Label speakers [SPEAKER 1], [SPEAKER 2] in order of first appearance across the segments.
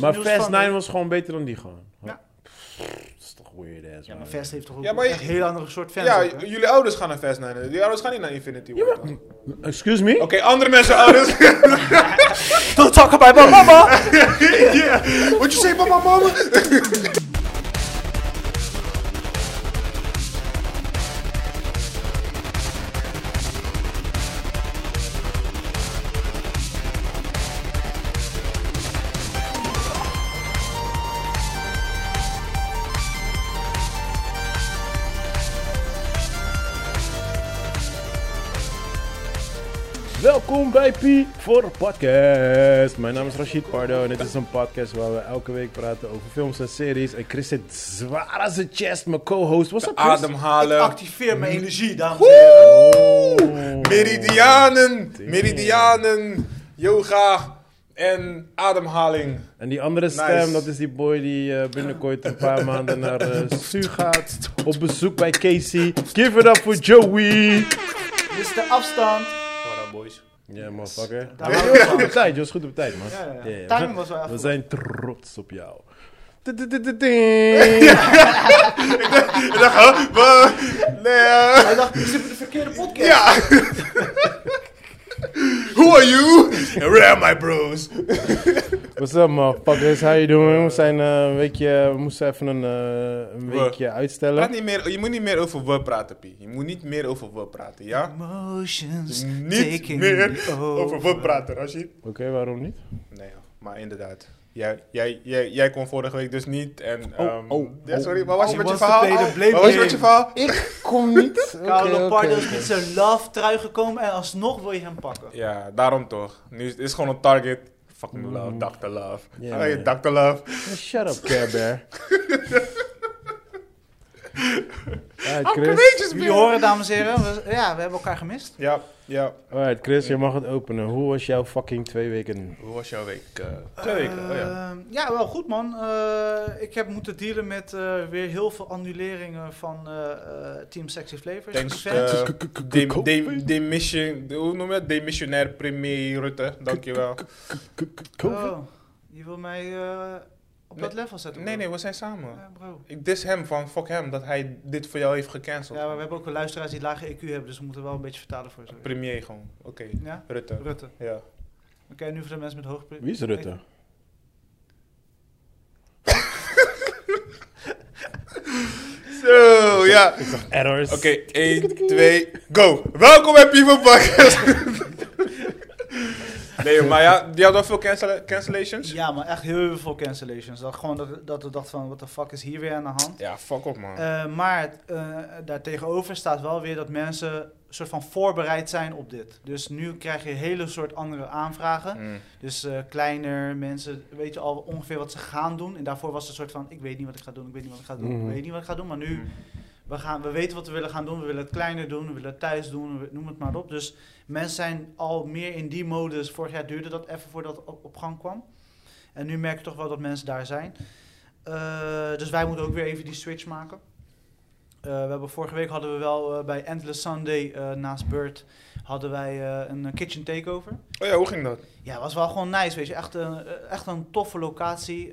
[SPEAKER 1] Maar
[SPEAKER 2] nieuws
[SPEAKER 1] Fast
[SPEAKER 2] van
[SPEAKER 1] 9
[SPEAKER 2] hem.
[SPEAKER 1] was gewoon beter dan die gewoon.
[SPEAKER 2] Ja.
[SPEAKER 1] Pff, dat is toch weird ass.
[SPEAKER 2] Ja,
[SPEAKER 1] man.
[SPEAKER 2] maar Fast heeft toch ook
[SPEAKER 3] Ja, maar je-
[SPEAKER 2] echt een heel andere soort fans.
[SPEAKER 3] Ja,
[SPEAKER 2] ook, hè?
[SPEAKER 3] j- jullie ouders gaan naar Fast 9. Jullie ouders gaan niet naar Infinity War. toch? Oké,
[SPEAKER 1] Excuse me?
[SPEAKER 3] andere mensen ouders.
[SPEAKER 2] Don't talk about my mama!
[SPEAKER 3] yeah. What you say, papa, mama?
[SPEAKER 1] Welkom bij P voor Podcast. Mijn naam is Rashid Pardo en dit is een podcast waar we elke week praten over films en series. En Chris zit zwaar aan zijn chest, mijn co-host. What's up, Chris?
[SPEAKER 3] Ademhalen.
[SPEAKER 2] Activeer mijn energie, dames en heren.
[SPEAKER 1] Oh.
[SPEAKER 3] Meridianen. Meridianen. Yoga. En ademhaling.
[SPEAKER 1] En die andere
[SPEAKER 3] Nice.
[SPEAKER 1] stem, dat is die boy die eh, binnenkort een paar maanden naar eh, Su gaat. Op bezoek bij Casey. Give it up for Joey.
[SPEAKER 2] Dit is de afstand.
[SPEAKER 3] What up, boys?
[SPEAKER 1] Ja, motherfucker.
[SPEAKER 2] Daar
[SPEAKER 1] Je
[SPEAKER 2] waren
[SPEAKER 1] was
[SPEAKER 2] we
[SPEAKER 1] goed
[SPEAKER 2] van.
[SPEAKER 1] op tijd, je was goed op tijd, man.
[SPEAKER 2] Ja, ja, ja.
[SPEAKER 1] Ja, ja.
[SPEAKER 2] Timing was wel echt
[SPEAKER 1] We
[SPEAKER 2] goed.
[SPEAKER 1] zijn trots op jou. Ding.
[SPEAKER 3] Ik dacht, huh? Wa- Nee.
[SPEAKER 2] Hij dacht, ik zit op de verkeerde podcast.
[SPEAKER 3] Ja. Who are you? And where are my bros?
[SPEAKER 1] What's up, motherfuckers? How you doing? We zijn eh, een weekje, we moesten even een, eh, een
[SPEAKER 3] We-
[SPEAKER 1] weekje
[SPEAKER 3] Praat
[SPEAKER 1] uitstellen.
[SPEAKER 3] niet meer, je moet niet meer over we praten, Pie. Je moet niet meer over we praten, ja?
[SPEAKER 2] Emotions
[SPEAKER 3] Niet
[SPEAKER 2] taking
[SPEAKER 3] meer
[SPEAKER 2] me
[SPEAKER 3] over we praten, Rashid.
[SPEAKER 1] Oké, waarom niet?
[SPEAKER 3] Nee, maar inderdaad. Jij, jij, jij, jij kon vorige week dus niet en... ehm,
[SPEAKER 1] oh,
[SPEAKER 3] ja, sorry, maar
[SPEAKER 2] oh.
[SPEAKER 3] was je
[SPEAKER 2] He
[SPEAKER 3] met je
[SPEAKER 2] wants to
[SPEAKER 3] verhaal?
[SPEAKER 2] play the
[SPEAKER 3] Oh,
[SPEAKER 2] blame
[SPEAKER 3] Wat was je met je
[SPEAKER 2] game.
[SPEAKER 3] verhaal?
[SPEAKER 1] Ik kom niet.
[SPEAKER 2] Carlo Pardo is met zijn love trui gekomen en alsnog wil je hem pakken.
[SPEAKER 3] Ja, daarom toch. Nu is het is gewoon een target. Fucking love, Dr. Love.
[SPEAKER 1] Ja,
[SPEAKER 3] hey,
[SPEAKER 1] man.
[SPEAKER 3] Dr. Love.
[SPEAKER 1] Shut up, Care Bear. Alright,
[SPEAKER 3] I'm
[SPEAKER 1] Chris.
[SPEAKER 3] courageous,
[SPEAKER 2] Jullie
[SPEAKER 3] man.
[SPEAKER 2] horen, dames en heren, we, ja, we hebben elkaar gemist.
[SPEAKER 3] Ja, ja.
[SPEAKER 1] Alright, Chris, je mag het openen. Hoe was jouw fucking twee weken?
[SPEAKER 3] Hoe was jouw week? eh, twee weken, oh ja.
[SPEAKER 2] Ehm, ja, wel goed man. Eh, ik heb moeten dealen met eh, weer heel veel annuleringen van eh, eh, Team Sexy Flavors.
[SPEAKER 3] Thanks,
[SPEAKER 2] events.
[SPEAKER 3] eh, Dem-
[SPEAKER 1] Covid.
[SPEAKER 3] dem- Demission, hoe noem je het? Demissionair premier Rutte, dankjewel.
[SPEAKER 1] Covid.
[SPEAKER 2] Oh, je wil mij eh, op dat level zetten?
[SPEAKER 3] Nee,
[SPEAKER 2] bro.
[SPEAKER 3] nee, we zijn samen.
[SPEAKER 2] Ja, bro.
[SPEAKER 3] Ik dis hem van fuck hem dat hij dit voor jou heeft gecanceld.
[SPEAKER 2] Ja, maar we hebben ook wel luisteraars die lage EQ hebben, dus we moeten wel een beetje vertalen voor ze.
[SPEAKER 3] Premier gewoon, oké.
[SPEAKER 2] Ja?
[SPEAKER 3] Rutte,
[SPEAKER 2] Rutte.
[SPEAKER 3] ja.
[SPEAKER 2] Oké, nu voor de mensen met hoog...
[SPEAKER 1] Wie is Rutte?
[SPEAKER 3] Zo, ja.
[SPEAKER 1] Errors.
[SPEAKER 3] Oké, 1, 2, go. Welkom bij People Podcast. nee, maar ja, die hadden wel veel cancel- cancellations. Ja.
[SPEAKER 2] Ja, maar echt heel veel cancellations. Dat, gewoon dat, dat we dachten van, what the fuck is hier weer aan de hand?
[SPEAKER 3] fuck op man.
[SPEAKER 2] Eh, maar eh daartegenover staat wel weer dat mensen soort van voorbereid zijn op dit. Dus nu krijg je een hele soort andere aanvragen.
[SPEAKER 3] Mm.
[SPEAKER 2] Dus eh, kleiner, mensen weten al ongeveer wat ze gaan doen. En daarvoor was het een soort van, ik weet niet wat ik ga doen, ik weet niet wat ik ga doen,
[SPEAKER 1] Mhm.
[SPEAKER 2] ik weet niet wat ik ga doen. Maar nu, we, gaan, we weten wat we willen gaan doen, we willen het kleiner doen, we willen het thuis doen, we- noem het maar op. Dus mensen zijn al meer in die modus. Vorig jaar duurde dat even voordat het op, op gang kwam. En nu merk je toch wel dat mensen daar zijn. Eh, dus wij moeten ook weer even die switch maken. Eh, we hebben vorige week hadden we wel eh, bij Endless Sunday eh, naast Bird hadden wij eh, een kitchen takeover.
[SPEAKER 3] Oh ja, hoe ging dat?
[SPEAKER 2] Ja, het was wel gewoon nice, weet je. Echt een, echt een toffe locatie. Eh,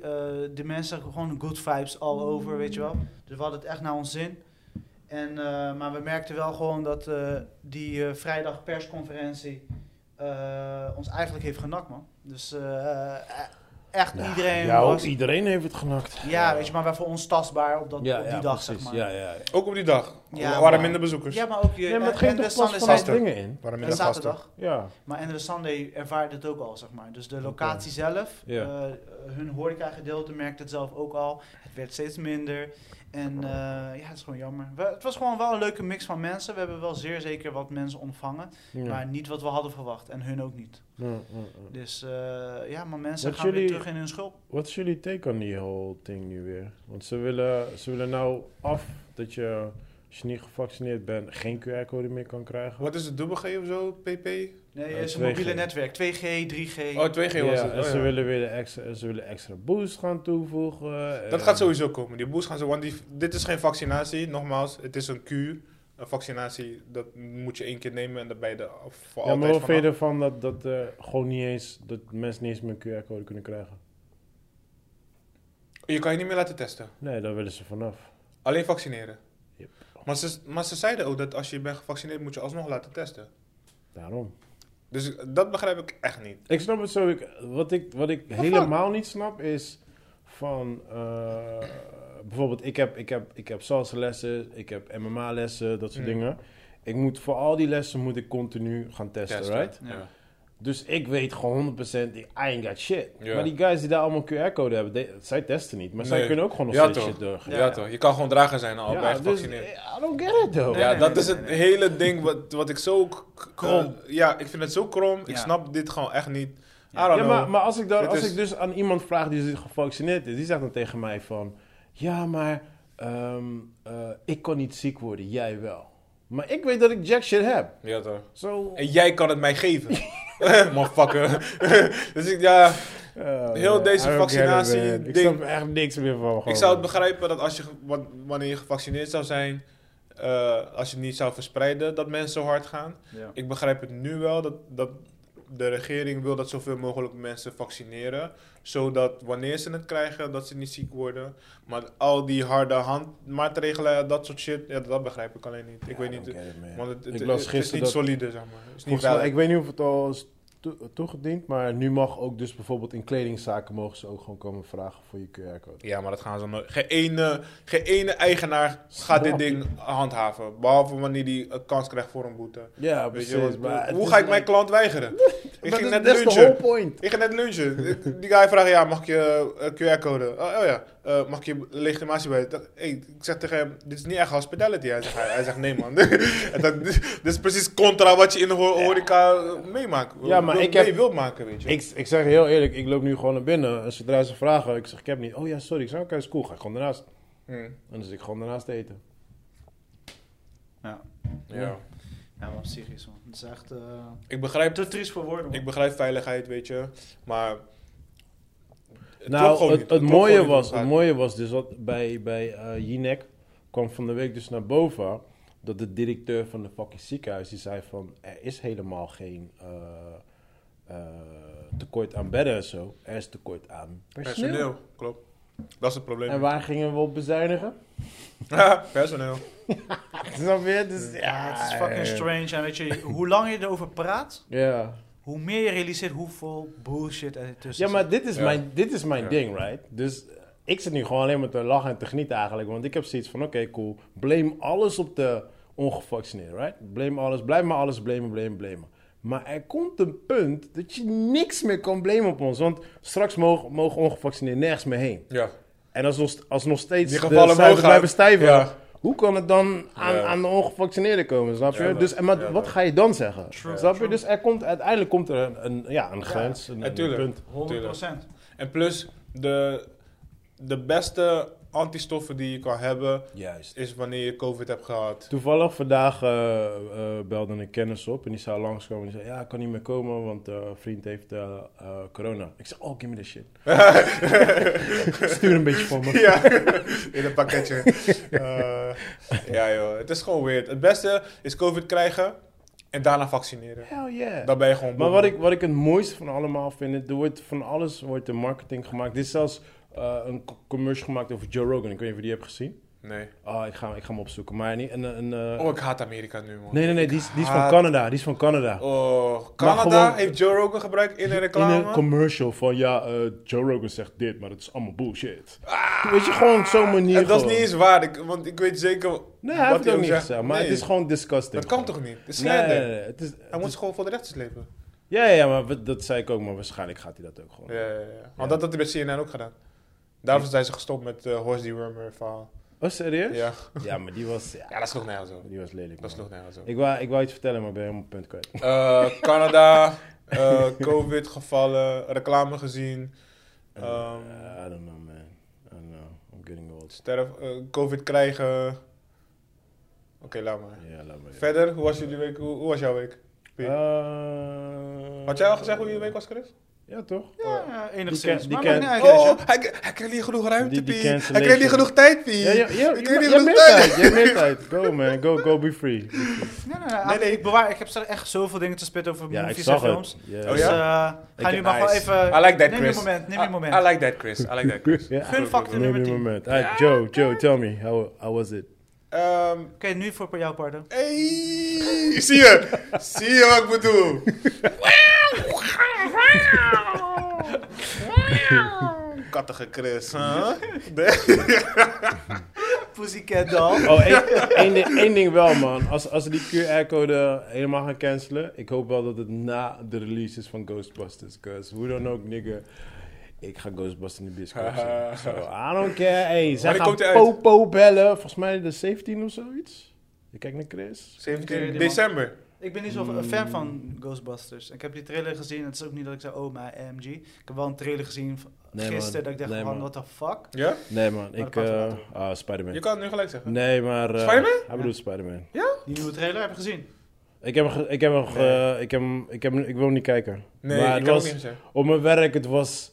[SPEAKER 2] de mensen gewoon good vibes all over, weet je wel. Dus we hadden het echt naar ons zin. En, eh, maar we merkten wel gewoon dat eh, die eh, vrijdag persconferentie eh, ons eigenlijk heeft genakt, man. Dus eh, eh, echt iedereen
[SPEAKER 1] Ja,
[SPEAKER 2] was...
[SPEAKER 1] iedereen heeft het genakt.
[SPEAKER 2] Ja, weet je, maar wij voor ons tastbaar op, dat, op die dag, zeg maar.
[SPEAKER 1] Ja,
[SPEAKER 2] Ja,
[SPEAKER 1] ja.
[SPEAKER 3] Ook op die dag.
[SPEAKER 2] Ja,
[SPEAKER 3] er waren
[SPEAKER 2] maar-
[SPEAKER 3] minder bezoekers.
[SPEAKER 2] maar ook... je
[SPEAKER 1] Nee, maar het
[SPEAKER 2] en-
[SPEAKER 1] ging
[SPEAKER 2] en
[SPEAKER 1] toch
[SPEAKER 2] de
[SPEAKER 1] pas
[SPEAKER 2] Sunday
[SPEAKER 1] van
[SPEAKER 2] Sunday-
[SPEAKER 1] dingen in?
[SPEAKER 3] Er waren
[SPEAKER 2] en
[SPEAKER 3] minder gasten.
[SPEAKER 2] zaterdag.
[SPEAKER 1] Ja.
[SPEAKER 2] Maar Ender Sunday ervaarde het ook al, zeg maar. Dus de locatie zelf,
[SPEAKER 1] Ja.
[SPEAKER 2] eh, hun horeca-gedeelte merkte het zelf ook al. Het werd steeds minder. En eh, ja, het is gewoon jammer. We- het was gewoon wel een leuke mix van mensen. We hebben wel zeer zeker wat mensen ontvangen. Maar niet wat we hadden verwacht. En hun ook niet. Dus eh, ja, maar mensen
[SPEAKER 1] Wat
[SPEAKER 2] gaan weer
[SPEAKER 1] jullie-
[SPEAKER 2] terug in hun schulp.
[SPEAKER 1] Wat is jullie take on die whole thing nu weer? Want ze willen, ze willen nou af dat je, als je niet gevaccineerd bent, geen QR-code meer kan krijgen.
[SPEAKER 3] Wat is het, dubbel G of zo? PP?
[SPEAKER 2] Nee,
[SPEAKER 1] Eh,
[SPEAKER 2] het is een
[SPEAKER 1] 2G.
[SPEAKER 2] mobiele netwerk. 2G, 3G.
[SPEAKER 3] Oh, 2G was
[SPEAKER 1] Ja,
[SPEAKER 3] het.
[SPEAKER 1] en
[SPEAKER 3] Oh,
[SPEAKER 1] ze
[SPEAKER 3] ja.
[SPEAKER 1] willen weer de extra, ze willen extra boost gaan toevoegen.
[SPEAKER 3] Dat
[SPEAKER 1] en-
[SPEAKER 3] gaat sowieso komen. Die boost gaan ze... Want die, dit is geen vaccinatie, nogmaals. Het is een kuur. Een vaccinatie, dat moet je één keer nemen en dan ben je er voor
[SPEAKER 1] Ja, maar
[SPEAKER 3] altijd
[SPEAKER 1] wat vind je
[SPEAKER 3] vanaf.
[SPEAKER 1] ervan dat, dat eh, gewoon niet eens, dat mensen niet eens meer QR-code kunnen krijgen?
[SPEAKER 3] Je kan je niet meer laten testen.
[SPEAKER 1] Nee, daar willen ze vanaf.
[SPEAKER 3] Alleen vaccineren.
[SPEAKER 1] Yep.
[SPEAKER 3] Maar, ze, maar ze zeiden ook dat als je bent gevaccineerd moet je alsnog laten testen.
[SPEAKER 1] Daarom.
[SPEAKER 3] Dus dat begrijp ik echt niet.
[SPEAKER 1] Ik snap het zo. Ik, wat ik, wat ik helemaal niet snap is van. eh, bijvoorbeeld, ik heb, ik heb, ik heb salsa lessen, ik heb MMA lessen, dat soort
[SPEAKER 3] Mm.
[SPEAKER 1] dingen. Ik moet voor al die lessen moet ik continu gaan testen, right?
[SPEAKER 2] Ja.
[SPEAKER 1] Dus ik weet gewoon 100% I ain't got shit.
[SPEAKER 3] Ja.
[SPEAKER 1] Maar die guys die daar allemaal QR-code hebben, they- zij testen niet. Maar zij
[SPEAKER 3] Nee.
[SPEAKER 1] kunnen ook gewoon nog
[SPEAKER 3] Ja,
[SPEAKER 1] steeds
[SPEAKER 3] toch.
[SPEAKER 1] shit doorgaan.
[SPEAKER 3] Ja,
[SPEAKER 2] Ja.
[SPEAKER 3] toch, je kan gewoon drager zijn al bij
[SPEAKER 1] dus,
[SPEAKER 3] gevaccineerd.
[SPEAKER 1] I don't get it though.
[SPEAKER 2] Nee,
[SPEAKER 3] ja,
[SPEAKER 2] nee,
[SPEAKER 3] dat
[SPEAKER 2] nee,
[SPEAKER 3] is
[SPEAKER 2] nee,
[SPEAKER 3] het
[SPEAKER 2] nee.
[SPEAKER 3] hele ding wat, wat ik zo k- k-
[SPEAKER 2] Krom.
[SPEAKER 3] eh, ja, ik vind het zo krom. Ik
[SPEAKER 2] Ja.
[SPEAKER 3] snap dit gewoon echt niet.
[SPEAKER 2] Ja.
[SPEAKER 3] I don't
[SPEAKER 1] Ja,
[SPEAKER 3] know.
[SPEAKER 1] maar, maar als, ik dan,
[SPEAKER 3] Dit
[SPEAKER 1] als
[SPEAKER 3] is-
[SPEAKER 1] ik dus aan iemand vraag die gevaccineerd is, die zegt dan tegen mij van... Ja, maar ehm, eh, ik kon niet ziek worden, jij wel. Maar ik weet dat ik jack shit heb.
[SPEAKER 3] Ja, toch.
[SPEAKER 1] Zo...
[SPEAKER 3] En jij kan het mij geven. Motherfucker. dus ik, ja,
[SPEAKER 1] eh,
[SPEAKER 3] heel
[SPEAKER 1] man,
[SPEAKER 3] deze
[SPEAKER 1] I don't get it,
[SPEAKER 3] vaccinatie
[SPEAKER 1] man. Ik
[SPEAKER 3] ding-
[SPEAKER 1] snap er echt niks meer van.
[SPEAKER 3] ik
[SPEAKER 1] gewoon.
[SPEAKER 3] zou het begrijpen dat als je, ge- wa- wanneer je gevaccineerd zou zijn, eh, als je het niet zou verspreiden, dat mensen zo hard gaan.
[SPEAKER 2] Ja.
[SPEAKER 3] Ik begrijp het nu wel dat, dat de regering wil dat zoveel mogelijk mensen vaccineren. Zodat wanneer ze het krijgen, dat ze niet ziek worden. Maar al die harde handmaatregelen, dat soort shit, ja, dat begrijp ik alleen niet.
[SPEAKER 1] Ja,
[SPEAKER 3] Ik weet
[SPEAKER 1] I
[SPEAKER 3] niet.
[SPEAKER 1] don't get it, man.
[SPEAKER 3] Want het, het-
[SPEAKER 1] Ik las
[SPEAKER 3] het is
[SPEAKER 1] gisteren
[SPEAKER 3] niet
[SPEAKER 1] dat-
[SPEAKER 3] solide, zeg maar. Het is niet
[SPEAKER 1] Volgens mij-
[SPEAKER 3] veilig.
[SPEAKER 1] ik weet niet of het al is to- toegediend, maar nu mag ook dus bijvoorbeeld in kledingzaken mogen ze ook gewoon komen vragen voor je QR-code.
[SPEAKER 3] Ja, maar dat gaan ze nooit. Geen ene, geen ene eigenaar gaat dit ding handhaven. Behalve wanneer die een kans krijgt voor een boete.
[SPEAKER 1] Ja,
[SPEAKER 3] Weet
[SPEAKER 1] precies.
[SPEAKER 3] je, wat-
[SPEAKER 1] maar het
[SPEAKER 3] hoe
[SPEAKER 1] is
[SPEAKER 3] ga ik mijn
[SPEAKER 1] like-
[SPEAKER 3] klant weigeren? Ik
[SPEAKER 1] Maar
[SPEAKER 3] ging
[SPEAKER 1] dat-
[SPEAKER 3] net
[SPEAKER 1] Dat is de
[SPEAKER 3] lunchen.
[SPEAKER 1] whole point.
[SPEAKER 3] Ik ging net lunchen. Die guy vraagt, ja, mag ik je eh, QR-code? Oh, oh ja, Eh, mag ik je legitimatie bij? Dat- hey, ik zeg tegen hem, dit is niet echt hospitality. Hij zegt, hij, hij zegt nee man. En dat, dit is precies contra wat je in de ho- horeca eh, meemaakt.
[SPEAKER 1] Ja, maar
[SPEAKER 3] Wil-
[SPEAKER 1] ik heb-
[SPEAKER 3] mee wilt maken, weet je.
[SPEAKER 1] Ik, ik zeg je heel eerlijk, ik loop nu gewoon naar binnen. En zodra ze vragen, ik zeg ik heb niet. Oh ja, sorry. Ik zeg oké, is cool. Ga ik gewoon daarnaast.
[SPEAKER 3] Hmm.
[SPEAKER 1] En dan zit ik gewoon daarnaast te eten.
[SPEAKER 2] Ja.
[SPEAKER 3] ja.
[SPEAKER 2] Ja, maar psychisch man. Het is echt eh,
[SPEAKER 3] Ik begrijp
[SPEAKER 2] te triest voor woorden. man.
[SPEAKER 3] Ik begrijp veiligheid, weet je. Maar. het klopt
[SPEAKER 1] nou,
[SPEAKER 3] gewoon
[SPEAKER 1] het,
[SPEAKER 3] niet.
[SPEAKER 1] het
[SPEAKER 3] klopt gewoon
[SPEAKER 1] mooie
[SPEAKER 3] niet
[SPEAKER 1] was,
[SPEAKER 3] wat
[SPEAKER 1] het
[SPEAKER 3] gaat.
[SPEAKER 1] mooie was dus wat bij, bij eh Jinek kwam van de week dus naar boven. Dat de directeur van de fucking ziekenhuis die zei van er is helemaal geen eh, eh, tekort aan bedden en zo. Er is tekort aan personeel.
[SPEAKER 3] Personeel, klopt. Dat is het probleem.
[SPEAKER 1] En waar gingen we op bezuinigen?
[SPEAKER 3] personeel.
[SPEAKER 1] Snap je? Dus, ja,
[SPEAKER 2] Ja, het is fucking strange. En weet je, hoe langer je erover praat,
[SPEAKER 1] Ja.
[SPEAKER 2] hoe meer je realiseert hoeveel bullshit er tussen
[SPEAKER 1] Ja, maar dit is
[SPEAKER 3] Ja.
[SPEAKER 1] mijn, dit is mijn
[SPEAKER 3] Ja.
[SPEAKER 1] ding, right? Dus eh, ik zit nu gewoon alleen maar te lachen en te genieten eigenlijk. Want ik heb zoiets van, oké, cool. Blame alles op de ongevaccineerden, right? Blame alles, blijf maar alles blamen, blamen, blamen. Maar er komt een punt dat je niks meer kan blamen op ons. Want straks mogen, mogen ongevaccineerden nergens meer heen.
[SPEAKER 3] Ja.
[SPEAKER 1] En als, nog- als nog steeds
[SPEAKER 3] Die gevallen
[SPEAKER 1] de
[SPEAKER 3] omhoog
[SPEAKER 1] cijfers
[SPEAKER 3] gaan.
[SPEAKER 1] blijven stijven...
[SPEAKER 3] Ja.
[SPEAKER 1] Hoe kan het dan aan,
[SPEAKER 3] Ja.
[SPEAKER 1] aan de ongevaccineerden komen, snap je?
[SPEAKER 3] Ja, dat-
[SPEAKER 1] dus, en maar
[SPEAKER 3] ja,
[SPEAKER 1] wat
[SPEAKER 3] dat-
[SPEAKER 1] ga je dan zeggen?
[SPEAKER 2] True,
[SPEAKER 1] snap je?
[SPEAKER 2] true.
[SPEAKER 1] Dus er komt, uiteindelijk komt er een, een, ja, een grens, een- een
[SPEAKER 3] tuurlijk.
[SPEAKER 1] punt.
[SPEAKER 2] 100 procent.
[SPEAKER 3] En plus, de, de beste antistoffen die je kan hebben.
[SPEAKER 1] Juist.
[SPEAKER 3] is wanneer je COVID hebt gehad.
[SPEAKER 1] Toevallig vandaag eh, eh, belde een kennis op en die zou langskomen. En die zei, ja, ik kan niet meer komen, want eh, een vriend heeft eh, eh, corona. Ik zeg, oh, give me this shit. Stuur een beetje voor me.
[SPEAKER 3] ja, in een pakketje. Eh, ja, joh. Het is gewoon weird. Het beste is COVID krijgen en daarna vaccineren.
[SPEAKER 1] Hell yeah.
[SPEAKER 3] Dan ben je gewoon.
[SPEAKER 1] Maar wat ik, wat ik het mooiste van allemaal vind, er wordt van alles wordt er marketing gemaakt. Er is zelfs eh, een co- commercial gemaakt over Joe Rogan. Ik weet niet of je die hebt gezien.
[SPEAKER 3] Nee.
[SPEAKER 1] Ah, ik, ga, ik ga hem opzoeken. Maar niet een, een, eh,
[SPEAKER 3] Oh, ik haat Amerika nu, man.
[SPEAKER 1] nee, nee, nee, die is, die is van
[SPEAKER 3] haat-
[SPEAKER 1] Canada. Die is van Canada.
[SPEAKER 3] Oh,
[SPEAKER 1] Maar
[SPEAKER 3] Canada
[SPEAKER 1] gewoon-
[SPEAKER 3] heeft Joe Rogan gebruikt in een
[SPEAKER 1] In
[SPEAKER 3] reclame.
[SPEAKER 1] een commercial van ja, eh, Joe Rogan zegt dit, maar dat is allemaal bullshit. Weet je, gewoon op zo'n manier.
[SPEAKER 3] Ah. En dat is
[SPEAKER 1] gewoon.
[SPEAKER 3] niet eens waar, ik, want ik weet zeker
[SPEAKER 1] Nee, hij heeft het ook niet
[SPEAKER 3] zegt.
[SPEAKER 1] gezegd, maar
[SPEAKER 3] Nee,
[SPEAKER 1] het is gewoon disgusting.
[SPEAKER 3] Dat kan toch niet? Het is
[SPEAKER 1] Nee,
[SPEAKER 3] slander.
[SPEAKER 1] nee, nee, Het is,
[SPEAKER 3] Hij
[SPEAKER 1] het
[SPEAKER 3] moet
[SPEAKER 1] is-
[SPEAKER 3] ze gewoon voor de rechter slepen.
[SPEAKER 1] ja, ja, ja, maar we- dat zei ik ook, maar waarschijnlijk gaat hij dat ook gewoon.
[SPEAKER 3] Ja, ja, ja. Want dat had hij bij CNN ook gedaan. Daarvoor zijn ze gestopt met eh Horse Dewormer verhaal.
[SPEAKER 1] Oh, serieus?
[SPEAKER 3] Ja.
[SPEAKER 1] Ja, maar die was, ja,
[SPEAKER 3] ja, dat sloeg nergens op.
[SPEAKER 1] die was lelijk.
[SPEAKER 3] Dat
[SPEAKER 1] man.
[SPEAKER 3] sloeg nergens op.
[SPEAKER 1] Ik wou, ik wou iets vertellen, maar ik ben helemaal punt kwijt.
[SPEAKER 3] Eh, Canada, eh, COVID gevallen, reclame gezien. Ehm,
[SPEAKER 1] Eh, I don't know, man. I don't know. I'm getting old.
[SPEAKER 3] sterf, eh, COVID krijgen. Oké, laat maar.
[SPEAKER 1] Ja, laat maar.
[SPEAKER 3] Verder, hoe was, jullie week, hoe, hoe was jouw week? Pien?
[SPEAKER 1] Eh,
[SPEAKER 3] Had jij al gezegd hoe je week was, Chris?
[SPEAKER 1] Ja, toch?
[SPEAKER 2] Ja, ja, enigszins.
[SPEAKER 1] ken- Oh. die
[SPEAKER 2] maar
[SPEAKER 1] ken-
[SPEAKER 2] maakt niet uit, weet je.
[SPEAKER 3] Oh, hij, hij kreeg niet genoeg ruimte,
[SPEAKER 1] Die- die
[SPEAKER 3] Piet. Hij
[SPEAKER 1] cancellation.
[SPEAKER 3] kreeg niet genoeg tijd, Piet.
[SPEAKER 1] Ja, ja, ja, je-
[SPEAKER 3] Hij kreeg niet
[SPEAKER 1] je hebt
[SPEAKER 3] genoeg
[SPEAKER 1] meer
[SPEAKER 3] tijd.
[SPEAKER 1] tijd. Je hebt meer tijd. Go, man. Go, go, be free.
[SPEAKER 2] Nee, nee, nee,
[SPEAKER 3] Nee, nee.
[SPEAKER 2] Ik, bewaar, ik heb straks echt zoveel dingen te spitten over
[SPEAKER 1] Ja, ik
[SPEAKER 2] movies en
[SPEAKER 1] zag
[SPEAKER 2] films.
[SPEAKER 1] het. Ja.
[SPEAKER 3] Oh
[SPEAKER 2] Dus
[SPEAKER 3] ja?
[SPEAKER 2] eh, ga
[SPEAKER 3] Ik-
[SPEAKER 2] nu maar
[SPEAKER 3] nice.
[SPEAKER 2] gewoon even...
[SPEAKER 3] I like that,
[SPEAKER 2] neem
[SPEAKER 3] Chris.
[SPEAKER 2] je moment, neem
[SPEAKER 3] I-
[SPEAKER 2] je moment.
[SPEAKER 3] I like that, Chris. I like that, Chris.
[SPEAKER 1] Ja.
[SPEAKER 2] Gunfactor
[SPEAKER 1] Neem
[SPEAKER 2] nummer
[SPEAKER 1] je
[SPEAKER 2] 10. Oké,
[SPEAKER 1] moment. Alright, Joe, Joe, tell me. How, how was it?
[SPEAKER 3] Ehm,
[SPEAKER 2] nu voor jouw pardon.
[SPEAKER 3] Hey, zie je? zie je wat ik bedoel? Kattige Chris, huh? Nee.
[SPEAKER 2] Pussycat doll.
[SPEAKER 1] Oh, één, één ding, één ding wel, man. Als, als ze die QR-code helemaal gaan cancelen, ik hoop wel dat het na de release is van Ghostbusters. Cause hoe dan ook, nigga, ik ga Ghostbusters in de bioscoop zien. So, I don't care. Hey, zij
[SPEAKER 3] Wanneer
[SPEAKER 1] gaan
[SPEAKER 3] komt hij uit?
[SPEAKER 1] Popo bellen. Volgens mij de 17 of zoiets. Ik kijk naar Chris.
[SPEAKER 3] 17 december.
[SPEAKER 2] Ik ben niet zo een fan van Ghostbusters. Ik heb die trailer gezien. Het is ook niet dat ik zei, oh mijn MG. Ik heb wel een trailer gezien van
[SPEAKER 1] Nee, man.
[SPEAKER 2] gisteren dat ik dacht,
[SPEAKER 1] Nee,
[SPEAKER 2] man,
[SPEAKER 1] man.
[SPEAKER 2] what the fuck?
[SPEAKER 3] Ja?
[SPEAKER 1] Nee, man.
[SPEAKER 2] dat
[SPEAKER 1] Ik,
[SPEAKER 2] kan
[SPEAKER 1] eh
[SPEAKER 2] later.
[SPEAKER 1] ah, Spider-Man.
[SPEAKER 3] Je kan het nu gelijk zeggen.
[SPEAKER 1] Nee, maar... eh,
[SPEAKER 3] Spider-Man?
[SPEAKER 1] Hij bedoelt Spider-Man.
[SPEAKER 2] Die nieuwe trailer heb je gezien.
[SPEAKER 1] Ik heb, hem ge- ik heb, hem ge-
[SPEAKER 3] Nee.
[SPEAKER 1] ik heb, hem- ik heb, hem- ik wil hem niet kijken.
[SPEAKER 3] Nee,
[SPEAKER 1] maar
[SPEAKER 3] ik
[SPEAKER 1] het
[SPEAKER 3] kan
[SPEAKER 1] was,
[SPEAKER 3] het niet zeggen.
[SPEAKER 1] op mijn werk, het was...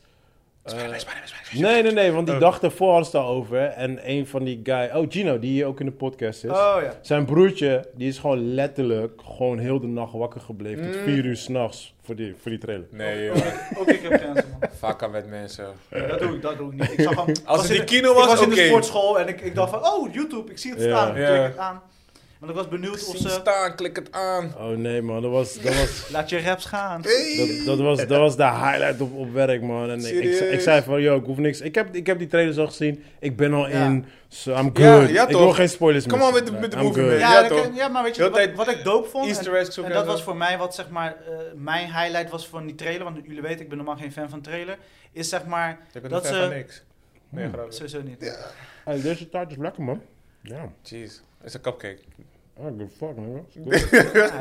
[SPEAKER 1] eh,
[SPEAKER 3] Spider-Man, Spider-Man, Spider-Man.
[SPEAKER 1] Nee, nee, nee, want die
[SPEAKER 3] Oh.
[SPEAKER 1] dag daarvoor hadden ze het daarover. hè. En een van die guy, oh Gino, die hier ook in de podcast is.
[SPEAKER 2] Oh ja.
[SPEAKER 1] Zijn broertje, die is gewoon letterlijk gewoon heel de nacht wakker gebleven.
[SPEAKER 3] Mm.
[SPEAKER 1] Tot vier uur s'nachts voor die, voor die trailer.
[SPEAKER 3] Nee,
[SPEAKER 2] Ook
[SPEAKER 3] joh.
[SPEAKER 2] ik- Ook ik heb grenzen, man.
[SPEAKER 3] Vakken met mensen.
[SPEAKER 2] Ja, Dat doe ik, dat doe ik niet. Ik zag gewoon- ik
[SPEAKER 3] Als
[SPEAKER 2] was
[SPEAKER 3] het
[SPEAKER 2] in
[SPEAKER 3] in kino
[SPEAKER 2] Ik
[SPEAKER 3] was,
[SPEAKER 2] was,
[SPEAKER 3] oké.
[SPEAKER 2] in de sportschool en ik, ik dacht van, oh, YouTube, ik zie het
[SPEAKER 1] Ja.
[SPEAKER 2] staan. Ik
[SPEAKER 3] Ja.
[SPEAKER 2] klik het aan. Want ik was benieuwd of
[SPEAKER 3] Zie
[SPEAKER 2] ze...
[SPEAKER 3] staan, klik het aan.
[SPEAKER 1] Oh nee, man, dat was, dat was,
[SPEAKER 2] Laat je raps gaan.
[SPEAKER 1] dat,
[SPEAKER 3] Hey.
[SPEAKER 1] dat was, dat was de highlight op, op werk, man. En ik, ik,
[SPEAKER 3] Serieus?
[SPEAKER 1] ik zei van, yo, ik hoef niks. Ik heb, ik heb die trailers al gezien. Ik ben al
[SPEAKER 2] Ja.
[SPEAKER 1] in. So I'm good.
[SPEAKER 3] Ja, ja,
[SPEAKER 1] ik
[SPEAKER 3] toch?
[SPEAKER 1] wil geen spoilers
[SPEAKER 3] Come
[SPEAKER 1] meer.
[SPEAKER 3] on met de- met de
[SPEAKER 1] I'm
[SPEAKER 3] movie,
[SPEAKER 1] good.
[SPEAKER 3] man.
[SPEAKER 2] Ja,
[SPEAKER 3] Ja,
[SPEAKER 2] dat
[SPEAKER 3] toch?
[SPEAKER 2] kan- ja, maar weet je,
[SPEAKER 3] Heel
[SPEAKER 2] wat,
[SPEAKER 3] tijd
[SPEAKER 2] wat ik doop vond... en-
[SPEAKER 3] Easter eggs. ook
[SPEAKER 2] En
[SPEAKER 3] en
[SPEAKER 2] dat
[SPEAKER 3] zo.
[SPEAKER 2] was voor mij wat zeg maar eh, mijn highlight was van die trailer, want jullie weten ik ben normaal geen fan van trailer, is zeg maar
[SPEAKER 3] Ik ben
[SPEAKER 2] dat
[SPEAKER 3] een fan
[SPEAKER 2] ze-
[SPEAKER 3] van niks. Nee, grappig.
[SPEAKER 2] sowieso niet.
[SPEAKER 1] Hey, deze taart is lekker, man. Ja.
[SPEAKER 3] Jeez. Het is een cupcake.
[SPEAKER 1] Ah, good fuck, man.
[SPEAKER 2] Ja,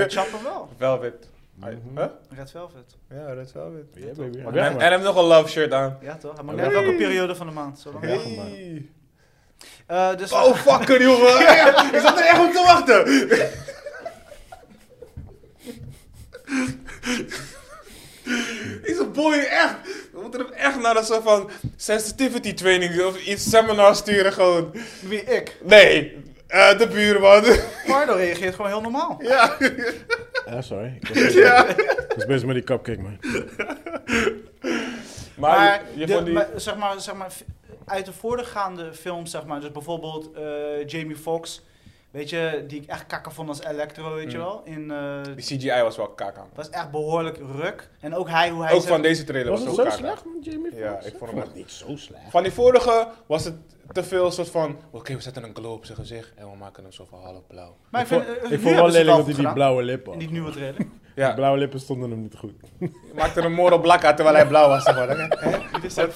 [SPEAKER 2] ik chap hem wel.
[SPEAKER 3] Velvet.
[SPEAKER 1] Mhm.
[SPEAKER 3] Huh?
[SPEAKER 2] Red Velvet.
[SPEAKER 3] Ja, dat is velvet.
[SPEAKER 1] Ja, baby.
[SPEAKER 3] En
[SPEAKER 1] Ja,
[SPEAKER 3] hij- en
[SPEAKER 1] man.
[SPEAKER 3] hij heeft nog een love shirt aan.
[SPEAKER 2] Ja toch? Hij mag
[SPEAKER 1] Ja.
[SPEAKER 2] uit welke periode van de maand. Zolang
[SPEAKER 1] Ja.
[SPEAKER 2] lang.
[SPEAKER 1] man.
[SPEAKER 2] dus
[SPEAKER 3] Oh, fucker, jongen. Ik zat er echt op te wachten. Is een boy echt. We moeten hem echt naar een soort van sensitivity training of iets seminar sturen gewoon.
[SPEAKER 2] wie ik?
[SPEAKER 3] Nee, eh, de buurman.
[SPEAKER 2] Pardo reageert gewoon heel normaal.
[SPEAKER 3] ja.
[SPEAKER 1] Ah, sorry. Ik was,
[SPEAKER 3] Ja.
[SPEAKER 1] ik was bezig met die cupcake, man.
[SPEAKER 3] Maar,
[SPEAKER 2] Maar,
[SPEAKER 3] je, je
[SPEAKER 2] de-
[SPEAKER 3] vond die...
[SPEAKER 2] maar, zeg maar, zeg maar, f- uit de voorgaande films, zeg maar, dus bijvoorbeeld eh, Jamie Foxx, weet je, die ik echt kakker vond als Electro, weet je
[SPEAKER 3] Mm.
[SPEAKER 2] wel, in eh,
[SPEAKER 3] Die CGI was wel kak aan.
[SPEAKER 2] was echt behoorlijk ruk. En ook hij, hoe hij
[SPEAKER 3] Ook
[SPEAKER 2] zeg-
[SPEAKER 3] van deze trailer was,
[SPEAKER 1] Was het
[SPEAKER 3] ook
[SPEAKER 1] zo
[SPEAKER 3] kak aan.
[SPEAKER 1] slecht met Jamie
[SPEAKER 3] Ja,
[SPEAKER 1] Foxx?
[SPEAKER 3] ik vond hem echt-
[SPEAKER 1] het niet zo slecht.
[SPEAKER 3] Van die vorige was het te veel soort van... Oké, we zetten een glow op zijn gezicht en we maken hem zo van half blauw.
[SPEAKER 2] Maar ik,
[SPEAKER 1] Ik vond,
[SPEAKER 2] vind, eh,
[SPEAKER 1] ik
[SPEAKER 2] nu
[SPEAKER 1] vond wel
[SPEAKER 2] hebben ze het
[SPEAKER 1] lelijk dat
[SPEAKER 2] goed
[SPEAKER 1] hij die
[SPEAKER 2] gedaan.
[SPEAKER 1] blauwe lippen
[SPEAKER 2] In
[SPEAKER 1] had.
[SPEAKER 2] die nieuwe trailer.
[SPEAKER 1] Die
[SPEAKER 3] Ja,
[SPEAKER 1] blauwe lippen stonden hem niet goed.
[SPEAKER 3] maakte een moord op blak uit terwijl hij blauw was. zeg maar. Hè?
[SPEAKER 2] Die zei,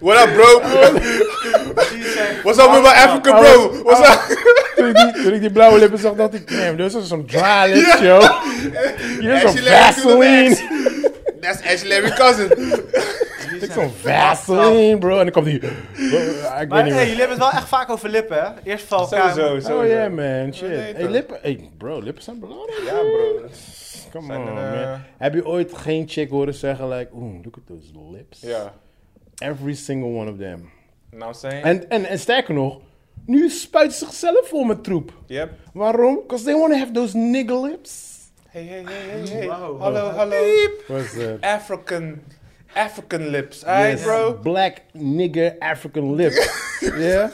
[SPEAKER 3] What up, bro?
[SPEAKER 2] die zei,
[SPEAKER 3] What's up with my African bro? What's up?
[SPEAKER 1] toen, ik die, toen ik die blauwe lippen zag, dacht ik, damn, this is some dry lips, yo. Hier is some
[SPEAKER 3] Ashley Larry to the
[SPEAKER 1] Vaseline.
[SPEAKER 3] That's actually Larry Cousin.
[SPEAKER 2] die
[SPEAKER 1] Ik
[SPEAKER 2] zei-
[SPEAKER 1] zo'n Vaseline, bro. En dan kwam die... Bro,
[SPEAKER 2] Maar
[SPEAKER 1] ik weet
[SPEAKER 2] hey,
[SPEAKER 1] niet
[SPEAKER 2] jullie
[SPEAKER 1] meer.
[SPEAKER 2] hebben het wel echt vaak over lippen, hè? Eerst van elkaar.
[SPEAKER 3] Sowieso, sowieso.
[SPEAKER 1] Oh yeah, man, shit.
[SPEAKER 3] weet
[SPEAKER 1] Hey,
[SPEAKER 3] het.
[SPEAKER 1] lippen... Hey, bro, lippen zijn belangrijk.
[SPEAKER 3] Ja, bro.
[SPEAKER 1] Come
[SPEAKER 3] Zijn
[SPEAKER 1] on,
[SPEAKER 3] er, eh,
[SPEAKER 1] man. Heb je ooit geen chick horen zeggen, like, oeh, look at those lips?
[SPEAKER 3] Ja.
[SPEAKER 1] Every single one of them.
[SPEAKER 3] Nou, I'm saying.
[SPEAKER 1] En, en, en sterker nog, nu spuit ze zichzelf vol met troep.
[SPEAKER 3] Yep.
[SPEAKER 1] Waarom? Because they want to have those nigger lips.
[SPEAKER 3] Hey, hey, hey, hey, hey.
[SPEAKER 2] Wow.
[SPEAKER 3] Hallo, hallo.
[SPEAKER 1] What's that?
[SPEAKER 3] African. African lips. Hey,
[SPEAKER 1] Yes.
[SPEAKER 3] bro.
[SPEAKER 1] Black nigger African lips. yeah?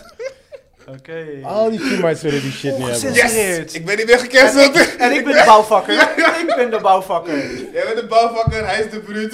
[SPEAKER 2] Oké.
[SPEAKER 1] Al die teammates willen die shit niet hebben.
[SPEAKER 2] Ongezin-
[SPEAKER 3] Yes!
[SPEAKER 2] Geïnspireerd.
[SPEAKER 3] Ik ben niet meer gecanceld.
[SPEAKER 2] En ik ben de bouwvakker. Ik ben de bouwvakker.
[SPEAKER 3] Jij bent de bouwvakker, hij is de bruut.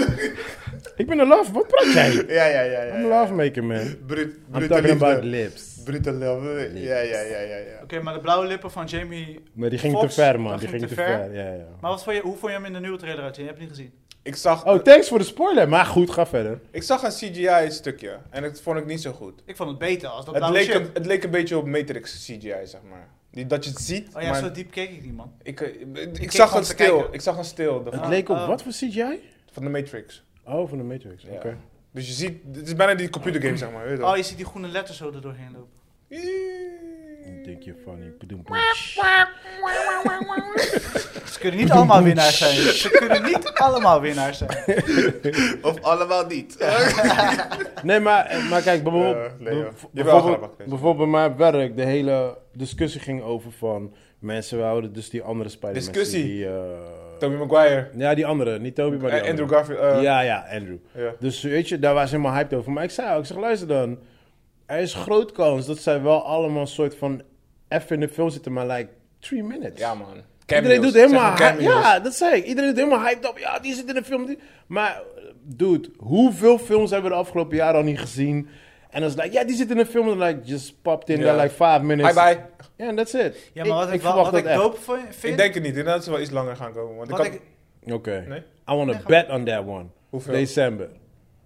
[SPEAKER 1] Ik ben een love, wat praat jij?
[SPEAKER 3] ja, ja, ja.
[SPEAKER 1] I'm a
[SPEAKER 3] ja.
[SPEAKER 1] lovemaker, man.
[SPEAKER 3] Brut,
[SPEAKER 1] I'm
[SPEAKER 3] brute
[SPEAKER 1] talking about
[SPEAKER 3] liefde.
[SPEAKER 1] lips.
[SPEAKER 3] Brute liefde. Ja, ja, ja, ja. ja.
[SPEAKER 2] Oké, maar de blauwe lippen van Jamie.
[SPEAKER 1] Maar die ging
[SPEAKER 2] Fox,
[SPEAKER 1] te ver, man.
[SPEAKER 2] dat
[SPEAKER 1] Die ging te ver. Ja, ja.
[SPEAKER 2] Maar wat vond je, hoe vond je hem in de nieuwe trailer uitzien? Je hebt het niet gezien.
[SPEAKER 3] Ik zag,
[SPEAKER 1] Oh, thanks voor de spoiler. Maar goed, ga verder.
[SPEAKER 3] ik zag een CGI-stukje en dat vond ik niet zo goed.
[SPEAKER 2] Ik vond het beter als dat nou
[SPEAKER 3] Het
[SPEAKER 2] blauwe
[SPEAKER 3] leek,
[SPEAKER 2] shirt.
[SPEAKER 3] een, het leek een beetje op Matrix CGI, zeg maar. Die, dat je het ziet,
[SPEAKER 2] Oh ja,
[SPEAKER 3] maar
[SPEAKER 2] zo diep keek ik niet, man.
[SPEAKER 3] ik, eh, ik,
[SPEAKER 2] keek
[SPEAKER 3] zag
[SPEAKER 2] gewoon
[SPEAKER 3] een
[SPEAKER 2] te
[SPEAKER 3] stil.
[SPEAKER 2] kijken.
[SPEAKER 3] Ik zag een stil daarvan-
[SPEAKER 1] Het leek op
[SPEAKER 2] oh.
[SPEAKER 1] wat voor CGI?
[SPEAKER 3] van de Matrix.
[SPEAKER 1] Oh, van de Matrix.
[SPEAKER 3] Ja.
[SPEAKER 1] Oké.
[SPEAKER 3] Dus je ziet, het is bijna die computergame, zeg maar. Weet je wel.
[SPEAKER 2] Oh, je ziet die groene letters zo er doorheen lopen.
[SPEAKER 3] Eeeh.
[SPEAKER 1] Ik Denk je funny. Padoem,
[SPEAKER 2] Ze kunnen niet allemaal winnaars zijn. Ze kunnen niet allemaal winnaars zijn.
[SPEAKER 4] Of allemaal niet.
[SPEAKER 1] Nee, maar, maar kijk, bijvoorbeeld,
[SPEAKER 3] Eh, nee, joh.
[SPEAKER 1] bijvoorbeeld,
[SPEAKER 3] Je hebt wel grappig, nee.
[SPEAKER 1] bijvoorbeeld bij mij op werk, de hele discussie ging over van mensen wouden dus die andere Spider-Man.
[SPEAKER 3] Discussie?
[SPEAKER 1] Die, eh,
[SPEAKER 3] Tobey Maguire.
[SPEAKER 1] ja, die andere, niet Toby, maar die
[SPEAKER 3] Eh, Andrew
[SPEAKER 1] andere.
[SPEAKER 3] Garfield. eh,
[SPEAKER 1] ja, ja, Andrew.
[SPEAKER 3] ja.
[SPEAKER 1] Dus weet je, daar was ze helemaal hyped over. Maar ik zei ook, ik zeg, luister dan, er is groot kans dat zij wel allemaal een soort van even in de film zitten, maar like three minutes.
[SPEAKER 3] Ja, man.
[SPEAKER 1] Iedereen doet helemaal
[SPEAKER 3] Zeg maar
[SPEAKER 1] hy-
[SPEAKER 3] cameo's.
[SPEAKER 1] Ja, dat zei ik. Iedereen doet helemaal hyped op. Ja, die zit in een film. Die... Maar, dude, hoeveel films hebben we de afgelopen jaren al niet gezien? En dan is het like, ja, die zit in een film. En like, just popped in
[SPEAKER 3] Ja.
[SPEAKER 1] there like five minutes.
[SPEAKER 3] Bye bye.
[SPEAKER 1] Ja, and that's it.
[SPEAKER 2] Ja, maar wat ik, wel,
[SPEAKER 1] verwacht
[SPEAKER 2] wat ik
[SPEAKER 1] dat echt.
[SPEAKER 2] dope vo- vind...
[SPEAKER 3] Ik denk het niet. Inderdaad, ze wel iets langer gaan komen. Want ik
[SPEAKER 2] wat
[SPEAKER 3] had-
[SPEAKER 2] ik,
[SPEAKER 1] Oké.
[SPEAKER 3] Nee?
[SPEAKER 1] I want to bet on that one.
[SPEAKER 3] Hoeveel?
[SPEAKER 1] December.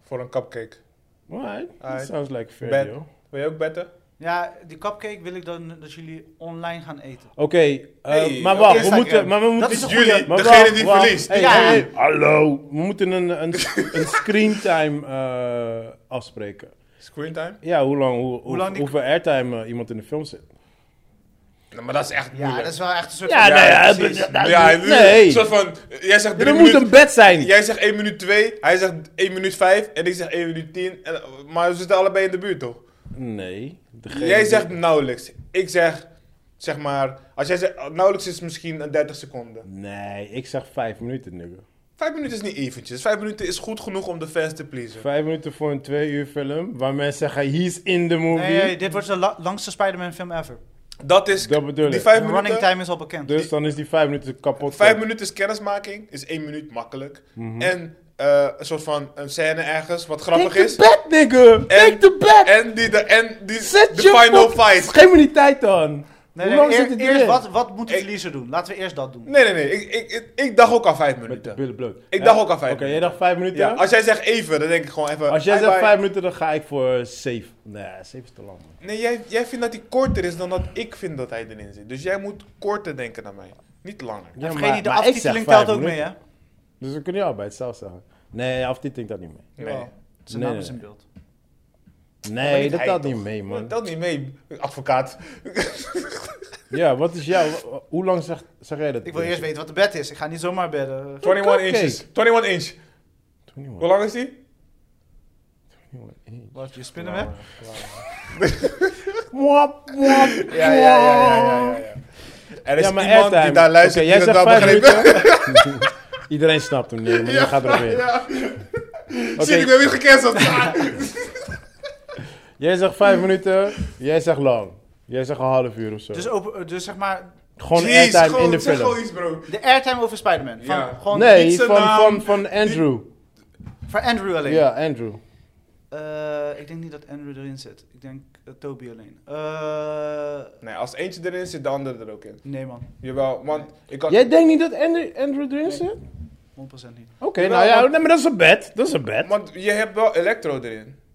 [SPEAKER 3] Voor een cupcake.
[SPEAKER 1] Alright. That
[SPEAKER 3] Alright.
[SPEAKER 1] sounds like fair,
[SPEAKER 3] Bet.
[SPEAKER 1] deal. Oké,
[SPEAKER 3] Wil je ook betten?
[SPEAKER 2] ja, die cupcake wil ik dan dat jullie online gaan eten.
[SPEAKER 1] eh,
[SPEAKER 3] Hey,
[SPEAKER 1] maar
[SPEAKER 3] op
[SPEAKER 1] wacht, we
[SPEAKER 3] Instagram.
[SPEAKER 1] moeten... Maar we moeten
[SPEAKER 2] Dat is een
[SPEAKER 3] jullie,
[SPEAKER 2] goeie.
[SPEAKER 1] maar
[SPEAKER 3] degene
[SPEAKER 1] wacht,
[SPEAKER 3] die
[SPEAKER 1] wacht.
[SPEAKER 3] verliest.
[SPEAKER 1] Hey,
[SPEAKER 2] Ja.
[SPEAKER 1] hey, hey, hallo. We moeten een, een, een screentime eh, afspreken.
[SPEAKER 3] Screentime?
[SPEAKER 1] Ja, hoe lang, hoe, hoe-
[SPEAKER 2] lang die-
[SPEAKER 1] hoeveel airtime eh, iemand in de film zit.
[SPEAKER 3] Nou, maar dat is echt
[SPEAKER 2] Ja,
[SPEAKER 3] moeilijk.
[SPEAKER 2] dat is wel echt een soort
[SPEAKER 1] Ja,
[SPEAKER 2] van...
[SPEAKER 1] nee, ja,
[SPEAKER 2] precies.
[SPEAKER 1] dat- dat-
[SPEAKER 3] Ja, het is
[SPEAKER 1] nee.
[SPEAKER 3] een soort van... eh, Jij zegt
[SPEAKER 1] Er
[SPEAKER 3] drie
[SPEAKER 1] moet een
[SPEAKER 3] minuten...
[SPEAKER 1] bed zijn.
[SPEAKER 3] Jij zegt 1 minuut 2, hij zegt 1 minuut 5 en ik zeg 1 minuut 10. En, maar we zitten allebei in de buurt, toch?
[SPEAKER 1] Nee. degene
[SPEAKER 3] Jij
[SPEAKER 1] die-
[SPEAKER 3] zegt nauwelijks. Ik zeg, zeg maar... Als jij zegt, nauwelijks is misschien een 30 seconden.
[SPEAKER 1] Nee, ik zeg vijf minuten nu.
[SPEAKER 3] 5 minuten is niet eventjes. 5 minuten is goed genoeg om de fans te pleasen.
[SPEAKER 1] Vijf minuten voor een twee uur film, waar mensen zeggen, he's in the movie.
[SPEAKER 2] Nee, nee, dit wordt de la- langste Spider-Man film ever.
[SPEAKER 3] Dat is...
[SPEAKER 1] Dat bedoel
[SPEAKER 3] Die
[SPEAKER 1] ik.
[SPEAKER 3] 5
[SPEAKER 2] De running
[SPEAKER 3] minuten...
[SPEAKER 2] time is al bekend.
[SPEAKER 1] Dus dan is die vijf minuten kapot.
[SPEAKER 3] Vijf minuten is kennismaking, is één minuut makkelijk.
[SPEAKER 1] Mhm.
[SPEAKER 3] En eh, een soort van een scène ergens, wat grappig
[SPEAKER 1] Take
[SPEAKER 3] is.
[SPEAKER 1] the bed, nigga! Take the bed!
[SPEAKER 3] En die, de, en die
[SPEAKER 1] Zet
[SPEAKER 3] de
[SPEAKER 1] je
[SPEAKER 3] final
[SPEAKER 1] fuck-
[SPEAKER 3] fight.
[SPEAKER 1] Geef me die tijd dan!
[SPEAKER 2] Nee,
[SPEAKER 1] Hoe
[SPEAKER 2] nee,
[SPEAKER 1] lang
[SPEAKER 2] eer-
[SPEAKER 1] zit het
[SPEAKER 2] eerst
[SPEAKER 1] erin?
[SPEAKER 2] wat, wat moet de
[SPEAKER 3] Ik-
[SPEAKER 2] verliezer doen? Laten we eerst dat doen.
[SPEAKER 3] Nee, nee, nee. Ik, ik, ik, ik dacht ook al vijf
[SPEAKER 1] Met de
[SPEAKER 3] minuten.
[SPEAKER 1] billen bloot.
[SPEAKER 3] Ik
[SPEAKER 1] Ja?
[SPEAKER 3] dacht ook al vijf
[SPEAKER 1] Oké, jij dacht vijf minuten?
[SPEAKER 3] Ja, als jij zegt even, dan denk ik gewoon even...
[SPEAKER 1] Als jij
[SPEAKER 3] bye
[SPEAKER 1] zegt
[SPEAKER 3] bye.
[SPEAKER 1] vijf minuten, dan ga ik voor safe. Nee, safe is te lang. man.
[SPEAKER 3] Nee, jij, jij vindt dat hij korter is dan dat ik vind dat hij erin zit. Dus jij moet korter denken dan mij. Niet langer.
[SPEAKER 1] Ja,
[SPEAKER 2] Vergeet niet, de
[SPEAKER 1] maar ik zeg
[SPEAKER 2] aftiteling
[SPEAKER 1] vijf
[SPEAKER 2] telt ook mee,
[SPEAKER 1] minuten.
[SPEAKER 2] hè?
[SPEAKER 1] Dus we kunnen jou bij hetzelfde zeggen. Nee, aftiteling dat niet mee.
[SPEAKER 3] Nee.
[SPEAKER 2] Jawel. Oh. Zijn
[SPEAKER 1] Nee,
[SPEAKER 2] naam
[SPEAKER 1] nee,
[SPEAKER 2] is in
[SPEAKER 1] nee.
[SPEAKER 2] beeld.
[SPEAKER 1] Nee, dat
[SPEAKER 3] Oh, hij
[SPEAKER 1] telt
[SPEAKER 3] toch?
[SPEAKER 1] niet mee, man.
[SPEAKER 3] Dat niet mee, advocaat.
[SPEAKER 1] Ja, wat is jouw... Hoe lang zeg, zeg jij dat?
[SPEAKER 2] Ik wil eerst weten wat de bed is. Ik ga niet zomaar bedden.
[SPEAKER 3] 21 inches. 21 inch. Hoe
[SPEAKER 1] 21.
[SPEAKER 3] lang is die?
[SPEAKER 2] Wat, je spinnen weg?
[SPEAKER 1] Mwap, mwap,
[SPEAKER 3] Ja, ja, ja, ja, ja, ja, ja. Er is
[SPEAKER 1] Ja, maar
[SPEAKER 3] iemand
[SPEAKER 1] airtime.
[SPEAKER 3] die daar luistert
[SPEAKER 1] Oké,
[SPEAKER 3] die
[SPEAKER 1] jij
[SPEAKER 3] dat wel
[SPEAKER 1] zegt vijf
[SPEAKER 3] begrepen.
[SPEAKER 1] minuten. Iedereen snapt hem nu, maar jij gaat erop in. Oké,
[SPEAKER 3] Shit, ik ben weer gecanceld. Ah,
[SPEAKER 1] Jij zegt vijf minuten, jij zegt lang. Jij zegt een half uur of zo.
[SPEAKER 2] Dus, open, dus zeg maar,
[SPEAKER 1] gewoon
[SPEAKER 3] Jeez,
[SPEAKER 1] airtime
[SPEAKER 3] gewoon,
[SPEAKER 1] in de
[SPEAKER 3] zeg
[SPEAKER 1] film.
[SPEAKER 3] gewoon iets, bro.
[SPEAKER 2] de airtime over Spider-Man. Van,
[SPEAKER 3] Ja.
[SPEAKER 2] Gewoon
[SPEAKER 1] Nee,
[SPEAKER 3] niet zijn
[SPEAKER 1] van,
[SPEAKER 3] naam.
[SPEAKER 1] van, van Andrew.
[SPEAKER 2] voor Andrew alleen.
[SPEAKER 1] Ja, Andrew.
[SPEAKER 2] Eh, ik denk niet dat Andrew erin zit. Ik denk eh, Toby alleen. Eh,
[SPEAKER 3] Nee, als eentje erin zit, de andere er ook in.
[SPEAKER 2] nee man,
[SPEAKER 3] Jawel, want ik had...
[SPEAKER 1] Jij denkt niet dat Andrew, Andrew erin zit?
[SPEAKER 2] 100% niet.
[SPEAKER 1] Oké, nou ja,
[SPEAKER 3] want-
[SPEAKER 1] nee, maar dat is een bed. Dat is een bed.
[SPEAKER 3] Want je hebt wel Electro erin.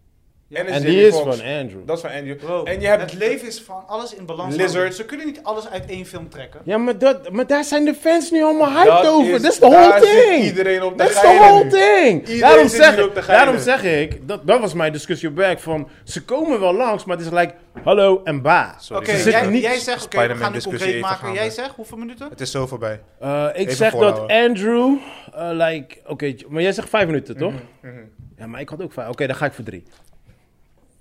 [SPEAKER 2] Ja.
[SPEAKER 3] En,
[SPEAKER 1] En
[SPEAKER 3] Jamie
[SPEAKER 1] die is
[SPEAKER 3] Foxx.
[SPEAKER 1] van Andrew.
[SPEAKER 3] Dat is van Andrew.
[SPEAKER 2] Bro,
[SPEAKER 3] en je hebt...
[SPEAKER 2] het leven is van alles in balans.
[SPEAKER 3] Lizard.
[SPEAKER 2] houden. Ze kunnen niet alles uit één film trekken.
[SPEAKER 1] Ja, maar, dat, maar daar zijn de fans nu allemaal hyped
[SPEAKER 3] Dat
[SPEAKER 1] over.
[SPEAKER 3] is-
[SPEAKER 1] Dat is de
[SPEAKER 3] daar
[SPEAKER 1] whole
[SPEAKER 3] zit
[SPEAKER 1] thing.
[SPEAKER 3] iedereen op te
[SPEAKER 1] Dat is de
[SPEAKER 3] geilen
[SPEAKER 1] whole
[SPEAKER 3] nu.
[SPEAKER 1] thing.
[SPEAKER 3] Iedereen
[SPEAKER 1] Daarom
[SPEAKER 3] zit
[SPEAKER 1] zeg,
[SPEAKER 3] hier op
[SPEAKER 1] ik,
[SPEAKER 3] te geilen.
[SPEAKER 1] daarom zeg ik, dat, dat was mijn discussie op werk van ze komen wel langs, maar het is like hallo en ba.
[SPEAKER 3] Sorry.
[SPEAKER 2] Oké,
[SPEAKER 1] Ze zitten
[SPEAKER 2] jij,
[SPEAKER 1] niet-
[SPEAKER 2] jij zegt, oké, we
[SPEAKER 3] Spider-Man
[SPEAKER 2] gaan dit
[SPEAKER 3] discussie
[SPEAKER 2] concreet
[SPEAKER 3] even
[SPEAKER 2] maken.
[SPEAKER 3] gaande.
[SPEAKER 2] Jij zegt, hoeveel minuten?
[SPEAKER 3] Het is zo voorbij.
[SPEAKER 1] Eh, ik
[SPEAKER 3] Even
[SPEAKER 1] zeg dat
[SPEAKER 3] volhouden.
[SPEAKER 1] Andrew, eh, like, oké, maar jij zegt vijf minuten toch?
[SPEAKER 3] Mhm,
[SPEAKER 1] Ja, maar ik had ook vijf. Oké, dan ga ik voor drie.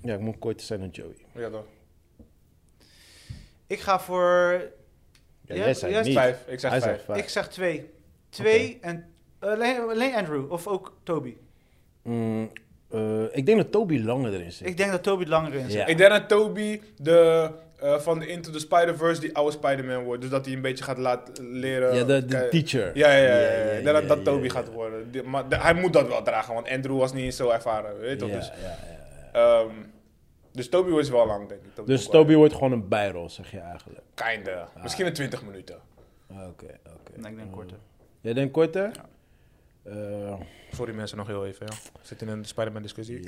[SPEAKER 1] Ja, ik moet korter zijn dan Joey.
[SPEAKER 3] Oh Ja, dan.
[SPEAKER 2] Ik ga voor, Ja,
[SPEAKER 1] Ja, jij zei
[SPEAKER 2] jij
[SPEAKER 1] niet.
[SPEAKER 3] Vijf. Ik zeg
[SPEAKER 1] Hij
[SPEAKER 3] vijf.
[SPEAKER 1] zegt vijf.
[SPEAKER 2] ik zeg twee. Twee en eh, alleen, alleen Andrew of ook Toby.
[SPEAKER 1] Mm, eh, ik denk dat Toby langer erin zit.
[SPEAKER 2] Ik denk dat Toby langer in zit.
[SPEAKER 1] Ja.
[SPEAKER 3] Ik denk dat Toby de, eh, van de Into the Spider-Verse die oude Spider-Man wordt. Dus dat hij een beetje gaat laten leren.
[SPEAKER 1] ja, de, de
[SPEAKER 3] Kijk-
[SPEAKER 1] teacher.
[SPEAKER 3] Ja, ja, ja. ja,
[SPEAKER 1] Ja,
[SPEAKER 3] ja.
[SPEAKER 1] ja,
[SPEAKER 3] Ik denk dat
[SPEAKER 1] ja,
[SPEAKER 3] dat Toby
[SPEAKER 1] ja,
[SPEAKER 3] gaat worden. Die- maar de- hij moet dat wel dragen, want Andrew was niet zo ervaren. Weet je toch?
[SPEAKER 1] Ja,
[SPEAKER 3] Dus,
[SPEAKER 1] ja, ja.
[SPEAKER 3] ehm, dus Toby wordt wel lang, denk ik.
[SPEAKER 1] Dus
[SPEAKER 3] Maguire.
[SPEAKER 1] Toby wordt Ah. gewoon een bijrol, zeg je eigenlijk.
[SPEAKER 3] Kinda. Misschien een 20 minuten.
[SPEAKER 1] Oké, oké.
[SPEAKER 2] Nee, ik denk korter.
[SPEAKER 1] Jij denkt korter? Ja. Eh,
[SPEAKER 3] Sorry mensen, nog heel even. Ja. Zit in een Spider-Man discussie.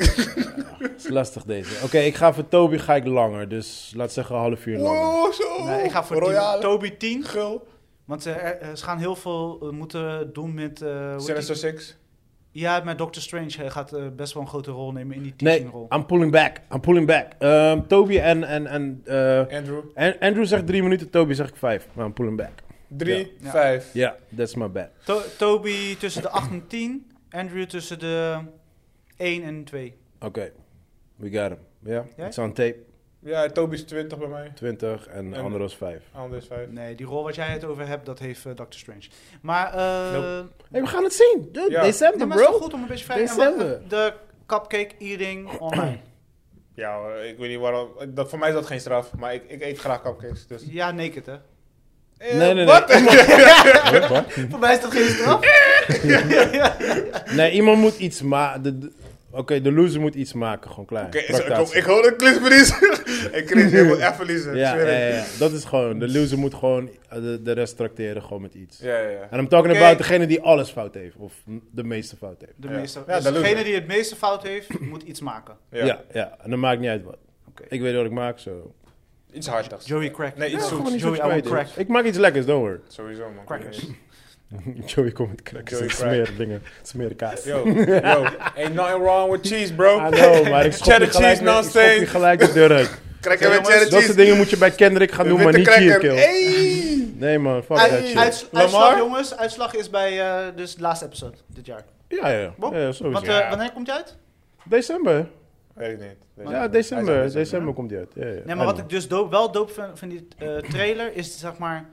[SPEAKER 1] is lastig deze. Oké, ik ga voor Toby ga ik langer. Dus laat zeggen een half uur langer.
[SPEAKER 3] Wow, zo.
[SPEAKER 2] Nee, ik ga voor
[SPEAKER 3] Royale.
[SPEAKER 2] tien. Toby 10.
[SPEAKER 3] Gul.
[SPEAKER 2] Want ze, er- eh, ze gaan heel veel eh, moeten doen met... eh, hoe heet
[SPEAKER 3] Sinister
[SPEAKER 2] die?
[SPEAKER 3] Six.
[SPEAKER 2] Ja, maar Doctor Strange eh, gaat eh, best wel een grote rol nemen in die
[SPEAKER 1] Nee,
[SPEAKER 2] teachingrol.
[SPEAKER 1] I'm pulling back. I'm pulling back. Ehm, Toby en, en, en eh,
[SPEAKER 3] Andrew.
[SPEAKER 1] An- Andrew zegt drie minuten, Toby zegt vijf. Maar I'm pulling back.
[SPEAKER 3] 3,
[SPEAKER 2] Ja.
[SPEAKER 3] 5.
[SPEAKER 1] Ja, that's my bad.
[SPEAKER 2] To- Toby tussen de 8 en 10. Andrew tussen de 1 en 2.
[SPEAKER 1] Oké, we got him. Ja,
[SPEAKER 2] Jij?
[SPEAKER 1] it's on tape.
[SPEAKER 3] Ja, Toby is 20 bij mij.
[SPEAKER 1] 20 en de
[SPEAKER 3] En-
[SPEAKER 1] andere was vijf.
[SPEAKER 3] Anders 5.
[SPEAKER 2] Nee, die rol wat jij het over hebt, dat heeft eh, Doctor Strange. Maar, eh
[SPEAKER 3] Nope.
[SPEAKER 1] Hey, we gaan het zien. Dude,
[SPEAKER 3] Ja.
[SPEAKER 2] nee,
[SPEAKER 1] december,
[SPEAKER 2] maar het is
[SPEAKER 1] bro.
[SPEAKER 2] toch goed om een beetje vrij te
[SPEAKER 1] December.
[SPEAKER 2] De cupcake eating online.
[SPEAKER 3] Ja, hoor, ik weet niet waarom. Dat, voor mij is dat geen straf, maar ik, ik eet graag cupcakes. Dus.
[SPEAKER 2] ja, naked hè.
[SPEAKER 3] Eh,
[SPEAKER 1] Nee, nee,
[SPEAKER 3] wat?
[SPEAKER 1] nee. Huh, wat?
[SPEAKER 2] Voor mij is dat geen straf.
[SPEAKER 1] Nee, iemand moet iets maken. Oké, de loser moet iets maken, gewoon klaar.
[SPEAKER 3] Oké, zo, ik,
[SPEAKER 1] Tractatie.
[SPEAKER 3] ik hoor dat Chris verliest. en Chris, je moet echt verliezen.
[SPEAKER 1] ja,
[SPEAKER 3] zweer
[SPEAKER 1] ja,
[SPEAKER 3] ik.
[SPEAKER 1] ja, ja. dat is gewoon. De loser moet gewoon eh, de, de rest tracteren gewoon met iets.
[SPEAKER 3] ja, ja, ja.
[SPEAKER 1] En I'm talking
[SPEAKER 3] Oké.
[SPEAKER 1] about degene die alles fout heeft. Of de meeste fout heeft.
[SPEAKER 2] De
[SPEAKER 3] Ja.
[SPEAKER 2] meeste.
[SPEAKER 3] Ja,
[SPEAKER 2] dus
[SPEAKER 3] dat
[SPEAKER 2] degene
[SPEAKER 3] lukt.
[SPEAKER 2] die het meeste fout heeft, moet iets maken.
[SPEAKER 1] Ja, ja. En dan maakt niet uit wat.
[SPEAKER 2] Oké.
[SPEAKER 1] Ik weet wat ik maak, zo.
[SPEAKER 3] Iets hardigs.
[SPEAKER 2] Joey Crack.
[SPEAKER 3] Nee, iets
[SPEAKER 2] Ja,
[SPEAKER 3] zoets.
[SPEAKER 2] gewoon iets
[SPEAKER 1] zo
[SPEAKER 2] Joey, I will
[SPEAKER 1] spijtig.
[SPEAKER 2] crack.
[SPEAKER 1] Ik maak iets lekkers, don't worry.
[SPEAKER 3] Sowieso, man.
[SPEAKER 2] Crackers.
[SPEAKER 1] Joey komt met crackers
[SPEAKER 3] Joey
[SPEAKER 1] en
[SPEAKER 3] crack.
[SPEAKER 1] smeerdingen. Smeerkaas.
[SPEAKER 3] Yo, yo. Ain't nothing wrong with cheese, bro.
[SPEAKER 1] I know, maar ik schop die
[SPEAKER 3] Cheddar
[SPEAKER 1] gelijk,
[SPEAKER 3] cheese,
[SPEAKER 1] weer- ik schop die
[SPEAKER 3] non-stain.
[SPEAKER 1] gelijk de deur uit.
[SPEAKER 3] Cracker
[SPEAKER 2] Hey,
[SPEAKER 3] met
[SPEAKER 2] jongens,
[SPEAKER 3] cheddar
[SPEAKER 1] Dat soort
[SPEAKER 3] cheese.
[SPEAKER 1] dingen moet je bij Kendrick gaan doen, maar
[SPEAKER 3] Witte
[SPEAKER 1] niet hier,
[SPEAKER 3] cracker.
[SPEAKER 1] kill.
[SPEAKER 3] Hey!
[SPEAKER 1] Nee man, fuck
[SPEAKER 2] Uit-
[SPEAKER 1] that shit.
[SPEAKER 2] uits-
[SPEAKER 3] Lamar?
[SPEAKER 2] uitslag, jongens. Uitslag is bij eh, dus de laatste episode dit jaar.
[SPEAKER 1] Ja, ja.
[SPEAKER 2] Bob,
[SPEAKER 1] ja sowieso.
[SPEAKER 2] Want, eh,
[SPEAKER 3] Ja.
[SPEAKER 2] wanneer komt die uit?
[SPEAKER 1] December.
[SPEAKER 3] Weet ik niet.
[SPEAKER 1] Ja, december. December komt die uit. Ja, ja.
[SPEAKER 2] Nee, maar wat
[SPEAKER 1] I
[SPEAKER 2] ik dus doop, wel doop vind van die eh, trailer is zeg maar.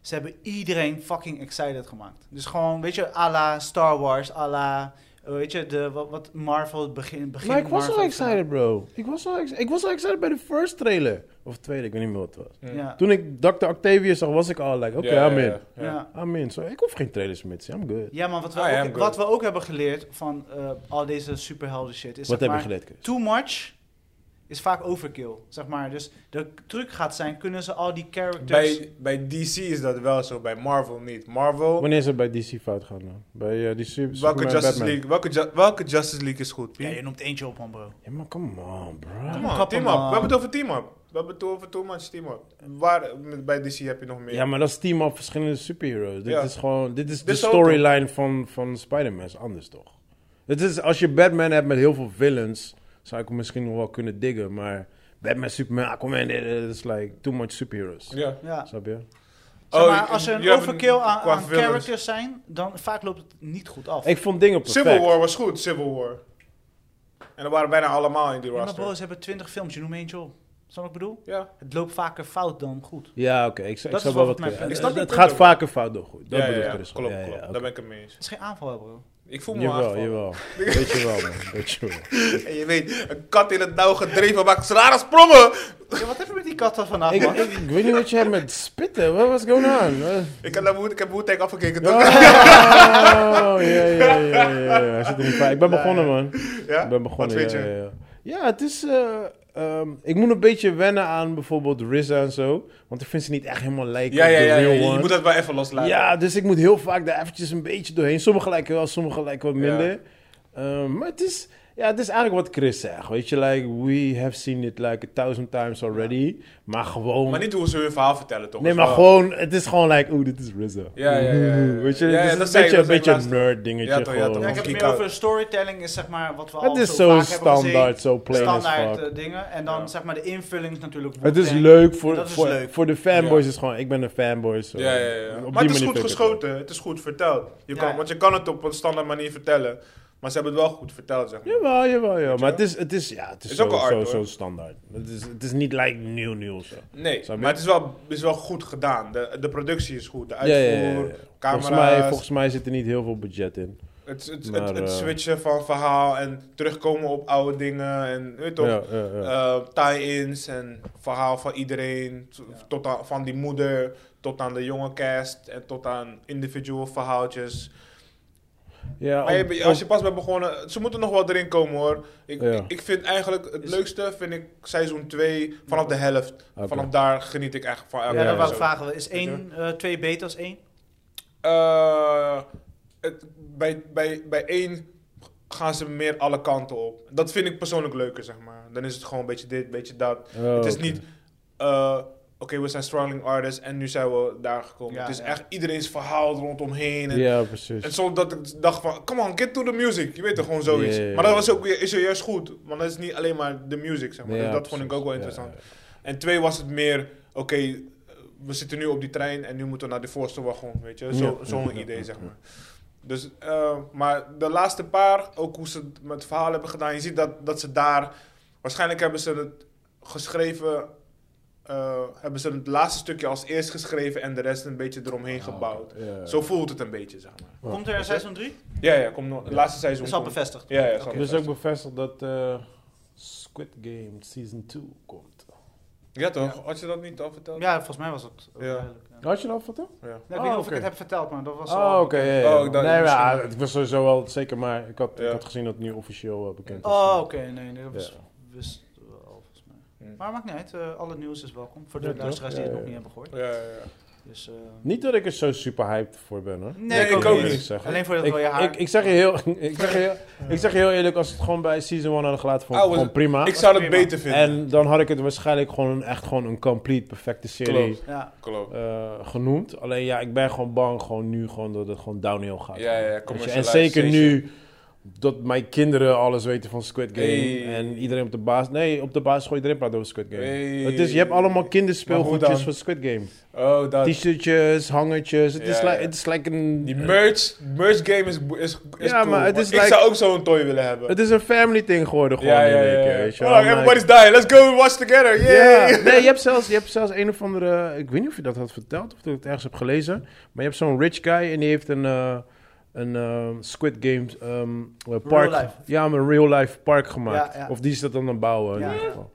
[SPEAKER 2] Ze hebben iedereen fucking excited gemaakt. Dus gewoon, weet je, à la Star Wars, à la. eh, Weet je, de, wat, wat Marvel, het begin.
[SPEAKER 1] know.
[SPEAKER 2] begin
[SPEAKER 1] Maar ik was
[SPEAKER 2] Marvel
[SPEAKER 1] al excited, bro. Ik was al, ex- ik was al excited bij de first trailer. Of tweede, ik weet niet meer wat het was.
[SPEAKER 2] Ja.
[SPEAKER 1] Toen ik Dr. Octavius zag, was ik al like, oké, I'm in.
[SPEAKER 2] Ja.
[SPEAKER 1] I'm in. Zo, ik hoef geen trailers meer te zien, I'm good.
[SPEAKER 2] Ja, maar wat we,
[SPEAKER 3] I am
[SPEAKER 2] ook,
[SPEAKER 3] good.
[SPEAKER 2] wat we ook hebben geleerd van eh, al deze superhelden shit is. zeg
[SPEAKER 1] wat heb je
[SPEAKER 2] maar,
[SPEAKER 1] geleerd, Chris?
[SPEAKER 2] Too much is vaak overkill, zeg maar. Dus de truc gaat zijn, kunnen ze al die characters...
[SPEAKER 3] Bij, bij DC is dat wel zo, bij Marvel niet. Marvel,
[SPEAKER 1] Wanneer ze bij DC fout gaan dan? Bij eh, die Super,
[SPEAKER 3] welke
[SPEAKER 1] Superman,
[SPEAKER 3] Justice,
[SPEAKER 1] Batman.
[SPEAKER 3] League, welke, Ju- welke Justice League is goed? Pie?
[SPEAKER 2] Ja, je noemt eentje op, man, bro.
[SPEAKER 1] Ja, maar come on, bro.
[SPEAKER 3] Come on,
[SPEAKER 2] Kap
[SPEAKER 3] team
[SPEAKER 2] hem,
[SPEAKER 3] up.
[SPEAKER 2] man.
[SPEAKER 3] We hebben het over team up. We hebben het over too much team up. Waar, met- bij DC heb je nog meer.
[SPEAKER 1] Ja, maar dat is team op verschillende superheroes. Dit
[SPEAKER 3] Ja.
[SPEAKER 1] is gewoon, dit is de
[SPEAKER 3] Dit is ook
[SPEAKER 1] storyline van, van Spider-Man, is anders toch? Dit is, als je Batman hebt met heel veel villains, zou ik hem misschien nog wel kunnen diggen, maar Batman, Superman, Aquaman, dit dit is like too much superheroes.
[SPEAKER 3] Ja.
[SPEAKER 2] Ja.
[SPEAKER 1] Snap je?
[SPEAKER 2] Zeg
[SPEAKER 3] Oh,
[SPEAKER 2] maar,
[SPEAKER 3] je-
[SPEAKER 2] als er
[SPEAKER 3] je
[SPEAKER 2] een
[SPEAKER 3] hebt
[SPEAKER 2] overkill
[SPEAKER 3] een-
[SPEAKER 2] aan,
[SPEAKER 3] qua
[SPEAKER 2] aan
[SPEAKER 3] villains.
[SPEAKER 2] characters zijn, dan vaak loopt het niet goed af.
[SPEAKER 1] Ik vond dingen perfect.
[SPEAKER 3] Civil War was goed, Civil War. En er waren bijna allemaal in die
[SPEAKER 2] Ja, maar bro,
[SPEAKER 3] roster.
[SPEAKER 2] ze hebben twintig films, je noemt eentje op. Snap je wat ik bedoel?
[SPEAKER 3] Ja,
[SPEAKER 2] Het loopt vaker fout dan goed.
[SPEAKER 1] Ja, oké. Ik, zou-
[SPEAKER 2] Dat
[SPEAKER 1] ik zou
[SPEAKER 2] is
[SPEAKER 1] wel
[SPEAKER 2] wel
[SPEAKER 1] wat
[SPEAKER 2] wat mijn
[SPEAKER 1] kunnen.
[SPEAKER 2] punt
[SPEAKER 1] Het,
[SPEAKER 3] is. Ik snap
[SPEAKER 1] het
[SPEAKER 3] je
[SPEAKER 1] gaat
[SPEAKER 3] punt ook.
[SPEAKER 1] vaker fout dan goed. Dat
[SPEAKER 3] ja, ja,
[SPEAKER 1] bedoel ik
[SPEAKER 3] ja.
[SPEAKER 1] dus.
[SPEAKER 3] klopt,
[SPEAKER 1] Ja, ja,
[SPEAKER 3] klopt.
[SPEAKER 1] oké.
[SPEAKER 3] Daar ben ik het mee eens.
[SPEAKER 2] Het is geen aanval, hè, bro.
[SPEAKER 3] Ik voel me
[SPEAKER 1] Jawel,
[SPEAKER 3] aangevallen.
[SPEAKER 1] jawel. Weet je wel, man. Weet je wel.
[SPEAKER 3] En je weet, een kat in het nauw gedreven maakt rare sprongen.
[SPEAKER 2] Ja, wat heb je met die kat van vandaag,
[SPEAKER 1] ik,
[SPEAKER 2] man?
[SPEAKER 1] ik, ik weet niet wat je hebt met spitten. What, what's going on? What-
[SPEAKER 3] Ik heb, naar Wu- ik heb Wu-Tang afgekeken. toch?
[SPEAKER 1] Oh, ja, ja, ja, ja, ja. Hij zit er niet bij. Ik ben begonnen, man.
[SPEAKER 3] Ja?
[SPEAKER 1] Ik ben begonnen,
[SPEAKER 3] Wat vind
[SPEAKER 1] ja,
[SPEAKER 3] je?
[SPEAKER 1] ja, ja. Ja, het is... eh, ehm, ik moet een beetje wennen aan bijvoorbeeld RZA en zo. Want ik vind ze niet echt helemaal lijken
[SPEAKER 3] Ja,
[SPEAKER 1] op
[SPEAKER 3] ja,
[SPEAKER 1] de
[SPEAKER 3] ja, ja,
[SPEAKER 1] real
[SPEAKER 3] Je
[SPEAKER 1] one.
[SPEAKER 3] moet dat wel even loslaten.
[SPEAKER 1] ja, dus ik moet heel vaak daar eventjes een beetje doorheen. Sommige lijken wel, sommige lijken wat
[SPEAKER 3] Ja.
[SPEAKER 1] minder. Ehm, maar het is... Ja, het is eigenlijk wat Chris zegt, weet je. Like, we have seen it like a thousand times already. Maar gewoon...
[SPEAKER 3] Maar niet hoe ze hun verhaal vertellen, toch?
[SPEAKER 1] Nee,
[SPEAKER 3] Is
[SPEAKER 1] maar
[SPEAKER 3] wel-
[SPEAKER 1] gewoon, het is gewoon like, oeh, dit is RZA.
[SPEAKER 3] eh, Ja, ja, ja, ja.
[SPEAKER 1] Weet je,
[SPEAKER 3] Ja, ja,
[SPEAKER 1] het is
[SPEAKER 3] dat
[SPEAKER 1] een beetje,
[SPEAKER 3] zei- dat
[SPEAKER 1] een
[SPEAKER 3] zei ik
[SPEAKER 1] beetje een
[SPEAKER 3] laatst.
[SPEAKER 1] nerd dingetje
[SPEAKER 3] Ja, toch, ja,
[SPEAKER 1] gewoon.
[SPEAKER 3] toch.
[SPEAKER 2] Ja, ik heb het meer
[SPEAKER 3] Kick-out.
[SPEAKER 2] over storytelling, is zeg maar wat we al
[SPEAKER 1] Het is
[SPEAKER 2] zo
[SPEAKER 1] zo
[SPEAKER 2] vaak hebben gezien.
[SPEAKER 1] standaard, zo plain as
[SPEAKER 2] standaard
[SPEAKER 1] fuck.
[SPEAKER 2] eh, dingen. En dan
[SPEAKER 3] Ja.
[SPEAKER 2] zeg maar de invulling is natuurlijk.
[SPEAKER 1] Het is
[SPEAKER 2] Wu-Tang.
[SPEAKER 1] leuk voor,
[SPEAKER 2] Dat is
[SPEAKER 1] voor,
[SPEAKER 2] leuk.
[SPEAKER 1] voor de fanboys. Is gewoon, ik ben een fanboy. zo.
[SPEAKER 3] Ja, ja, ja.
[SPEAKER 1] Op die
[SPEAKER 3] Maar het is
[SPEAKER 1] manier
[SPEAKER 3] goed
[SPEAKER 1] vind ik het
[SPEAKER 3] geschoten. Het is goed verteld. Je
[SPEAKER 2] Ja.
[SPEAKER 3] kan, want je kan het op een standaard manier vertellen. Maar ze hebben het wel goed verteld, zeg
[SPEAKER 1] leuk.
[SPEAKER 3] maar.
[SPEAKER 1] Jawel, jawel, jawel. Maar
[SPEAKER 3] wel?
[SPEAKER 1] het is, het is, ja, het is,
[SPEAKER 3] Is
[SPEAKER 1] zo,
[SPEAKER 3] ook wel art,
[SPEAKER 1] zo,
[SPEAKER 3] hoor.
[SPEAKER 1] zo standaard. Het is, het is niet like nieuw nieuw zo.
[SPEAKER 3] Nee,
[SPEAKER 1] Snap je?
[SPEAKER 3] maar het is wel, is wel goed gedaan. De, de productie is goed. De
[SPEAKER 1] Ja, ja,
[SPEAKER 3] uitvoer,
[SPEAKER 1] ja, ja.
[SPEAKER 3] camera's.
[SPEAKER 1] Volgens, mij, volgens mij zit er niet heel veel budget in.
[SPEAKER 3] Het, het, het,
[SPEAKER 1] Maar,
[SPEAKER 3] het
[SPEAKER 1] eh,
[SPEAKER 3] switchen van verhaal en terugkomen op oude dingen. En weet je toch?
[SPEAKER 1] Ja, ja, ja.
[SPEAKER 3] eh, tie-ins en verhaal van iedereen. t- Tot aan, van die moeder tot aan de jonge cast en tot aan individual verhaaltjes.
[SPEAKER 1] ja,
[SPEAKER 3] Maar je
[SPEAKER 1] op-
[SPEAKER 3] be- als
[SPEAKER 1] op-
[SPEAKER 3] je pas bent begonnen, ze moeten nog wel erin komen hoor. Ik,
[SPEAKER 1] Ja.
[SPEAKER 3] ik, ik vind eigenlijk het
[SPEAKER 2] Is-
[SPEAKER 3] leukste vind ik seizoen 2 vanaf de helft.
[SPEAKER 1] Oké.
[SPEAKER 3] Vanaf daar geniet ik echt van elke
[SPEAKER 2] Ja,
[SPEAKER 1] Ja,
[SPEAKER 2] dat wou ik
[SPEAKER 3] episode.
[SPEAKER 2] vragen. Is één eh
[SPEAKER 3] Weet
[SPEAKER 2] twee beter als één?
[SPEAKER 3] Eh, het, bij, bij, bij één gaan ze meer alle kanten op. Dat vind ik persoonlijk leuker, zeg maar. Dan is het gewoon een beetje dit, een beetje dat.
[SPEAKER 1] oh,
[SPEAKER 3] het is
[SPEAKER 1] oké.
[SPEAKER 3] niet eh, we zijn struggling artists en nu zijn we daar gekomen.
[SPEAKER 2] Ja,
[SPEAKER 3] het is
[SPEAKER 2] ja.
[SPEAKER 3] echt iedereen's verhaal rondomheen. En,
[SPEAKER 1] Ja,
[SPEAKER 3] en
[SPEAKER 1] precies.
[SPEAKER 3] soms dat ik dacht van, come on, get to the music. Je weet toch, gewoon zoiets.
[SPEAKER 1] Ja, ja, ja.
[SPEAKER 3] Maar dat was ook, weer- is er juist goed. Want dat is niet alleen maar de music, zeg maar.
[SPEAKER 1] Ja,
[SPEAKER 3] Dus dat vond
[SPEAKER 1] precies.
[SPEAKER 3] ik ook wel
[SPEAKER 1] Ja,
[SPEAKER 3] interessant.
[SPEAKER 1] ja.
[SPEAKER 3] En twee was het meer, oké, eh, we zitten nu op die trein en nu moeten we naar de voorste wagon, weet je. Zo-
[SPEAKER 1] Ja.
[SPEAKER 3] Zo'n
[SPEAKER 1] Ja.
[SPEAKER 3] idee, zeg maar. Dus, eh, maar de laatste paar, ook hoe ze het met verhaal hebben gedaan, je ziet dat, dat ze daar, waarschijnlijk hebben ze het geschreven, eh, hebben ze het laatste stukje als eerst geschreven en de rest een beetje
[SPEAKER 1] Ah,
[SPEAKER 3] eromheen gebouwd.
[SPEAKER 1] Ja.
[SPEAKER 3] Zo voelt het een beetje, zeg maar.
[SPEAKER 2] Komt er een seizoen 3?
[SPEAKER 3] Ja, ja, kom nog. Laatste seizoen.
[SPEAKER 2] Is al
[SPEAKER 3] komt.
[SPEAKER 2] bevestigd.
[SPEAKER 3] Ja, ja, is al
[SPEAKER 2] Oké.
[SPEAKER 1] Er is Dus ook bevestigd dat eh, Squid Game Season 2 komt.
[SPEAKER 3] Ja, toch? Had je dat niet al verteld?
[SPEAKER 2] Ja, volgens mij was dat ook
[SPEAKER 3] Ja.
[SPEAKER 2] duidelijk. Ja.
[SPEAKER 1] Had je dat verteld?
[SPEAKER 3] Ja.
[SPEAKER 2] Ja, ik
[SPEAKER 1] Oh,
[SPEAKER 2] weet niet of
[SPEAKER 1] oké.
[SPEAKER 2] ik het heb verteld, maar dat was
[SPEAKER 1] Oh,
[SPEAKER 2] al
[SPEAKER 1] oké.
[SPEAKER 2] bekend.
[SPEAKER 1] ja, ja.
[SPEAKER 3] Oh, ik dacht-
[SPEAKER 1] nee, maar,
[SPEAKER 3] misschien-
[SPEAKER 1] ah, het was sowieso wel zeker, maar ik had,
[SPEAKER 3] Ja.
[SPEAKER 1] ik had gezien dat het nu officieel eh, bekend was.
[SPEAKER 2] Oh, oké. Nee, nee, dat was,
[SPEAKER 1] Ja.
[SPEAKER 2] wisten we al volgens mij.
[SPEAKER 3] Hm.
[SPEAKER 2] Maar maakt niet uit. eh, al het nieuws is welkom. Voor de
[SPEAKER 1] Ja, toch?
[SPEAKER 2] luisteraars die
[SPEAKER 1] Ja,
[SPEAKER 2] het nog
[SPEAKER 1] ja.
[SPEAKER 2] niet hebben gehoord.
[SPEAKER 3] Ja, ja, ja.
[SPEAKER 2] Dus, eh,
[SPEAKER 1] Niet dat ik er zo super hyped voor ben, hoor.
[SPEAKER 2] Nee,
[SPEAKER 3] ik ook niet.
[SPEAKER 1] Zeggen.
[SPEAKER 2] Alleen voor dat
[SPEAKER 1] Ik,
[SPEAKER 2] rode haar.
[SPEAKER 1] ik, ik zeg je heel, ik zeg je heel, ik zeg je heel eerlijk, als het gewoon bij Season 1 hadden gelaten, vond ik
[SPEAKER 3] Ah,
[SPEAKER 1] het
[SPEAKER 3] was-
[SPEAKER 1] gewoon prima.
[SPEAKER 3] Ik zou het
[SPEAKER 2] prima.
[SPEAKER 3] beter vinden.
[SPEAKER 1] En dan had ik het waarschijnlijk gewoon een, echt gewoon een complete, perfecte serie
[SPEAKER 3] Klopt.
[SPEAKER 2] ja.
[SPEAKER 3] Klopt.
[SPEAKER 1] eh, genoemd. Alleen ja, ik ben gewoon bang gewoon nu gewoon dat het gewoon downhill gaat.
[SPEAKER 3] Ja, ja,
[SPEAKER 1] Weet je, En
[SPEAKER 3] commercialisation.
[SPEAKER 1] zeker nu dat mijn kinderen alles weten van Squid Game.
[SPEAKER 3] Hey.
[SPEAKER 1] En iedereen op de baas... Nee, op de baas gooit iedereen praat over Squid Game.
[SPEAKER 3] Hey.
[SPEAKER 1] Het is, je hebt allemaal
[SPEAKER 3] Maar hoe
[SPEAKER 1] kinderspeelgoedjes
[SPEAKER 3] dan?
[SPEAKER 1] van Squid Game.
[SPEAKER 3] Oh, dat.
[SPEAKER 1] T-shirtjes, hangertjes. Het
[SPEAKER 3] Ja,
[SPEAKER 1] is,
[SPEAKER 3] ja.
[SPEAKER 1] like- het is like een...
[SPEAKER 3] Die merch, merch game is, is, is
[SPEAKER 1] Ja,
[SPEAKER 3] cool.
[SPEAKER 1] maar het
[SPEAKER 3] Want
[SPEAKER 1] is
[SPEAKER 3] ik
[SPEAKER 1] like-
[SPEAKER 3] zou ook zo'n toy willen hebben.
[SPEAKER 1] Het is een family thing geworden gewoon.
[SPEAKER 3] ja,
[SPEAKER 1] in
[SPEAKER 3] ja,
[SPEAKER 1] één
[SPEAKER 3] ja.
[SPEAKER 1] keer,
[SPEAKER 3] ja.
[SPEAKER 1] weet je wel.
[SPEAKER 3] Oh,
[SPEAKER 1] Like-
[SPEAKER 3] everybody's dying. Let's go and watch together.
[SPEAKER 1] Ja,
[SPEAKER 3] Yeah.
[SPEAKER 1] nee, je hebt zelfs, je hebt zelfs een of andere. Ik weet niet of je dat had verteld of dat ik het ergens heb gelezen. Maar je hebt zo'n rich guy en die heeft een, eh, een eh, Squid Game ehm, eh, park.
[SPEAKER 2] life.
[SPEAKER 1] Ja, maar een real life park gemaakt.
[SPEAKER 2] Ja, ja.
[SPEAKER 1] Of die is dat dan aan het bouwen. In
[SPEAKER 2] Ja.
[SPEAKER 1] ieder geval.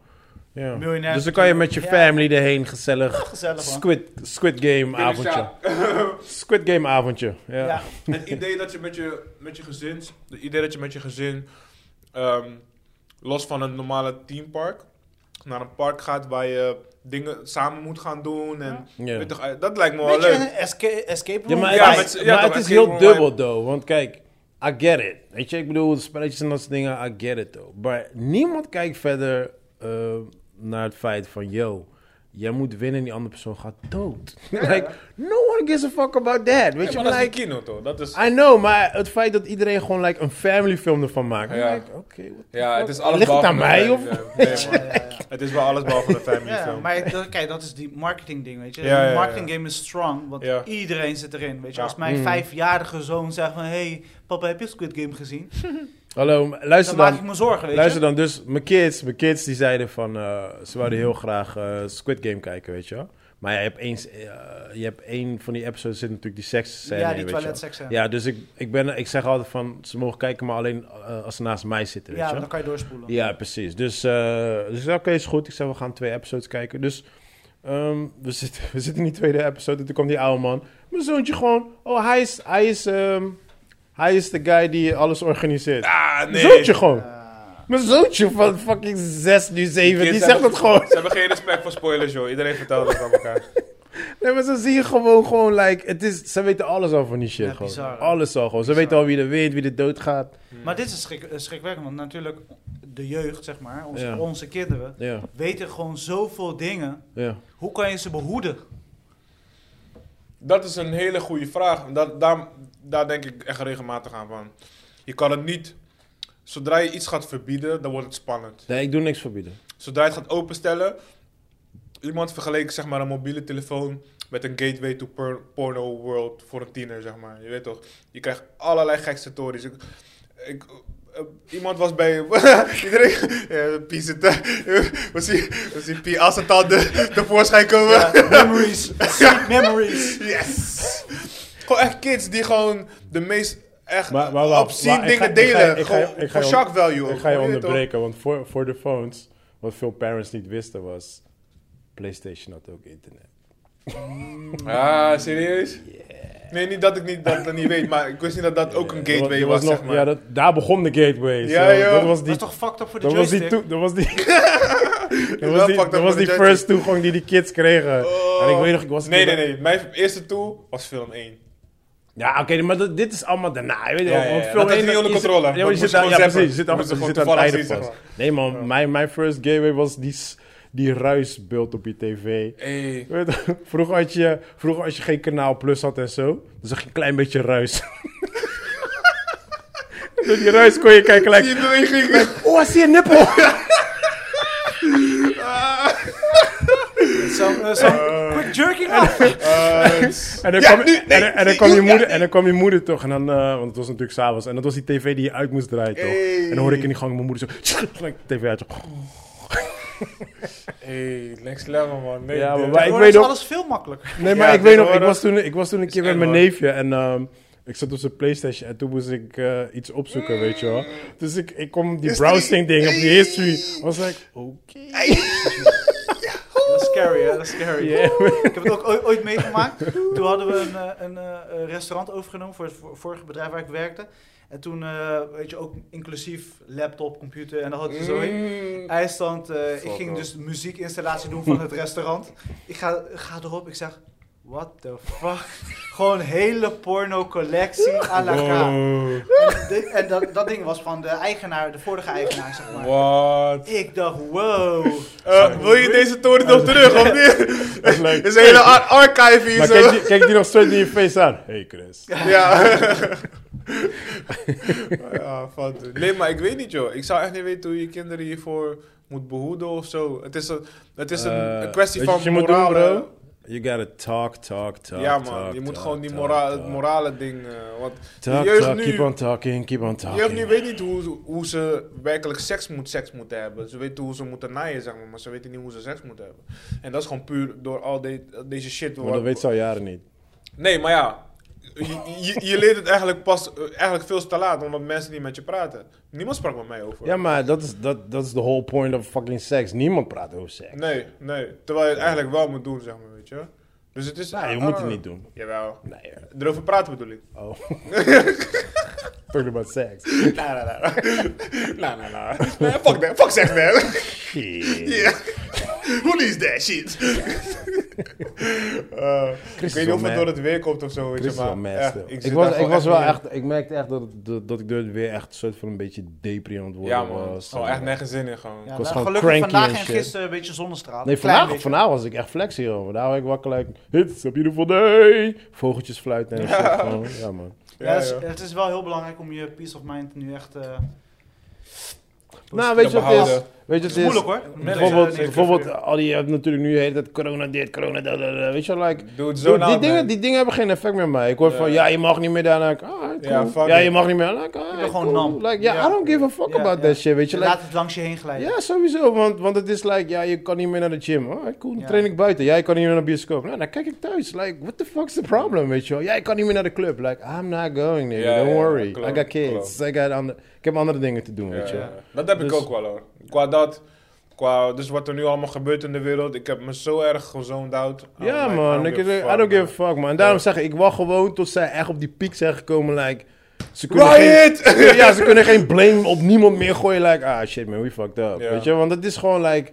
[SPEAKER 1] Ja.
[SPEAKER 2] Miljonair.
[SPEAKER 1] Dus dan kan je met je
[SPEAKER 2] Ja.
[SPEAKER 1] family erheen gezellig.
[SPEAKER 2] Gezellig man.
[SPEAKER 1] Squid, squid Game avondje. Squid Game avondje. Ja.
[SPEAKER 2] Ja.
[SPEAKER 3] het idee dat je met je, met je gezin, het idee dat je met je gezin, ehm, los van een normale teampark, naar een park gaat waar je dingen samen moet gaan doen. En,
[SPEAKER 1] Ja.
[SPEAKER 3] weet toch, eh, dat lijkt me wel
[SPEAKER 2] Weet je,
[SPEAKER 3] leuk.
[SPEAKER 2] een esca- escape room.
[SPEAKER 1] Oh, Ja, maar,
[SPEAKER 3] Ja,
[SPEAKER 1] het,
[SPEAKER 3] maar
[SPEAKER 1] is,
[SPEAKER 3] het- ja,
[SPEAKER 1] maar
[SPEAKER 3] toch,
[SPEAKER 1] het is
[SPEAKER 3] escape
[SPEAKER 1] heel
[SPEAKER 3] room
[SPEAKER 1] dubbel, though. Want kijk, I get it. Weet je, ik bedoel, spelletjes en dat soort dingen, I get it, though. Maar niemand kijkt verder eh, naar het feit van, yo, jij moet winnen en die andere persoon gaat dood. like, no one gives a fuck about that. Weet
[SPEAKER 3] Ja,
[SPEAKER 1] je,
[SPEAKER 3] maar dat
[SPEAKER 1] like,
[SPEAKER 3] is
[SPEAKER 1] Ah,
[SPEAKER 3] de kino toch? Dat is,
[SPEAKER 1] I know, maar het feit dat iedereen gewoon like, een family film ervan maakt.
[SPEAKER 3] Ja.
[SPEAKER 1] Ja. Oké, what the
[SPEAKER 3] ja, het
[SPEAKER 1] fuck?
[SPEAKER 3] is alles
[SPEAKER 1] Ligt het
[SPEAKER 3] behalve
[SPEAKER 1] aan
[SPEAKER 3] een
[SPEAKER 1] mij? Of?
[SPEAKER 3] family film. Nee,
[SPEAKER 2] Ja,
[SPEAKER 3] maar
[SPEAKER 2] ja, ja.
[SPEAKER 3] het is wel alles behalve een family
[SPEAKER 2] Ja,
[SPEAKER 3] film.
[SPEAKER 2] maar dat- kijk, dat is die marketing ding, weet je.
[SPEAKER 3] Ja, ja, ja.
[SPEAKER 2] De marketing game is strong, want
[SPEAKER 3] Ja.
[SPEAKER 2] iedereen zit erin, weet je.
[SPEAKER 3] Ja.
[SPEAKER 2] Als
[SPEAKER 1] Mm.
[SPEAKER 2] mijn vijfjarige zoon zegt van, hey, papa, heb je Squid Game gezien?
[SPEAKER 1] Hallo, maar luister
[SPEAKER 2] Dan
[SPEAKER 1] dan.
[SPEAKER 2] maak ik me zorgen, weet
[SPEAKER 1] Luister
[SPEAKER 2] je.
[SPEAKER 1] dan, dus mijn kids, mijn kids die zeiden van, eh, ze wilden heel graag eh, Squid Game kijken, weet je wel. Maar ja, je hebt één, eh, je hebt één van die episodes zit natuurlijk die seks
[SPEAKER 2] Ja, die toiletseks. Ja,
[SPEAKER 1] Ja, dus ik, ik, ben, ik zeg altijd van, ze mogen kijken, maar alleen eh, als ze naast mij zitten, weet
[SPEAKER 2] ja
[SPEAKER 1] je wel.
[SPEAKER 2] dan kan je doorspoelen.
[SPEAKER 1] Ja, precies. Dus, eh, dus ik zei, oké, is goed. Ik zei, we gaan twee episodes kijken. Dus ehm, we, zitten, we zitten in die tweede episode. En toen kwam die oude man. Mijn zoontje gewoon, oh, hij is, hij is, ehm, hij is de guy die alles organiseert.
[SPEAKER 3] Ah, nee.
[SPEAKER 1] Mijn zoontje gewoon.
[SPEAKER 2] Ah.
[SPEAKER 1] Mijn zoontje van fucking 6, nu 7, die,
[SPEAKER 3] Kids
[SPEAKER 1] zegt
[SPEAKER 3] hebben-
[SPEAKER 1] dat gewoon.
[SPEAKER 3] Ze hebben geen respect voor spoilers, joh. Iedereen vertelt het aan elkaar.
[SPEAKER 1] Nee, maar zo zie je gewoon, gewoon, like, het is, ze weten alles al van die shit.
[SPEAKER 2] Ja,
[SPEAKER 1] gewoon.
[SPEAKER 2] bizar, hè?
[SPEAKER 1] alles al gewoon. Ze
[SPEAKER 2] Bizar.
[SPEAKER 1] weten al wie er wint, wie er doodgaat.
[SPEAKER 2] Maar dit is schrik, eh, schrikwekkend, want natuurlijk de jeugd, zeg maar, onze,
[SPEAKER 1] Ja.
[SPEAKER 2] onze kinderen,
[SPEAKER 1] Ja,
[SPEAKER 2] weten gewoon zoveel dingen.
[SPEAKER 1] ja.
[SPEAKER 2] Hoe kan je ze behoeden?
[SPEAKER 3] Dat is een hele goede vraag. En Dat, daar, daar denk ik echt regelmatig aan. Van. Je kan het niet... Zodra je iets gaat verbieden, dan wordt het spannend.
[SPEAKER 1] Nee, ik doe niks verbieden.
[SPEAKER 3] Zodra je het gaat openstellen... Iemand vergeleek zeg maar, een mobiele telefoon met een gateway to por- porno world voor een tiener, zeg maar. Je weet toch? Je krijgt allerlei gekste stories. Ik, ik, eh, iemand was bij... Iedereen... Ja, eh, Pie zit daar. We zien, we zien Pie als het al de, tevoorschijn komen.
[SPEAKER 2] Ja, memories. Sweet memories.
[SPEAKER 3] Yes! gewoon echt kids die gewoon de meest echt
[SPEAKER 1] Maar- maar wacht,
[SPEAKER 3] obscene
[SPEAKER 1] maar ik ga-
[SPEAKER 3] dingen
[SPEAKER 1] ik
[SPEAKER 3] delen.
[SPEAKER 1] ga- ik ga-
[SPEAKER 3] gewoon
[SPEAKER 1] ik ga
[SPEAKER 3] voor
[SPEAKER 1] je
[SPEAKER 3] shock value.
[SPEAKER 1] Ik
[SPEAKER 3] ook,
[SPEAKER 1] ga je
[SPEAKER 3] weet toch?
[SPEAKER 1] onderbreken, want voor, voor de phones, wat veel parents niet wisten was, PlayStation had ook internet.
[SPEAKER 3] Ah, serieus? Nee, niet dat ik niet, dat ik dat niet weet, maar ik wist niet dat dat ook een
[SPEAKER 1] Er
[SPEAKER 3] gateway
[SPEAKER 1] er
[SPEAKER 3] was, zeg
[SPEAKER 1] nog-
[SPEAKER 3] maar.
[SPEAKER 1] Ja, dat, daar begon de gateway.
[SPEAKER 3] Ja,
[SPEAKER 1] Zo,
[SPEAKER 3] joh.
[SPEAKER 1] Dat was
[SPEAKER 2] Dat
[SPEAKER 1] die
[SPEAKER 2] is toch fucked up voor de
[SPEAKER 1] Dat was die,
[SPEAKER 2] joystick?
[SPEAKER 1] toe, dat was die, dat
[SPEAKER 3] wel
[SPEAKER 1] was die,
[SPEAKER 3] fucked up
[SPEAKER 1] dat was
[SPEAKER 3] voor de
[SPEAKER 1] die
[SPEAKER 3] judges.
[SPEAKER 1] first toegang die die kids kregen.
[SPEAKER 3] Oh.
[SPEAKER 1] En ik weet nog, ik was...
[SPEAKER 3] nee, nee, nee. Mijn eerste tool was film 1.
[SPEAKER 1] Ja, oké, maar dat- dit is allemaal daarna. Je weet
[SPEAKER 3] Ja,
[SPEAKER 1] wel,
[SPEAKER 3] ja,
[SPEAKER 1] want
[SPEAKER 3] ja.
[SPEAKER 1] film
[SPEAKER 3] Dat is
[SPEAKER 1] één,
[SPEAKER 3] niet onder
[SPEAKER 1] je zit-
[SPEAKER 3] controle.
[SPEAKER 1] Ja, maar
[SPEAKER 3] Dat
[SPEAKER 1] je
[SPEAKER 3] moest
[SPEAKER 1] zit aan,
[SPEAKER 3] je
[SPEAKER 1] ja
[SPEAKER 3] gewoon
[SPEAKER 1] precies. Je
[SPEAKER 3] zappen.
[SPEAKER 1] zit aan,
[SPEAKER 3] Dat
[SPEAKER 1] je
[SPEAKER 3] moest je
[SPEAKER 1] zit aan
[SPEAKER 3] gewoon
[SPEAKER 1] het einde
[SPEAKER 3] toevallig
[SPEAKER 1] pas.
[SPEAKER 3] zien,
[SPEAKER 1] Nee man, mijn, mijn first gateway was die, s- die ruisbeeld op je tv.
[SPEAKER 3] Hey.
[SPEAKER 1] Weet je, Vroeger had je, vroeger als je geen kanaal plus had en zo, dan zag je een klein beetje ruis. Door die ruis kon je kijken, like,
[SPEAKER 3] Die beweging.
[SPEAKER 1] oh, I see a nipple.
[SPEAKER 2] Zo'n eh, zo'n quick jerking off.
[SPEAKER 1] En dan
[SPEAKER 3] Ja,
[SPEAKER 1] kwam,
[SPEAKER 3] nu,
[SPEAKER 1] en,
[SPEAKER 3] nee,
[SPEAKER 1] dan- en dan
[SPEAKER 3] nee,
[SPEAKER 1] kwam je
[SPEAKER 3] ja,
[SPEAKER 1] moeder,
[SPEAKER 3] nee.
[SPEAKER 1] en dan kwam je moeder toch, en dan, eh, want het was natuurlijk s'avonds, en dat was die tv die je uit moest draaien, toch?
[SPEAKER 3] Hey.
[SPEAKER 1] En dan hoorde ik in die gang mijn moeder zo, gelijk de tv uit. zo.
[SPEAKER 3] Hey, next level man. Nee,
[SPEAKER 1] Ja, maar
[SPEAKER 3] dit-
[SPEAKER 1] wij- Ik
[SPEAKER 2] Ik
[SPEAKER 1] weet
[SPEAKER 2] weet
[SPEAKER 1] nog-
[SPEAKER 2] alles veel makkelijker.
[SPEAKER 1] Nee, maar
[SPEAKER 3] Ja,
[SPEAKER 1] ik weet nog, ik
[SPEAKER 3] tegenwoordig
[SPEAKER 1] was, toen, ik was toen een keer
[SPEAKER 3] is
[SPEAKER 1] met mijn
[SPEAKER 3] eng, hoor.
[SPEAKER 1] neefje en ehm, ik zat op zijn Playstation en toen moest ik eh, iets opzoeken, weet je wel. Dus ik, ik kom die
[SPEAKER 3] History.
[SPEAKER 1] browsing ding op die
[SPEAKER 3] Hey.
[SPEAKER 1] history, I was like, oké.
[SPEAKER 2] Dat is scary, hè? Dat is scary.
[SPEAKER 1] Yeah.
[SPEAKER 2] Ik heb het ook ooit, ooit meegemaakt. Toen hadden we een, eh, een eh, restaurant overgenomen voor het vor- vorige bedrijf waar ik werkte. En toen, eh, weet je, ook inclusief laptop, computer en dan had je zo in.
[SPEAKER 3] Mm.
[SPEAKER 2] IJsland, eh, ik
[SPEAKER 4] Fuck
[SPEAKER 2] ging
[SPEAKER 4] off.
[SPEAKER 2] dus de muziekinstallatie doen van het restaurant. Ik ga, ik ga erop, ik zeg, what the fuck? Gewoon hele porno collectie à la carte.
[SPEAKER 1] Wow.
[SPEAKER 2] En, dit- en dat, dat ding was van de eigenaar, de vorige eigenaar, zeg maar.
[SPEAKER 3] Wat?
[SPEAKER 2] Ik dacht, wow.
[SPEAKER 3] Eh, wil je deze toren nog terug of niet?
[SPEAKER 1] Dat is leuk.
[SPEAKER 3] Het is een hele ar- archive hier
[SPEAKER 1] Maar
[SPEAKER 3] zo.
[SPEAKER 1] kijk die, kijk die nog straight in je face aan. Hey Chris.
[SPEAKER 3] Ja. ja, fout. Nee, maar ik weet niet, joh. Ik zou echt niet weten hoe je kinderen hiervoor moet behoeden of zo. Het is een, het is een,
[SPEAKER 1] Eh,
[SPEAKER 3] een kwestie
[SPEAKER 1] weet je
[SPEAKER 3] van
[SPEAKER 1] wat je moet
[SPEAKER 3] morale.
[SPEAKER 1] doen, bro? You gotta talk, talk, talk.
[SPEAKER 3] ja, man.
[SPEAKER 1] talk,
[SPEAKER 3] je moet
[SPEAKER 1] talk,
[SPEAKER 3] gewoon die
[SPEAKER 1] talk,
[SPEAKER 3] mora het
[SPEAKER 1] talk.
[SPEAKER 3] morale ding... eh, want
[SPEAKER 1] Talk,
[SPEAKER 3] de jeugd
[SPEAKER 1] talk,
[SPEAKER 3] nu...
[SPEAKER 1] keep on talking, keep on talking.
[SPEAKER 3] Je nu weet niet hoe, hoe ze werkelijk seks, moet, seks moeten hebben. Ze weten hoe ze moeten naaien, zeg maar, maar ze weten niet hoe ze seks moeten hebben. En dat is gewoon puur door al de- deze shit.
[SPEAKER 1] Maar dat weet ze al jaren niet.
[SPEAKER 3] Nee, maar ja. Je, je, je leert het eigenlijk pas eh, eigenlijk veel te laat, omdat mensen niet met je praten. Niemand sprak met mij over.
[SPEAKER 1] Ja, maar dat is, dat, dat is the whole point of fucking seks. Niemand praat over seks.
[SPEAKER 3] Nee, nee. Terwijl je het eigenlijk wel moet doen, zeg maar, weet je. Dus het is...
[SPEAKER 1] Nee, je
[SPEAKER 3] ah,
[SPEAKER 1] moet
[SPEAKER 3] ah.
[SPEAKER 1] het niet doen.
[SPEAKER 3] Jawel.
[SPEAKER 1] Nee, hoor.
[SPEAKER 3] Erover praten bedoel ik.
[SPEAKER 1] oh. Talking about sex.
[SPEAKER 3] Nou, nou, nou. Nou, nou, nou. Nee, Fuck that. Fuck seks, man.
[SPEAKER 1] Shit.
[SPEAKER 3] Yeah. Who needs that shit? Eh, ik
[SPEAKER 1] Chris
[SPEAKER 3] weet
[SPEAKER 1] is wel
[SPEAKER 3] niet of het
[SPEAKER 1] mad.
[SPEAKER 3] door het weer komt of zo. Weet
[SPEAKER 1] Chris
[SPEAKER 3] je,
[SPEAKER 1] is
[SPEAKER 3] maar
[SPEAKER 1] wel mad,
[SPEAKER 3] echt,
[SPEAKER 1] still.
[SPEAKER 3] ik,
[SPEAKER 1] Ik,
[SPEAKER 3] zit daar
[SPEAKER 1] was, ik,
[SPEAKER 3] gewoon
[SPEAKER 1] was wel
[SPEAKER 3] niet in.
[SPEAKER 1] echt, ik merkte echt dat, dat, dat ik er weer echt een soort van een beetje depri aan het worden
[SPEAKER 3] Ja, man.
[SPEAKER 1] was.
[SPEAKER 3] Gewoon echt nergens zin in, gewoon.
[SPEAKER 2] Ja,
[SPEAKER 1] was
[SPEAKER 2] nou,
[SPEAKER 1] gewoon
[SPEAKER 2] gelukkig
[SPEAKER 1] cranky
[SPEAKER 2] vandaag
[SPEAKER 1] en
[SPEAKER 2] en
[SPEAKER 1] shit.
[SPEAKER 2] gisteren een beetje zonnestraal.
[SPEAKER 1] Nee,
[SPEAKER 2] Klein
[SPEAKER 1] vandaag,
[SPEAKER 2] beetje.
[SPEAKER 1] vandaag was ik echt flex hierover. Daar was ik wakker, like, hits, heb je ervoor? Nee! Vogeltjes fluiten en shit. Gewoon, ja, man.
[SPEAKER 2] Ja, het, is,
[SPEAKER 3] joh.
[SPEAKER 2] het is wel heel belangrijk om je peace of mind nu echt... eh,
[SPEAKER 1] Nou, weet je wat het is?
[SPEAKER 3] behouden.
[SPEAKER 1] Weet je
[SPEAKER 2] het
[SPEAKER 1] wat
[SPEAKER 2] is
[SPEAKER 1] het is?
[SPEAKER 2] moeilijk hoor.
[SPEAKER 1] Bijvoorbeeld,
[SPEAKER 2] Nee, nee,
[SPEAKER 1] bijvoorbeeld al die, je hebt natuurlijk nu de hele tijd corona dit, corona dat, dat, dat, weet je wel, like...
[SPEAKER 3] Doe het zo
[SPEAKER 1] Dude, die,
[SPEAKER 3] nou,
[SPEAKER 1] dingen,
[SPEAKER 3] man.
[SPEAKER 1] die dingen hebben geen effect meer op mij. Ik hoor
[SPEAKER 3] Ja.
[SPEAKER 1] van, ja, je mag niet meer daarna. Like, ah, cool.
[SPEAKER 3] Ja, fuck
[SPEAKER 1] Ja,
[SPEAKER 3] it.
[SPEAKER 1] je mag niet meer. Like, ah,
[SPEAKER 2] Ik ben gewoon
[SPEAKER 1] cool.
[SPEAKER 2] nam.
[SPEAKER 1] Like, ja,
[SPEAKER 2] Ja.
[SPEAKER 1] I don't give a fuck
[SPEAKER 2] Ja,
[SPEAKER 1] about
[SPEAKER 2] ja.
[SPEAKER 1] that shit, weet je.
[SPEAKER 2] Je
[SPEAKER 1] Like,
[SPEAKER 2] laat het langs je heen glijden.
[SPEAKER 1] ja, sowieso, want, want het is like, ja, je kan niet meer naar de gym. Ah, cool, dan
[SPEAKER 2] Ja.
[SPEAKER 1] train ik buiten. Jij kan niet meer naar de bioscoop. Nou, dan kijk ik thuis. Like, what the fuck's the problem, weet je wel. Jij kan niet meer naar de club. Like, I'm not going, nigga.
[SPEAKER 3] Ja,
[SPEAKER 1] don't
[SPEAKER 3] ja,
[SPEAKER 1] worry.
[SPEAKER 3] klopt,
[SPEAKER 1] I got kids. I got andere, ik heb andere dingen te doen, weet je.
[SPEAKER 3] Ja, Dat heb ik
[SPEAKER 1] Dus-
[SPEAKER 3] ook wel hoor. Qua dat, qua dus wat er nu allemaal gebeurt in de wereld, ik heb me zo erg gezoned out. I'm
[SPEAKER 1] Ja,
[SPEAKER 3] like, I
[SPEAKER 1] man.
[SPEAKER 3] don't
[SPEAKER 1] Ik,
[SPEAKER 3] give a
[SPEAKER 1] I don't give a
[SPEAKER 3] fuck,
[SPEAKER 1] fuck, man. En daarom zeg ik, ik wacht gewoon tot zij echt op die piek zijn gekomen, like... Ze
[SPEAKER 3] man.
[SPEAKER 1] kunnen geen-
[SPEAKER 3] Riot!
[SPEAKER 1] ja, ze kunnen geen blame op niemand meer gooien. Like, ah shit man, we fucked up.
[SPEAKER 3] Ja.
[SPEAKER 1] Weet je, want het is gewoon like...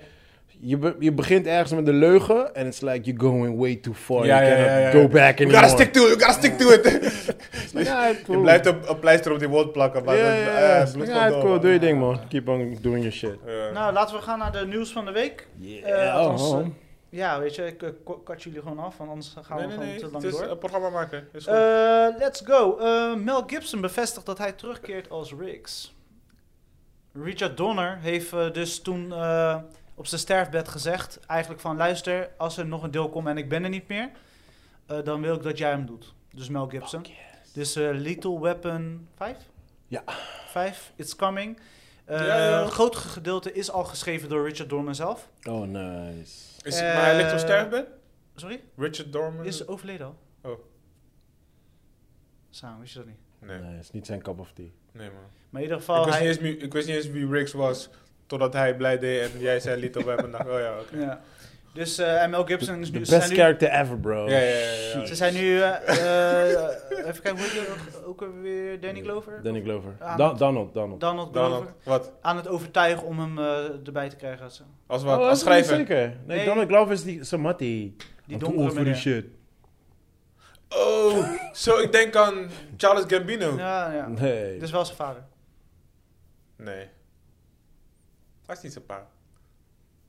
[SPEAKER 1] Je, be- je begint ergens met de leugen en it's like you're going way too far.
[SPEAKER 3] Ja,
[SPEAKER 1] you
[SPEAKER 3] ja,
[SPEAKER 1] cannot
[SPEAKER 3] ja, ja.
[SPEAKER 1] go back
[SPEAKER 3] You gotta
[SPEAKER 1] anymore.
[SPEAKER 3] stick to it, you gotta stick to it.
[SPEAKER 1] Ja, het
[SPEAKER 3] Je
[SPEAKER 1] cool.
[SPEAKER 3] blijft een, een pleister op die wond plakken,
[SPEAKER 1] Ja,
[SPEAKER 3] maar
[SPEAKER 1] ja,
[SPEAKER 3] dat-
[SPEAKER 1] ja.
[SPEAKER 3] eh, het bloed
[SPEAKER 1] Ja, het
[SPEAKER 3] komt door,
[SPEAKER 1] cool.
[SPEAKER 3] man.
[SPEAKER 1] Doe je ding man. Keep on doing your shit.
[SPEAKER 3] Ja.
[SPEAKER 2] Nou, laten we gaan naar de nieuws van de week.
[SPEAKER 1] Yeah,
[SPEAKER 2] Eh, althans,
[SPEAKER 1] oh.
[SPEAKER 2] eh, ja, weet je, ik eh, ko- kat jullie gewoon af, want anders gaan
[SPEAKER 3] nee,
[SPEAKER 2] we
[SPEAKER 3] nee,
[SPEAKER 2] gewoon
[SPEAKER 3] nee.
[SPEAKER 2] te
[SPEAKER 3] Het
[SPEAKER 2] lang
[SPEAKER 3] is
[SPEAKER 2] door.
[SPEAKER 3] een programma maken. Is goed.
[SPEAKER 2] Eh, let's go. Eh, Mel Gibson bevestigt dat hij terugkeert als Riggs. Richard Donner heeft eh, dus toen eh, op zijn sterfbed gezegd... eigenlijk van luister, als er nog een deel komt en ik ben er niet meer... eh, dan wil ik dat jij hem doet. Dus Mel Gibson. Dus eh Lethal Weapon 5?
[SPEAKER 1] Ja.
[SPEAKER 2] 5, It's Coming. Eh
[SPEAKER 3] Ja, ja.
[SPEAKER 2] Een groot gedeelte is al geschreven door Richard Donner zelf.
[SPEAKER 1] Oh, nice.
[SPEAKER 3] is, maar hij ligt op
[SPEAKER 2] eh,
[SPEAKER 3] sterfbed?
[SPEAKER 2] Sorry?
[SPEAKER 3] Richard Dorman?
[SPEAKER 2] Is overleden al?
[SPEAKER 3] Oh.
[SPEAKER 2] Samen, wist je dat niet?
[SPEAKER 3] Nee,
[SPEAKER 1] Nee, is niet zijn cup of tea.
[SPEAKER 3] nee man.
[SPEAKER 2] Maar in ieder
[SPEAKER 3] Ik
[SPEAKER 2] geval...
[SPEAKER 3] wist,
[SPEAKER 2] hij-
[SPEAKER 3] niet eens, wie- ik wist niet eens wie Riggs was, totdat hij blij deed en jij zei Little Web en dacht, oh ja, oké.
[SPEAKER 2] Ja. Dus eh, en Mel Gibson is
[SPEAKER 1] The
[SPEAKER 2] nu... ze
[SPEAKER 1] best
[SPEAKER 2] zijn nu-
[SPEAKER 1] character ever, bro.
[SPEAKER 3] Ja, ja, ja, ja.
[SPEAKER 2] Ze zijn nu... eh, eh, even kijken, hoe heet die ook- ook weer? Danny Glover?
[SPEAKER 1] Danny Glover.
[SPEAKER 2] Ah,
[SPEAKER 1] Da- Donald, Donald.
[SPEAKER 2] Donald Glover.
[SPEAKER 3] Donald, wat?
[SPEAKER 2] Aan het overtuigen om hem eh, erbij te krijgen. Zo.
[SPEAKER 3] Als
[SPEAKER 1] Oh,
[SPEAKER 3] wat?
[SPEAKER 1] dat
[SPEAKER 3] Als
[SPEAKER 1] is niet
[SPEAKER 3] schrijver?
[SPEAKER 1] Zeker. Nee,
[SPEAKER 2] Nee.
[SPEAKER 1] Donald Glover is die Samati.
[SPEAKER 2] Die donkere
[SPEAKER 1] voor die
[SPEAKER 2] meneer.
[SPEAKER 1] shit.
[SPEAKER 3] Oh, zo ik denk aan Charles Gambino.
[SPEAKER 2] Ja, ja.
[SPEAKER 1] Nee.
[SPEAKER 2] Dat is wel zijn vader.
[SPEAKER 3] Nee. Hij is niet zijn pa.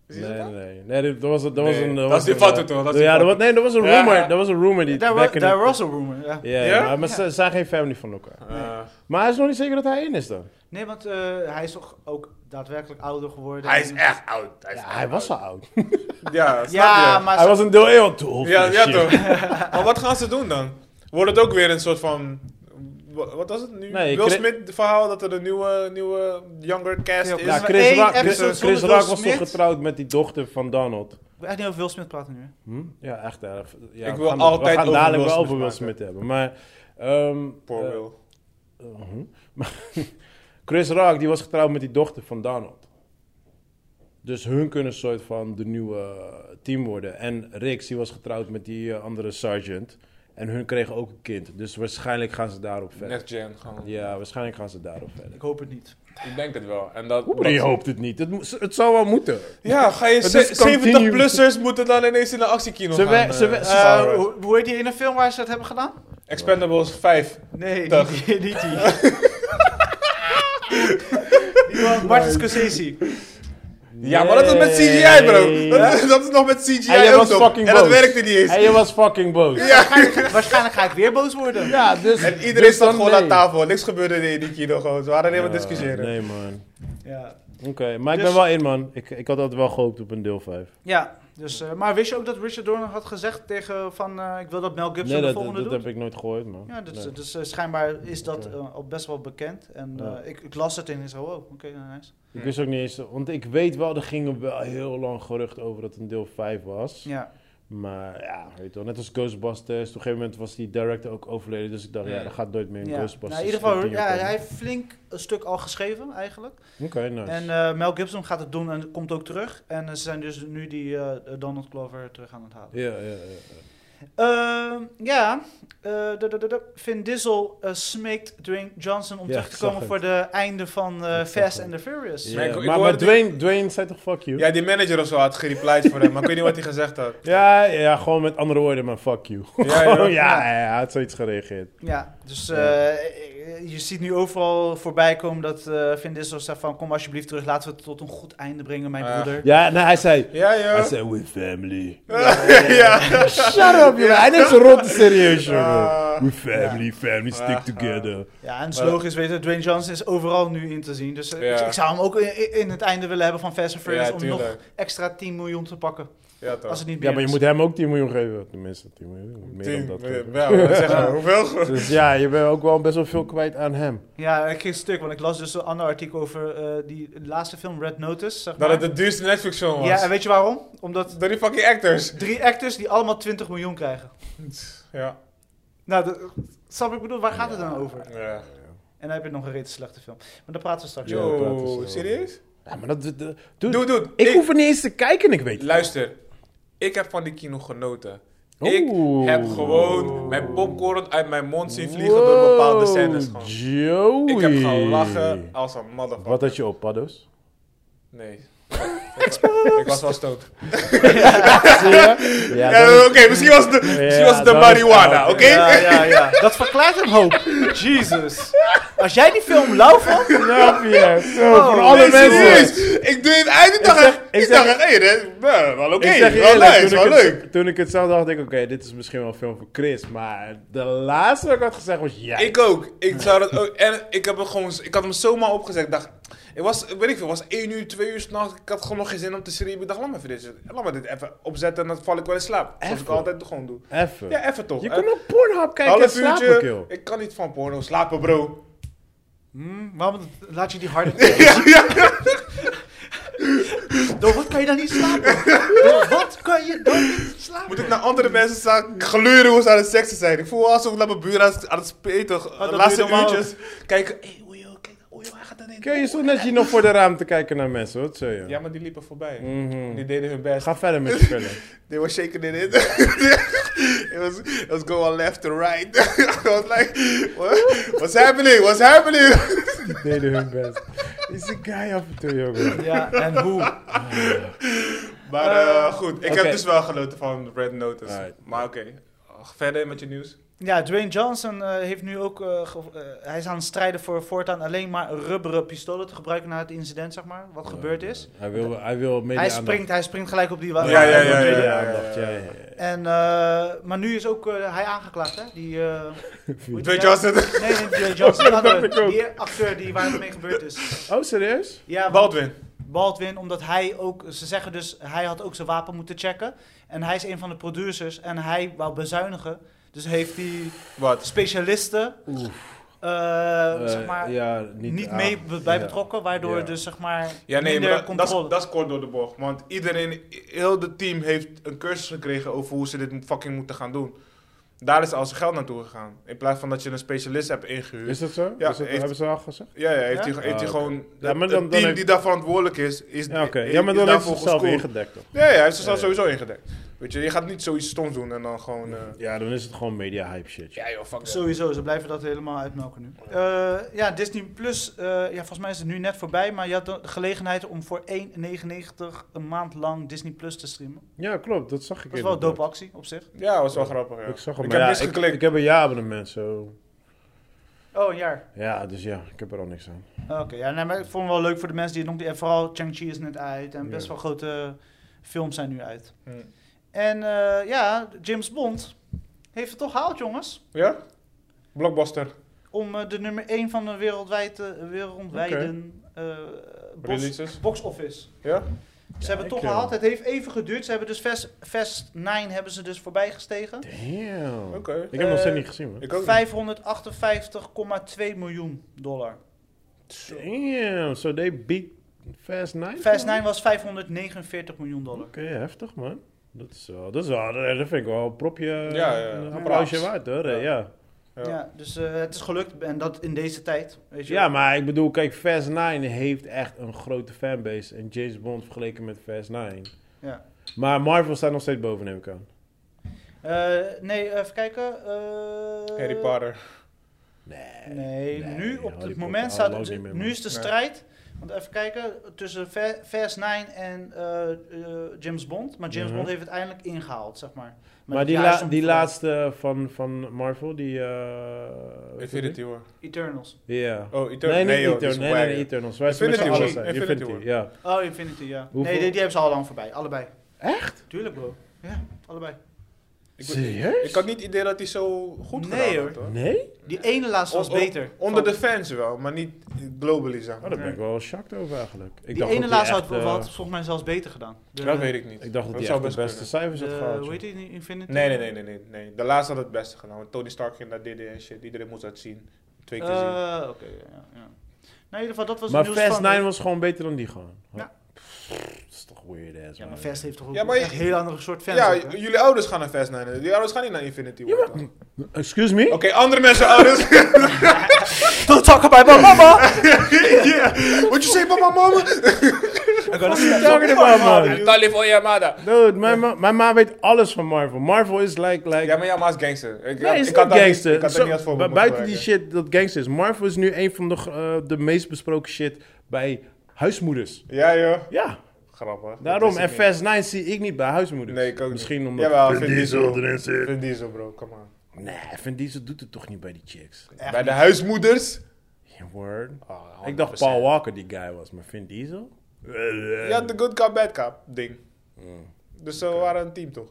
[SPEAKER 3] Is die
[SPEAKER 1] Nee,
[SPEAKER 3] dat
[SPEAKER 1] nee,
[SPEAKER 3] dan?
[SPEAKER 1] nee. Nee, dit- dat was, dat was
[SPEAKER 3] Nee,
[SPEAKER 1] een...
[SPEAKER 3] dat
[SPEAKER 1] was
[SPEAKER 3] is die
[SPEAKER 1] een,
[SPEAKER 3] foto
[SPEAKER 1] eh,
[SPEAKER 3] toch? Dat is die
[SPEAKER 1] ja, dat
[SPEAKER 3] foto.
[SPEAKER 1] was, nee, dat was een
[SPEAKER 3] Ja.
[SPEAKER 1] rumor. Dat was een rumor die...
[SPEAKER 2] Daar, wa-
[SPEAKER 1] back in
[SPEAKER 2] daar
[SPEAKER 1] the-
[SPEAKER 2] was een rumor, ja.
[SPEAKER 1] Ja,
[SPEAKER 3] Ja?
[SPEAKER 1] maar- maar ze zijn geen family van elkaar.
[SPEAKER 3] Eh,
[SPEAKER 1] Maar hij is nog niet zeker dat hij in is dan.
[SPEAKER 2] Nee, want eh, hij is toch ook daadwerkelijk ouder geworden.
[SPEAKER 3] hij is
[SPEAKER 2] En-
[SPEAKER 3] echt oud. Hij, is
[SPEAKER 1] Ja,
[SPEAKER 3] echt
[SPEAKER 1] hij was al
[SPEAKER 3] oud.
[SPEAKER 1] oud.
[SPEAKER 3] Ja, snap
[SPEAKER 2] Ja,
[SPEAKER 3] je?
[SPEAKER 2] maar
[SPEAKER 1] Hij
[SPEAKER 2] ze-
[SPEAKER 1] was een deel eeuw toch?
[SPEAKER 3] Ja, ja
[SPEAKER 1] Shit.
[SPEAKER 3] toch. maar wat gaan ze doen dan? Wordt het ook weer een soort van... wa- Wat was het nu?
[SPEAKER 1] Nee,
[SPEAKER 3] Will
[SPEAKER 1] Chris-
[SPEAKER 3] Smith verhaal dat er een nieuwe, nieuwe younger cast
[SPEAKER 2] Ja,
[SPEAKER 3] is.
[SPEAKER 1] Ja,
[SPEAKER 2] maar
[SPEAKER 1] Chris
[SPEAKER 2] één
[SPEAKER 1] Rock,
[SPEAKER 2] episode
[SPEAKER 1] Chris,
[SPEAKER 2] zonder
[SPEAKER 1] Chris
[SPEAKER 2] Will
[SPEAKER 1] Rock was
[SPEAKER 2] Smith?
[SPEAKER 1] toch getrouwd met die dochter van Donald?
[SPEAKER 2] Ik weet niet over Will Smith praten nu. hè?
[SPEAKER 1] Hm? Ja, echt erg. Ja,
[SPEAKER 3] Ik
[SPEAKER 1] we
[SPEAKER 3] wil
[SPEAKER 1] gaan-
[SPEAKER 3] altijd
[SPEAKER 1] We gaan
[SPEAKER 3] over
[SPEAKER 1] dadelijk
[SPEAKER 3] Will
[SPEAKER 1] wel
[SPEAKER 3] Smith
[SPEAKER 1] over Will
[SPEAKER 3] praten.
[SPEAKER 1] Smith hebben. Maar... ehm,
[SPEAKER 3] Poor
[SPEAKER 1] eh,
[SPEAKER 3] Will.
[SPEAKER 1] eh, hm. Maar Chris Rock, die was getrouwd met die dochter van Donald. Dus hun kunnen een soort van de nieuwe eh, team worden. En Rix, die was getrouwd met die eh, andere sergeant. En hun kregen ook een kind. Dus waarschijnlijk gaan ze daarop verder.
[SPEAKER 3] Next gen. Gewoon.
[SPEAKER 1] Ja, waarschijnlijk gaan ze daarop verder.
[SPEAKER 2] Ik hoop het niet.
[SPEAKER 3] Ik denk het wel. En dat,
[SPEAKER 1] Oeh, je
[SPEAKER 3] dat-
[SPEAKER 1] hoopt het niet. Het, mo- het zou wel moeten.
[SPEAKER 3] Ja, ga je
[SPEAKER 1] Het
[SPEAKER 3] ze-
[SPEAKER 1] is continu.
[SPEAKER 3] 70-plussers moeten dan ineens in de actiekino
[SPEAKER 1] Ze
[SPEAKER 3] gaan.
[SPEAKER 1] wer- ze
[SPEAKER 3] eh,
[SPEAKER 1] wer-
[SPEAKER 3] eh,
[SPEAKER 2] Eh,
[SPEAKER 3] eh,
[SPEAKER 2] hoe, hoe heet die ene film waar ze dat hebben gedaan?
[SPEAKER 3] Expendables 5.
[SPEAKER 2] Nee,
[SPEAKER 3] Dag.
[SPEAKER 2] niet die. Niet die. Die van Martin Scorsese.
[SPEAKER 3] Ja, maar dat is met CGI, bro. Dat, is-
[SPEAKER 1] Nee.
[SPEAKER 3] dat is nog met CGI
[SPEAKER 1] En jij
[SPEAKER 3] ook
[SPEAKER 1] was
[SPEAKER 3] nog.
[SPEAKER 1] fucking
[SPEAKER 3] En dat
[SPEAKER 1] boos.
[SPEAKER 3] werkte niet eens.
[SPEAKER 1] En je was fucking boos.
[SPEAKER 2] Waarschijnlijk, waarschijnlijk ga ik weer boos worden.
[SPEAKER 1] Ja, dus...
[SPEAKER 3] En iedereen
[SPEAKER 1] dus
[SPEAKER 3] zat
[SPEAKER 1] dan
[SPEAKER 3] gewoon
[SPEAKER 1] nee.
[SPEAKER 3] aan tafel. Niks gebeurde in die kino gewoon. Ze waren alleen maar
[SPEAKER 1] Ja,
[SPEAKER 3] discussiëren.
[SPEAKER 1] Nee, man.
[SPEAKER 2] Ja,
[SPEAKER 1] Oké, maar ik
[SPEAKER 2] Dus-
[SPEAKER 1] ben wel in, man. Ik, ik had altijd wel gehoopt op een deel 5.
[SPEAKER 2] ja dus, eh, maar wist je ook dat Richard Dorner had gezegd tegen van... eh, ik wil dat Mel Gibson
[SPEAKER 1] Nee,
[SPEAKER 2] de
[SPEAKER 1] dat,
[SPEAKER 2] volgende
[SPEAKER 1] dat
[SPEAKER 2] doet?
[SPEAKER 1] heb ik nooit gehoord, man.
[SPEAKER 2] Ja, dus,
[SPEAKER 1] Nee.
[SPEAKER 2] dus eh, schijnbaar is dat
[SPEAKER 1] Oké.
[SPEAKER 2] eh, al best wel bekend. En
[SPEAKER 1] Ja.
[SPEAKER 2] eh, ik, ik las het in en ik zei, wow, oké, nou, nice.
[SPEAKER 1] Ik wist ook niet eens, want ik weet wel, er gingen wel heel lang gerucht over dat het een deel 5 was.
[SPEAKER 2] Ja,
[SPEAKER 1] Maar ja, weet je wel, net als Ghostbusters. Op een gegeven moment was die director ook overleden, dus ik dacht, ja,
[SPEAKER 3] Ja.
[SPEAKER 1] dat gaat nooit meer een
[SPEAKER 2] ja.
[SPEAKER 1] Ghostbusters.
[SPEAKER 2] Nou, in ieder geval,
[SPEAKER 1] continue
[SPEAKER 2] ja,
[SPEAKER 1] komen.
[SPEAKER 2] hij heeft flink een stuk al geschreven eigenlijk.
[SPEAKER 1] Oké, nice.
[SPEAKER 2] En eh, Mel Gibson gaat het doen en komt ook terug. En eh, ze zijn dus nu die eh, Donald Glover terug aan het halen.
[SPEAKER 1] Ja, ja, ja.
[SPEAKER 2] Ehm, ja, eh, de- de- de- de- Vin Diesel eh, smeekt Dwayne Johnson om
[SPEAKER 1] Ja,
[SPEAKER 2] terug
[SPEAKER 1] ik
[SPEAKER 2] te
[SPEAKER 1] zag
[SPEAKER 2] komen
[SPEAKER 1] het.
[SPEAKER 2] voor de einde van eh,
[SPEAKER 1] Ik zag
[SPEAKER 2] Fast
[SPEAKER 1] het.
[SPEAKER 2] and the Furious.
[SPEAKER 1] Ja,
[SPEAKER 3] Maar ik- ik
[SPEAKER 1] maar maar
[SPEAKER 3] hoorde
[SPEAKER 1] Dwayne, Dwayne zei toch fuck you? Ja.
[SPEAKER 3] Ja, die manager of zo had gereplied voor hem. Maar ik weet niet wat hij gezegd had.
[SPEAKER 1] Ja, gewoon met andere woorden, maar fuck you.
[SPEAKER 3] Ja,
[SPEAKER 1] Gewoon,
[SPEAKER 3] ja.
[SPEAKER 1] ja, ja, hij had zoiets gereageerd.
[SPEAKER 2] Ja, dus eh, je ziet nu overal voorbij komen dat eh Vin Diesel zegt van... kom alsjeblieft terug, laten we het tot een goed einde brengen, mijn
[SPEAKER 3] Ah.
[SPEAKER 2] broeder.
[SPEAKER 1] Ja, nou, hij zei,
[SPEAKER 3] Ja, joh.
[SPEAKER 1] hij zei, we family.
[SPEAKER 3] ja.
[SPEAKER 1] Shut up, joh. Hij neemt zijn rot serieus, joh.
[SPEAKER 3] Ah.
[SPEAKER 1] We family, family, stick together.
[SPEAKER 2] Ja, en het
[SPEAKER 3] Maar-
[SPEAKER 2] logisch, weet je, Dwayne Johnson is overal nu in te zien. Dus eh,
[SPEAKER 3] Ja.
[SPEAKER 2] ik, ik zou hem ook in, in het einde willen hebben van Fast and Furious...
[SPEAKER 3] Ja,
[SPEAKER 2] om nog
[SPEAKER 3] tuurlijk.
[SPEAKER 2] extra 10 miljoen te pakken,
[SPEAKER 3] Ja,
[SPEAKER 2] als
[SPEAKER 3] toch.
[SPEAKER 2] het niet meer
[SPEAKER 1] Ja, maar je
[SPEAKER 2] is.
[SPEAKER 1] moet hem ook 10 miljoen geven. Tenminste, 10 miljoen. Meer
[SPEAKER 3] Tien.
[SPEAKER 1] dan dat.
[SPEAKER 3] Ja,
[SPEAKER 1] geven.
[SPEAKER 3] we zeggen hoeveel?
[SPEAKER 1] Dus ja, je bent ook wel best wel veel kwijt aan hem.
[SPEAKER 2] Ja, ik ging stuk, want ik las dus een ander artikel over eh, die laatste film Red Notice, zeg
[SPEAKER 3] Nou, Dat
[SPEAKER 2] maar.
[SPEAKER 3] het de duurste Netflix-film was.
[SPEAKER 2] ja, en weet je waarom? Omdat
[SPEAKER 3] Door die fucking actors.
[SPEAKER 2] drie actors die allemaal 20 miljoen krijgen.
[SPEAKER 3] Ja.
[SPEAKER 2] Nou, dat, snap je, ik bedoel, waar gaat het dan over?
[SPEAKER 3] ja.
[SPEAKER 2] En dan heb je nog een reeds slechte film. Maar daar praten we straks
[SPEAKER 1] Ja, eh,
[SPEAKER 2] over.
[SPEAKER 1] we praten zo
[SPEAKER 3] Yo,
[SPEAKER 1] wel.
[SPEAKER 3] serieus?
[SPEAKER 1] Ja, maar dat... dat- dat- dude,
[SPEAKER 3] Doe, doe.
[SPEAKER 1] ik, hoef er niet eens te kijken en ik weet het.
[SPEAKER 3] Luister, ik heb van die kino genoten.
[SPEAKER 1] Oeh.
[SPEAKER 3] Ik heb gewoon mijn popcorn uit mijn mond zien vliegen door bepaalde
[SPEAKER 1] Wow,
[SPEAKER 3] scènes. gewoon.
[SPEAKER 1] Joey.
[SPEAKER 3] Ik heb gelachen als een motherfucker.
[SPEAKER 1] Wat had je op, paddo's?
[SPEAKER 3] Nee. ik, was, ik was wel stoot.
[SPEAKER 1] Zie je? Ja,
[SPEAKER 3] Ja,
[SPEAKER 1] dat is-
[SPEAKER 3] Oké, misschien was het de, misschien was het de
[SPEAKER 1] dat is Ah,
[SPEAKER 3] marihuana,
[SPEAKER 1] oud.
[SPEAKER 3] oké?
[SPEAKER 2] Ja, ja, ja. Dat verklaart een hoop. Jesus. Als jij die film lauw vond...
[SPEAKER 1] Snap je? Zo,
[SPEAKER 2] Oh,
[SPEAKER 1] voor
[SPEAKER 2] nee,
[SPEAKER 1] alle
[SPEAKER 3] Nee,
[SPEAKER 1] mensen.
[SPEAKER 3] serieus. Ik doe het uit en
[SPEAKER 1] zeg-
[SPEAKER 3] dacht
[SPEAKER 1] ik
[SPEAKER 3] ik,
[SPEAKER 1] zeg-
[SPEAKER 3] dacht, hé, dit- nou, wel oké,
[SPEAKER 1] Ik zeg je
[SPEAKER 3] wel
[SPEAKER 1] eerlijk,
[SPEAKER 3] nice,
[SPEAKER 1] toen,
[SPEAKER 3] wel
[SPEAKER 1] ik
[SPEAKER 3] leuk.
[SPEAKER 1] Het, toen ik het zag, dacht ik, oké, dit is misschien wel een film voor Chris. Maar de laatste wat ik had gezegd was ja.
[SPEAKER 3] Ik ook. Ik zou dat ook. En ik heb hem gewoon. Ik had hem zomaar opgezet. Ik dacht. Ik was, weet ik veel, het was 1 uur, 2 uur s'nachts. Ik had gewoon nog geen zin om te schreeuwen. Ik dacht, laat me even dit, laat me dit even opzetten en dan val ik wel in slaap. Zoals ik
[SPEAKER 1] Even?
[SPEAKER 3] altijd gewoon doe.
[SPEAKER 1] Even.
[SPEAKER 3] Ja, even toch.
[SPEAKER 1] je
[SPEAKER 3] Eh,
[SPEAKER 1] kon op Pornhub kijken en
[SPEAKER 3] half
[SPEAKER 1] slapen,
[SPEAKER 3] uurtje.
[SPEAKER 1] kill.
[SPEAKER 3] Ik kan niet van porno slapen, bro.
[SPEAKER 2] Hmm, waarom laat je die harde... Door wat kan je dan niet slapen? Door wat kan je dan niet slapen?
[SPEAKER 3] Moet ik naar andere mensen staan gleuren hoe ze aan het seksen zijn? Ik voel alsof ik naar mijn buren aan het- aan het speten.
[SPEAKER 2] dat
[SPEAKER 3] de
[SPEAKER 2] doe
[SPEAKER 3] laatste
[SPEAKER 2] je normaal
[SPEAKER 3] uurtjes. Kijken. Hé, hey, oei, oei, kijk. Oei, waar gaat dat in?
[SPEAKER 1] Oké, je stond net hier nog voor de raam te kijken naar mensen, wat zei je?
[SPEAKER 3] Ja, maar die liepen voorbij.
[SPEAKER 1] Mhm.
[SPEAKER 3] Die deden hun best.
[SPEAKER 1] Ga verder met je film.
[SPEAKER 3] They were shaking it in. it was it was going left to right. I was like, what? what's happening? What's happening?
[SPEAKER 1] Die deden hun best. Is een guy af en toe, jongen.
[SPEAKER 2] Ja, en hoe?
[SPEAKER 3] Maar eh, goed, ik
[SPEAKER 1] Oké.
[SPEAKER 3] heb dus wel genoten van Red Notice.
[SPEAKER 1] Alright.
[SPEAKER 3] Maar oké, verder met je nieuws.
[SPEAKER 2] Ja, Dwayne Johnson eh, heeft nu ook. eh, ge- eh, hij is aan het strijden voor voortaan alleen maar rubberen pistolen te gebruiken na het incident, zeg maar. Wat gebeurd is.
[SPEAKER 1] Hij wil, hij wil media
[SPEAKER 2] Hij springt, hij springt gelijk op die wa-
[SPEAKER 3] Ja, ja, ja,
[SPEAKER 1] media
[SPEAKER 3] ja, ja.
[SPEAKER 1] aandacht, ja, ja, ja.
[SPEAKER 2] En, eh, maar nu is ook eh, hij aangeklaagd, hè? Die. eh, hoe heet die
[SPEAKER 3] Dwayne
[SPEAKER 2] guy?
[SPEAKER 3] Johnson.
[SPEAKER 2] Nee, nee, Dwayne Johnson. die andere,
[SPEAKER 1] ik ook.
[SPEAKER 2] die acteur die waar het mee gebeurd is.
[SPEAKER 1] Oh, serieus?
[SPEAKER 2] Ja, want-
[SPEAKER 3] Baldwin.
[SPEAKER 2] Baldwin, omdat hij ook, ze zeggen dus, hij had ook zijn wapen moeten checken. En hij is een van de producers en hij wou bezuinigen. Dus heeft hij
[SPEAKER 3] Wat?
[SPEAKER 2] specialisten,
[SPEAKER 1] Oeh.
[SPEAKER 2] eh,
[SPEAKER 1] Eh,
[SPEAKER 2] zeg maar,
[SPEAKER 1] ja,
[SPEAKER 2] niet,
[SPEAKER 1] aan-
[SPEAKER 2] mee be- bij
[SPEAKER 1] ja.
[SPEAKER 2] betrokken. Waardoor
[SPEAKER 1] Ja.
[SPEAKER 2] dus, zeg maar,
[SPEAKER 3] Ja, nee,
[SPEAKER 2] minder
[SPEAKER 3] maar dat, dat,
[SPEAKER 2] controle.
[SPEAKER 3] is, dat is kort door de bocht. Want iedereen, heel het team heeft een cursus gekregen over hoe ze dit fucking moeten gaan doen. Daar is al zijn geld naartoe gegaan. In plaats van dat je een specialist hebt ingehuurd.
[SPEAKER 1] Is dat zo?
[SPEAKER 3] Ja,
[SPEAKER 1] is dat,
[SPEAKER 3] heeft-
[SPEAKER 1] hebben ze al gezegd?
[SPEAKER 3] Ja, ja, heeft
[SPEAKER 2] Ja?
[SPEAKER 3] hij heeft hij
[SPEAKER 1] Ah, oké.
[SPEAKER 3] gewoon...
[SPEAKER 1] Ja, maar dan-
[SPEAKER 3] het- het
[SPEAKER 1] dan
[SPEAKER 3] team
[SPEAKER 1] heeft-
[SPEAKER 3] die daarvoor verantwoordelijk is, is,
[SPEAKER 1] Ja, oké.
[SPEAKER 3] is-
[SPEAKER 1] Ja, maar dan heeft
[SPEAKER 3] is
[SPEAKER 1] ze
[SPEAKER 3] daarvoor
[SPEAKER 1] het zelf
[SPEAKER 3] geschoold.
[SPEAKER 1] ingedekt, toch?
[SPEAKER 3] Ja, ja, hij heeft zichzelf
[SPEAKER 1] Ja, ja.
[SPEAKER 3] sowieso ingedekt. Weet je, je gaat niet zoiets stoms doen en dan gewoon... eh,
[SPEAKER 1] Ja, dan is het gewoon media-hype shit.
[SPEAKER 3] ja, joh, fuck zo.
[SPEAKER 2] Sowieso, ze blijven dat helemaal uitmelken nu. Eh, ja, Disney Plus, eh, ja, volgens mij is het nu net voorbij. Maar je had de gelegenheid om voor 1,99 een maand lang Disney Plus te streamen.
[SPEAKER 1] Ja, klopt. Dat zag ik
[SPEAKER 2] Dat is wel een
[SPEAKER 1] inderdaad.
[SPEAKER 2] dope actie op zich.
[SPEAKER 3] Ja, was wel grappig, ja.
[SPEAKER 1] Ik zag hem,
[SPEAKER 3] Ik
[SPEAKER 1] maar
[SPEAKER 3] heb
[SPEAKER 1] ja, ik,
[SPEAKER 3] misgeklikt.
[SPEAKER 1] ik heb een ja-abonnement, zo.
[SPEAKER 2] Oh, een jaar.
[SPEAKER 1] Ja, dus ja, ik heb er al niks aan.
[SPEAKER 2] Ah, Oké, ja, nee, maar ik vond het wel leuk voor de mensen die het nog niet... En vooral Chang-Chi is net uit en best
[SPEAKER 1] Ja.
[SPEAKER 2] wel grote films zijn nu uit.
[SPEAKER 3] Hmm.
[SPEAKER 2] En eh, ja, James Bond heeft het toch gehaald, jongens.
[SPEAKER 3] Ja? Blockbuster.
[SPEAKER 2] Om eh, de nummer 1 van de eh, wereldwijde, wereldwijden eh, box,
[SPEAKER 3] Releases.
[SPEAKER 2] box office.
[SPEAKER 3] Ja?
[SPEAKER 2] Ze hebben het toch
[SPEAKER 1] Kijk, joh.
[SPEAKER 2] gehaald. Het heeft even geduurd. Ze hebben dus Fast, Fast 9 hebben ze dus voorbij gestegen.
[SPEAKER 1] Damn.
[SPEAKER 3] Oké.
[SPEAKER 1] Ik heb hem nog steeds
[SPEAKER 2] Eh,
[SPEAKER 1] niet gezien, man.
[SPEAKER 3] Ik ook.
[SPEAKER 2] 558,2 miljoen dollar.
[SPEAKER 1] Damn, so they beat Fast 9?
[SPEAKER 2] Fast 9 was 549 miljoen dollar.
[SPEAKER 1] Oké, heftig, man. Dat is wel, dat is wel, dat vind ik wel een propje, eh,
[SPEAKER 3] ja, ja.
[SPEAKER 1] een
[SPEAKER 3] Applaus.
[SPEAKER 1] applausje waard, hoor.
[SPEAKER 3] Ja.
[SPEAKER 1] Ja. Ja.
[SPEAKER 3] Ja.
[SPEAKER 2] Ja, dus eh, het is gelukt en dat in deze tijd. Weet je wel.
[SPEAKER 1] maar ik bedoel, kijk, Fast 9 heeft echt een grote fanbase. En James Bond vergeleken met Fast 9.
[SPEAKER 2] Ja.
[SPEAKER 1] Maar Marvel staat nog steeds boven, neem ik aan.
[SPEAKER 2] Eh, nee, even kijken. eh,
[SPEAKER 3] Harry Potter.
[SPEAKER 1] Nee.
[SPEAKER 2] Nee, nu
[SPEAKER 1] Nee,
[SPEAKER 2] op
[SPEAKER 1] Harry
[SPEAKER 2] het
[SPEAKER 1] Potter,
[SPEAKER 2] moment staat
[SPEAKER 1] lang
[SPEAKER 2] het,
[SPEAKER 1] niet meer,
[SPEAKER 2] nu
[SPEAKER 1] man.
[SPEAKER 2] is de
[SPEAKER 3] Nee.
[SPEAKER 2] strijd. Want even kijken, tussen Fa- Fast 9 en eh, eh, James Bond. Maar James
[SPEAKER 1] Mhm.
[SPEAKER 2] Bond heeft het eindelijk ingehaald, zeg maar. Met
[SPEAKER 1] Maar
[SPEAKER 2] het
[SPEAKER 1] die,
[SPEAKER 2] juiste
[SPEAKER 1] la- die
[SPEAKER 2] verhaal.
[SPEAKER 1] laatste van, van Marvel, die... eh
[SPEAKER 3] Infinity War.
[SPEAKER 2] Eternals.
[SPEAKER 1] Ja.
[SPEAKER 3] Oh, Eternal.
[SPEAKER 1] Nee, niet
[SPEAKER 3] joh, die is
[SPEAKER 1] Eternals. Nee,
[SPEAKER 3] wack,
[SPEAKER 1] nee,
[SPEAKER 3] joh.
[SPEAKER 1] nee, Eternals. Wij zijn
[SPEAKER 3] Infinity
[SPEAKER 1] met z'n allen
[SPEAKER 3] War.
[SPEAKER 1] zijn.
[SPEAKER 3] Infinity
[SPEAKER 1] Infinity,
[SPEAKER 3] War.
[SPEAKER 1] ja.
[SPEAKER 2] Oh, Infinity, ja.
[SPEAKER 1] Hoeveel?
[SPEAKER 2] Nee, die, die hebben ze al lang voorbij, allebei.
[SPEAKER 1] Echt?
[SPEAKER 2] Tuurlijk, bro. Ja, allebei.
[SPEAKER 3] Ik-
[SPEAKER 1] Serieus?
[SPEAKER 3] Ik had niet het idee dat hij zo goed
[SPEAKER 2] Nee,
[SPEAKER 3] gedaan
[SPEAKER 2] hoor.
[SPEAKER 3] had, hoor.
[SPEAKER 1] Nee?
[SPEAKER 2] Die ene laatste was
[SPEAKER 3] On- on-
[SPEAKER 2] beter.
[SPEAKER 3] Onder
[SPEAKER 2] Van-
[SPEAKER 3] de fans wel, maar niet globally, zeg
[SPEAKER 1] Oh,
[SPEAKER 3] maar.
[SPEAKER 1] daar ben ik wel shocked over eigenlijk. Ik
[SPEAKER 2] die
[SPEAKER 1] dacht
[SPEAKER 2] ene
[SPEAKER 1] dat
[SPEAKER 2] laatste
[SPEAKER 1] echt,
[SPEAKER 2] had,
[SPEAKER 1] eh,
[SPEAKER 2] had volgens mij zelfs beter gedaan. De-
[SPEAKER 3] Dat weet ik niet.
[SPEAKER 1] Ik dacht dat hij
[SPEAKER 3] zou
[SPEAKER 1] echt de beste cijfers had
[SPEAKER 2] de-
[SPEAKER 1] gehaald.
[SPEAKER 2] hoe
[SPEAKER 1] joh.
[SPEAKER 2] heet die? die Infinity?
[SPEAKER 3] kunnen. Nee, nee, nee, nee, nee, nee. De laatste had het beste gedaan. Want Tony Stark ging naar DD en shit. Iedereen moest dat zien. Twee keer zien.
[SPEAKER 2] Eh, Oké, ja, ja. Nou, in ieder geval, dat was
[SPEAKER 1] Maar
[SPEAKER 2] het nieuws
[SPEAKER 1] Fast
[SPEAKER 2] van...
[SPEAKER 1] 9 was gewoon beter dan die gewoon.
[SPEAKER 2] Ja.
[SPEAKER 1] Pff, Dat is toch weird ass,
[SPEAKER 2] Ja, maar
[SPEAKER 1] man.
[SPEAKER 2] Fast heeft toch ook
[SPEAKER 3] Ja, maar je-
[SPEAKER 2] echt een heel andere soort fans.
[SPEAKER 3] Ja,
[SPEAKER 2] ook, hè?
[SPEAKER 3] j- jullie ouders gaan naar Fast 9. Jullie ouders gaan niet naar Infinity War. toch? Oké,
[SPEAKER 1] Excuse me?
[SPEAKER 3] andere mensen ouders.
[SPEAKER 2] Don't talk about my mama!
[SPEAKER 3] yeah. What you say, papa, mama?
[SPEAKER 1] What are you talking about, man?
[SPEAKER 3] Tali voor je mada.
[SPEAKER 1] Dude, mijn ma, mijn ma weet alles van Marvel. Marvel is like... like
[SPEAKER 3] Ja, maar ja, maar hij is gangster. Ik,
[SPEAKER 1] Nee,
[SPEAKER 3] ik
[SPEAKER 1] is
[SPEAKER 3] had
[SPEAKER 1] niet
[SPEAKER 3] dat
[SPEAKER 1] gangster.
[SPEAKER 3] Niet, ik had dat
[SPEAKER 1] Zo-
[SPEAKER 3] niet als
[SPEAKER 1] bu-
[SPEAKER 3] voorbeeld moeten
[SPEAKER 1] buiten die
[SPEAKER 3] gebruiken.
[SPEAKER 1] shit dat gangster is. Marvel is nu een van de, eh, de meest besproken shit bij huismoeders.
[SPEAKER 3] Ja, joh.
[SPEAKER 1] Ja,
[SPEAKER 3] Grappig. Dat
[SPEAKER 1] daarom.
[SPEAKER 3] wist
[SPEAKER 1] En
[SPEAKER 3] ik
[SPEAKER 1] Fast 9 zie ik niet bij huismoeders.
[SPEAKER 3] Nee, ik ook niet.
[SPEAKER 1] Misschien
[SPEAKER 3] niet.
[SPEAKER 1] omdat
[SPEAKER 3] Jawel,
[SPEAKER 1] Vin
[SPEAKER 3] Vin Diesel.
[SPEAKER 1] erin zit.
[SPEAKER 3] Vin Diesel, bro. Come on.
[SPEAKER 1] Nee, Vin Diesel doet het toch niet bij die chicks.
[SPEAKER 3] Bij de huismoeders.
[SPEAKER 1] Ja, Word.
[SPEAKER 3] Oh,
[SPEAKER 1] Ik dacht
[SPEAKER 3] 100%.
[SPEAKER 1] Paul Walker die guy was, maar Vin Diesel?
[SPEAKER 3] Ja, de good cop, bad cop ding.
[SPEAKER 1] Mm.
[SPEAKER 3] Dus eh, we waren een team, toch?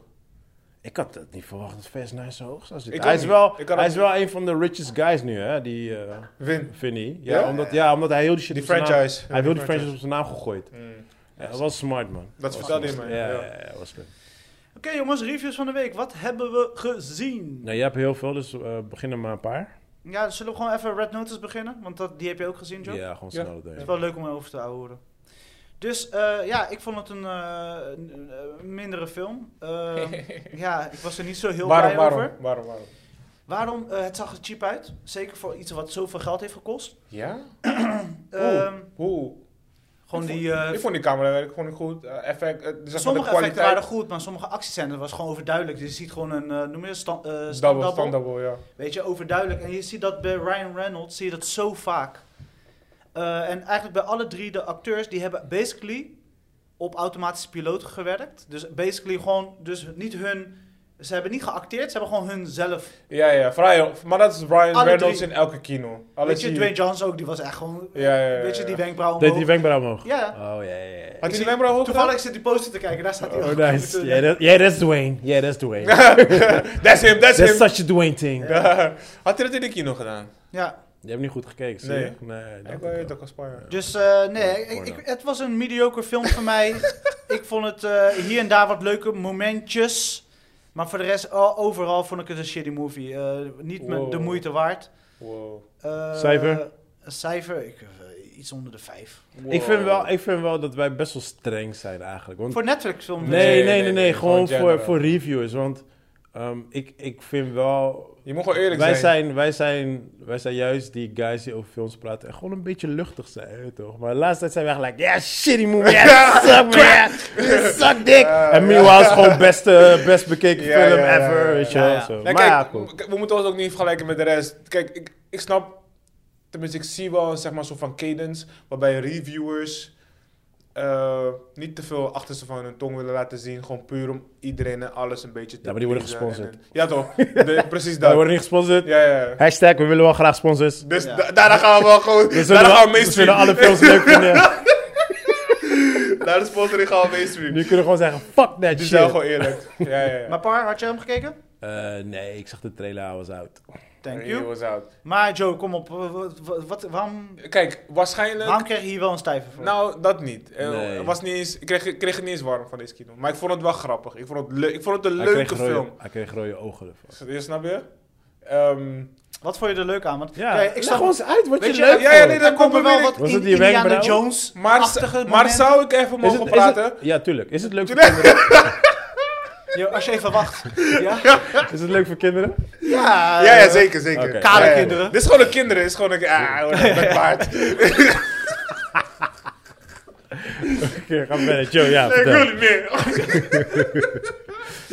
[SPEAKER 1] Ik had het niet verwacht dat Fast 9 zo hoog zou
[SPEAKER 3] Ik
[SPEAKER 1] zitten.
[SPEAKER 3] ook
[SPEAKER 1] Hij is,
[SPEAKER 3] niet.
[SPEAKER 1] wel,
[SPEAKER 3] Ik
[SPEAKER 1] hij
[SPEAKER 3] had ook
[SPEAKER 1] is wel een van de richest guys nu, hè, die eh
[SPEAKER 3] Win.
[SPEAKER 1] Vinny. Ja,
[SPEAKER 3] Ja?
[SPEAKER 1] Omdat, ja, omdat hij heel die shit
[SPEAKER 3] Die
[SPEAKER 1] op zijn naam-
[SPEAKER 3] franchise. Ja,
[SPEAKER 1] hij
[SPEAKER 3] die
[SPEAKER 1] heeft heel die franchise
[SPEAKER 3] franchise. Mm.
[SPEAKER 1] op zijn naam gegooid. Ja, dat was smart, man.
[SPEAKER 3] Dat
[SPEAKER 1] was
[SPEAKER 3] vertelde je
[SPEAKER 1] smart.
[SPEAKER 3] mij,
[SPEAKER 1] Ja,
[SPEAKER 3] ja.
[SPEAKER 1] ja, ja, was goed.
[SPEAKER 2] Oké jongens, reviews van de week. Wat hebben we gezien?
[SPEAKER 1] Nou, je hebt heel veel, dus eh begin er maar een paar.
[SPEAKER 2] Ja, zullen we gewoon even Red Notice beginnen? Want dat, die heb je ook gezien, John.
[SPEAKER 1] Ja, gewoon
[SPEAKER 3] Ja.
[SPEAKER 1] snel
[SPEAKER 2] Het is
[SPEAKER 1] doorheen.
[SPEAKER 2] wel leuk om over te horen. Dus eh, ja, ik vond het een eh, een, eh, mindere film. Eh, ja, ik was er niet zo heel
[SPEAKER 3] Waarom,
[SPEAKER 2] blij over.
[SPEAKER 3] waarom, waarom, waarom?
[SPEAKER 2] Waarom? Eh, het zag er cheap uit. Zeker voor iets wat zoveel geld heeft gekost.
[SPEAKER 3] Ja?
[SPEAKER 2] Ehm,
[SPEAKER 3] Hoe?
[SPEAKER 2] gewoon
[SPEAKER 3] Ik vond-
[SPEAKER 2] die... eh,
[SPEAKER 3] ik vond die camerawerk gewoon niet goed. Eh, effect, eh, dus zeg maar
[SPEAKER 2] sommige
[SPEAKER 3] de
[SPEAKER 2] effecten
[SPEAKER 3] kwaliteit.
[SPEAKER 2] waren goed, maar sommige actiescènes was gewoon overduidelijk. Dus je ziet gewoon een, eh, noem je het, sta- eh,
[SPEAKER 3] Double,
[SPEAKER 2] standabbel.
[SPEAKER 3] stand double, ja.
[SPEAKER 2] Weet je, overduidelijk. En je ziet dat bij Ryan Reynolds, zie je dat zo vaak. Eh, en eigenlijk bij alle drie de acteurs, die hebben basically op automatische piloot gewerkt. Dus basically gewoon, dus niet hun Ze hebben niet geacteerd, ze hebben gewoon hunzelf.
[SPEAKER 3] Ja, ja, vrij. Maar dat is Ryan
[SPEAKER 2] Alle
[SPEAKER 3] Reynolds
[SPEAKER 2] drie.
[SPEAKER 3] in elke kino. Alle
[SPEAKER 2] Weet je,
[SPEAKER 3] drie.
[SPEAKER 2] Dwayne Johnson ook, die was echt gewoon...
[SPEAKER 3] Ja, ja, ja,
[SPEAKER 2] Weet je,
[SPEAKER 3] ja.
[SPEAKER 2] die wenkbrauw
[SPEAKER 1] Deed die
[SPEAKER 2] omhoog.
[SPEAKER 1] wenkbrauw omhoog?
[SPEAKER 2] Ja.
[SPEAKER 1] Oh, ja, ja, ja.
[SPEAKER 3] Had
[SPEAKER 2] Ik
[SPEAKER 3] hij
[SPEAKER 2] zie-
[SPEAKER 3] de wenkbrauw hoog
[SPEAKER 2] Toevallig zit die poster te kijken, daar staat hij.
[SPEAKER 1] Oh,
[SPEAKER 2] ook.
[SPEAKER 1] nice. Yeah, that, yeah, that's Dwayne. Yeah, that's Dwayne.
[SPEAKER 3] gedaan? That's him,
[SPEAKER 1] That's
[SPEAKER 3] that's him.
[SPEAKER 1] such a Dwayne thing.
[SPEAKER 3] Had hij dat in de kino gedaan?
[SPEAKER 2] Ja,
[SPEAKER 1] Je hebt niet goed gekeken, zie
[SPEAKER 3] Nee.
[SPEAKER 1] je? Nee.
[SPEAKER 3] Ik
[SPEAKER 1] dat
[SPEAKER 3] wil
[SPEAKER 1] ook
[SPEAKER 3] het ook als Spanje.
[SPEAKER 2] dus eh, nee, ik, ik- het was een mediocre film voor mij. ik vond het eh, hier en daar wat leuke momentjes. Maar voor de rest, o- overal vond ik het een shitty movie. Eh, niet me-
[SPEAKER 3] Wow.
[SPEAKER 2] de moeite waard.
[SPEAKER 3] Wow.
[SPEAKER 2] Eh,
[SPEAKER 1] Cijfer?
[SPEAKER 2] Een cijfer? Ik, eh, iets onder de vijf.
[SPEAKER 1] Ik vind, wel, ik vind wel dat wij best wel streng zijn eigenlijk. Want
[SPEAKER 2] Voor Netflix film. dus.
[SPEAKER 1] nee, nee, nee, nee,
[SPEAKER 3] nee,
[SPEAKER 1] Gewoon,
[SPEAKER 3] gewoon
[SPEAKER 1] voor,
[SPEAKER 3] general.
[SPEAKER 1] voor reviewers. Want ehm, ik, ik vind wel...
[SPEAKER 3] Je moet gewoon eerlijk
[SPEAKER 1] Wij
[SPEAKER 3] zijn.
[SPEAKER 1] zijn, wij, zijn, wij zijn juist die guys die over films praten en gewoon een beetje luchtig zijn, hè, toch? Maar de laatste tijd zijn we echt like, yeah, shitty movie, yeah, suck man, suck dick.
[SPEAKER 3] Ja,
[SPEAKER 1] en meanwhile is gewoon beste, best bekeken
[SPEAKER 3] Ja,
[SPEAKER 1] film
[SPEAKER 3] ja, ja,
[SPEAKER 1] ever,
[SPEAKER 3] ja, ja.
[SPEAKER 1] weet je
[SPEAKER 2] Ja,
[SPEAKER 1] wel.
[SPEAKER 2] ja.
[SPEAKER 1] zo.
[SPEAKER 3] Nou,
[SPEAKER 1] maar ja,
[SPEAKER 3] kijk,
[SPEAKER 1] cool.
[SPEAKER 3] m- we moeten ons ook niet vergelijken met de rest. Kijk, ik, ik snap, tenminste, ik zie wel een, zeg maar, soort van cadence waarbij reviewers eh, niet te veel achter ze van hun tong willen laten zien. Gewoon puur om iedereen en alles een beetje te
[SPEAKER 1] Ja, maar die worden
[SPEAKER 3] pleasen
[SPEAKER 1] gesponsord.
[SPEAKER 3] en- en- ja, toch? De- precies
[SPEAKER 1] We
[SPEAKER 3] dat.
[SPEAKER 1] worden niet gesponsord.
[SPEAKER 3] Ja, ja. ja.
[SPEAKER 1] Hashtag, we willen wel graag sponsors.
[SPEAKER 3] Dus
[SPEAKER 2] Ja.
[SPEAKER 3] da- daarna gaan we wel gewoon.
[SPEAKER 1] We
[SPEAKER 3] daarna
[SPEAKER 1] zullen,
[SPEAKER 3] gaan we
[SPEAKER 1] we
[SPEAKER 3] mainstream.
[SPEAKER 1] zullen alle films leuk vinden.
[SPEAKER 3] Naar de sponsoring gaan we
[SPEAKER 1] Nu
[SPEAKER 3] mainstream.
[SPEAKER 1] kunnen we gewoon zeggen, fuck that
[SPEAKER 3] Dus
[SPEAKER 1] shit.
[SPEAKER 3] wel gewoon eerlijk. Ja, ja, ja.
[SPEAKER 2] Maar Par, had je hem gekeken?
[SPEAKER 1] Eh, nee, ik zag de trailer, I was out.
[SPEAKER 2] Thank
[SPEAKER 3] He
[SPEAKER 2] you.
[SPEAKER 3] was out.
[SPEAKER 2] Maar Joe, kom op. eh, Wat, wat- wat- waarom,
[SPEAKER 3] Kijk, waarschijnlijk.
[SPEAKER 2] waarom kreeg je hier wel een stijver voor?
[SPEAKER 3] Nou, dat niet. Eh,
[SPEAKER 1] Nee.
[SPEAKER 3] het was niet eens, ik, kreeg, ik kreeg het niet eens warm van deze kino. Maar ik vond het wel grappig. Ik vond het, leuk. ik vond het een
[SPEAKER 1] Hij
[SPEAKER 3] leuke
[SPEAKER 1] kreeg rode-
[SPEAKER 3] film.
[SPEAKER 1] Hij kreeg rode ogen ervan.
[SPEAKER 3] Je snap je? Ehm,
[SPEAKER 2] Wat vond je er leuk aan? Want,
[SPEAKER 1] Ja,
[SPEAKER 2] kijk, ik
[SPEAKER 1] leg
[SPEAKER 2] snap
[SPEAKER 1] ons uit wat
[SPEAKER 2] Weet
[SPEAKER 1] je
[SPEAKER 2] je,
[SPEAKER 1] leuk
[SPEAKER 3] ja, ja, nee,
[SPEAKER 1] vond.
[SPEAKER 3] dat
[SPEAKER 2] Er komen wel wat
[SPEAKER 1] Was
[SPEAKER 2] in,
[SPEAKER 1] het die
[SPEAKER 2] Indiana
[SPEAKER 1] wenkbrauw?
[SPEAKER 2] Jones
[SPEAKER 3] maar,
[SPEAKER 2] achtige
[SPEAKER 3] maar
[SPEAKER 2] momenten.
[SPEAKER 3] zou ik even
[SPEAKER 1] Is
[SPEAKER 3] mogen
[SPEAKER 1] het, is
[SPEAKER 3] praten?
[SPEAKER 1] het, ja, tuurlijk. Is het leuk voor
[SPEAKER 3] Tuurlijk.
[SPEAKER 1] kinderen?
[SPEAKER 2] Ja, als je even wacht. Ja,
[SPEAKER 1] Is het leuk voor kinderen?
[SPEAKER 2] ja, eh,
[SPEAKER 3] ja, ja, zeker, zeker.
[SPEAKER 1] Oké.
[SPEAKER 2] Kale
[SPEAKER 3] Ja, ja.
[SPEAKER 2] kinderen.
[SPEAKER 3] Dit is gewoon een Ah, kinderen. Dit is gewoon een... Ah, hoor, dat baard.
[SPEAKER 1] Oké, ga verder. Joe, ja,
[SPEAKER 3] Ik
[SPEAKER 1] vertel.
[SPEAKER 3] wil niet meer.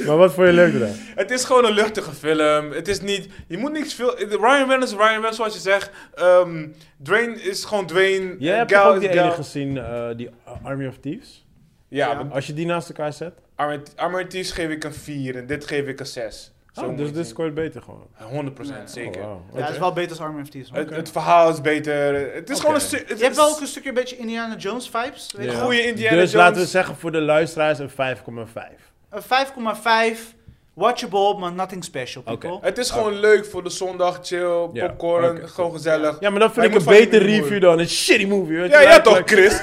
[SPEAKER 1] Maar wat vond je leuk eraan?
[SPEAKER 3] Het is gewoon een luchtige film. Het is niet... Je moet niks veel... Ryan Reynolds is Ryan Reynolds, zoals je zegt. Ehm, Dwayne is gewoon Dwayne.
[SPEAKER 1] Jij hebt
[SPEAKER 3] Gal
[SPEAKER 1] toch ook
[SPEAKER 3] is
[SPEAKER 1] die
[SPEAKER 3] Gal.
[SPEAKER 1] ene gezien, eh, die Army of Thieves?
[SPEAKER 3] Ja,
[SPEAKER 2] Ja.
[SPEAKER 3] maar
[SPEAKER 1] Als je die naast elkaar zet,
[SPEAKER 3] Armored- Armored Thieves geef ik een 4 en dit geef ik een 6.
[SPEAKER 1] oh, dus dit scoort beter gewoon.
[SPEAKER 3] 100%
[SPEAKER 2] Nee.
[SPEAKER 3] zeker.
[SPEAKER 1] Oh, wow.
[SPEAKER 2] Ja, het is wel beter als Army of Thieves.
[SPEAKER 3] het, het verhaal is beter. Het is
[SPEAKER 1] Oké.
[SPEAKER 3] gewoon een stu- het
[SPEAKER 2] Je hebt
[SPEAKER 3] is
[SPEAKER 2] wel ook een stukje een beetje Indiana Jones vibes. Weet je
[SPEAKER 1] Ja.
[SPEAKER 2] wel?
[SPEAKER 3] goede Indiana
[SPEAKER 1] Dus
[SPEAKER 3] Jones.
[SPEAKER 1] laten we zeggen voor de luisteraars een 5,5.
[SPEAKER 2] Een 5,5. Watchable, maar nothing special, people.
[SPEAKER 1] Oké.
[SPEAKER 3] Het is gewoon leuk voor de zondag, chill,
[SPEAKER 1] Oh. Ja,
[SPEAKER 3] popcorn,
[SPEAKER 1] oké,
[SPEAKER 3] gewoon gezellig.
[SPEAKER 1] Ja, maar dan
[SPEAKER 3] Maar
[SPEAKER 1] vind
[SPEAKER 3] je
[SPEAKER 1] ik een
[SPEAKER 3] moet fucking
[SPEAKER 1] beter
[SPEAKER 3] niet
[SPEAKER 1] review
[SPEAKER 3] moeilijk.
[SPEAKER 1] dan een shitty movie. weet je.
[SPEAKER 3] Ja, ja,
[SPEAKER 1] Lijkt-
[SPEAKER 3] toch,
[SPEAKER 1] lijkt-
[SPEAKER 3] Chris?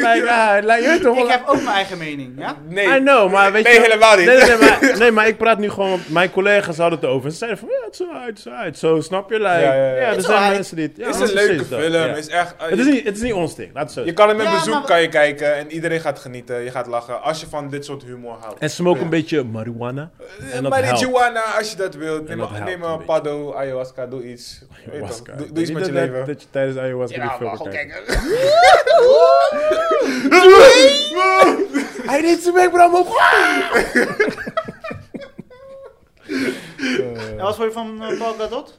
[SPEAKER 1] lijkt- ja, lijkt- je ah, weet toch
[SPEAKER 2] Ik
[SPEAKER 1] wel-
[SPEAKER 2] heb ook mijn eigen mening, ja?
[SPEAKER 3] Nee,
[SPEAKER 1] I know, maar weet
[SPEAKER 3] nee
[SPEAKER 1] je...
[SPEAKER 3] helemaal niet.
[SPEAKER 1] Nee, nee, nee, maar, nee, maar ik praat nu gewoon... want Mijn collega's hadden het over. En ze zeiden van, ja, het is uit, het is uit. Zo, snap je? Like, ja,
[SPEAKER 3] Ja, ja, ja.
[SPEAKER 1] er
[SPEAKER 2] It's
[SPEAKER 1] zijn
[SPEAKER 2] alright.
[SPEAKER 1] mensen die... het- Ja,
[SPEAKER 3] Het is
[SPEAKER 1] dat
[SPEAKER 3] een
[SPEAKER 1] precies
[SPEAKER 3] leuke
[SPEAKER 1] dat,
[SPEAKER 3] film.
[SPEAKER 1] ja.
[SPEAKER 3] Is echt, eh,
[SPEAKER 1] Het, is
[SPEAKER 3] je,
[SPEAKER 1] niet, het is niet ons ding, laat het zo
[SPEAKER 3] je
[SPEAKER 1] zeggen.
[SPEAKER 3] kan hem met
[SPEAKER 2] Ja,
[SPEAKER 3] bezoek
[SPEAKER 2] maar-
[SPEAKER 3] kan je kijken en iedereen gaat genieten. Je gaat lachen als je van dit soort humor houdt.
[SPEAKER 1] En smoke
[SPEAKER 3] Ja.
[SPEAKER 1] een beetje marijuana. En dat
[SPEAKER 3] maar
[SPEAKER 1] helpt.
[SPEAKER 3] die Juana, als je dat wilt, neem,
[SPEAKER 1] dat helpt
[SPEAKER 3] neem
[SPEAKER 1] een
[SPEAKER 3] een
[SPEAKER 1] beetje.
[SPEAKER 3] paddo, ayahuasca, doe iets. Weet je
[SPEAKER 1] Ayahuasca.
[SPEAKER 3] toch, Doe, doe
[SPEAKER 1] Weet
[SPEAKER 3] iets met
[SPEAKER 1] dat-
[SPEAKER 3] je
[SPEAKER 1] dat-
[SPEAKER 3] leven.
[SPEAKER 1] Dat je tijdens ayahuasca die
[SPEAKER 3] Ja,
[SPEAKER 1] film
[SPEAKER 3] maar
[SPEAKER 1] kan
[SPEAKER 3] gewoon
[SPEAKER 1] kijken.
[SPEAKER 3] kijken.
[SPEAKER 1] Hij deed zijn wenkbrauw op.
[SPEAKER 2] En wat vond je van eh, Paul Gadot?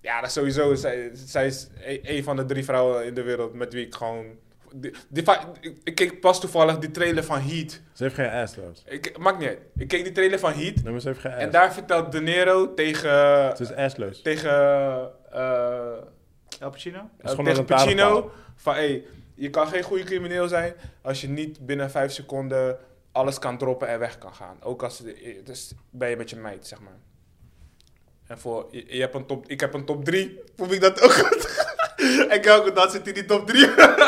[SPEAKER 3] Ja, dat sowieso. Zij, zij is e- een van de drie vrouwen in de wereld met wie ik gewoon... Die, die va- ik, ik keek pas toevallig die trailer van Heat.
[SPEAKER 1] Ze heeft geen ass trouwens.
[SPEAKER 3] Ik, maakt niet uit. Ik keek die trailer van Heat.
[SPEAKER 1] Nee, maar ze heeft geen ass.
[SPEAKER 3] En daar vertelt De Niro tegen...
[SPEAKER 1] Ze is assloos.
[SPEAKER 3] tegen... eh,
[SPEAKER 2] El Pacino?
[SPEAKER 1] Dat is
[SPEAKER 3] Eh,
[SPEAKER 1] gewoon
[SPEAKER 3] tegen
[SPEAKER 1] een talen
[SPEAKER 3] Pacino.
[SPEAKER 1] taal.
[SPEAKER 3] Van hey, je kan geen goede crimineel zijn als je niet binnen vijf seconden alles kan droppen en weg kan gaan. Ook als eh, dus ben je met je meid, zeg maar. En voor, je, je hebt een top, ik heb een top 3. Proef ik dat ook goed? en elke dag zit in die top 3.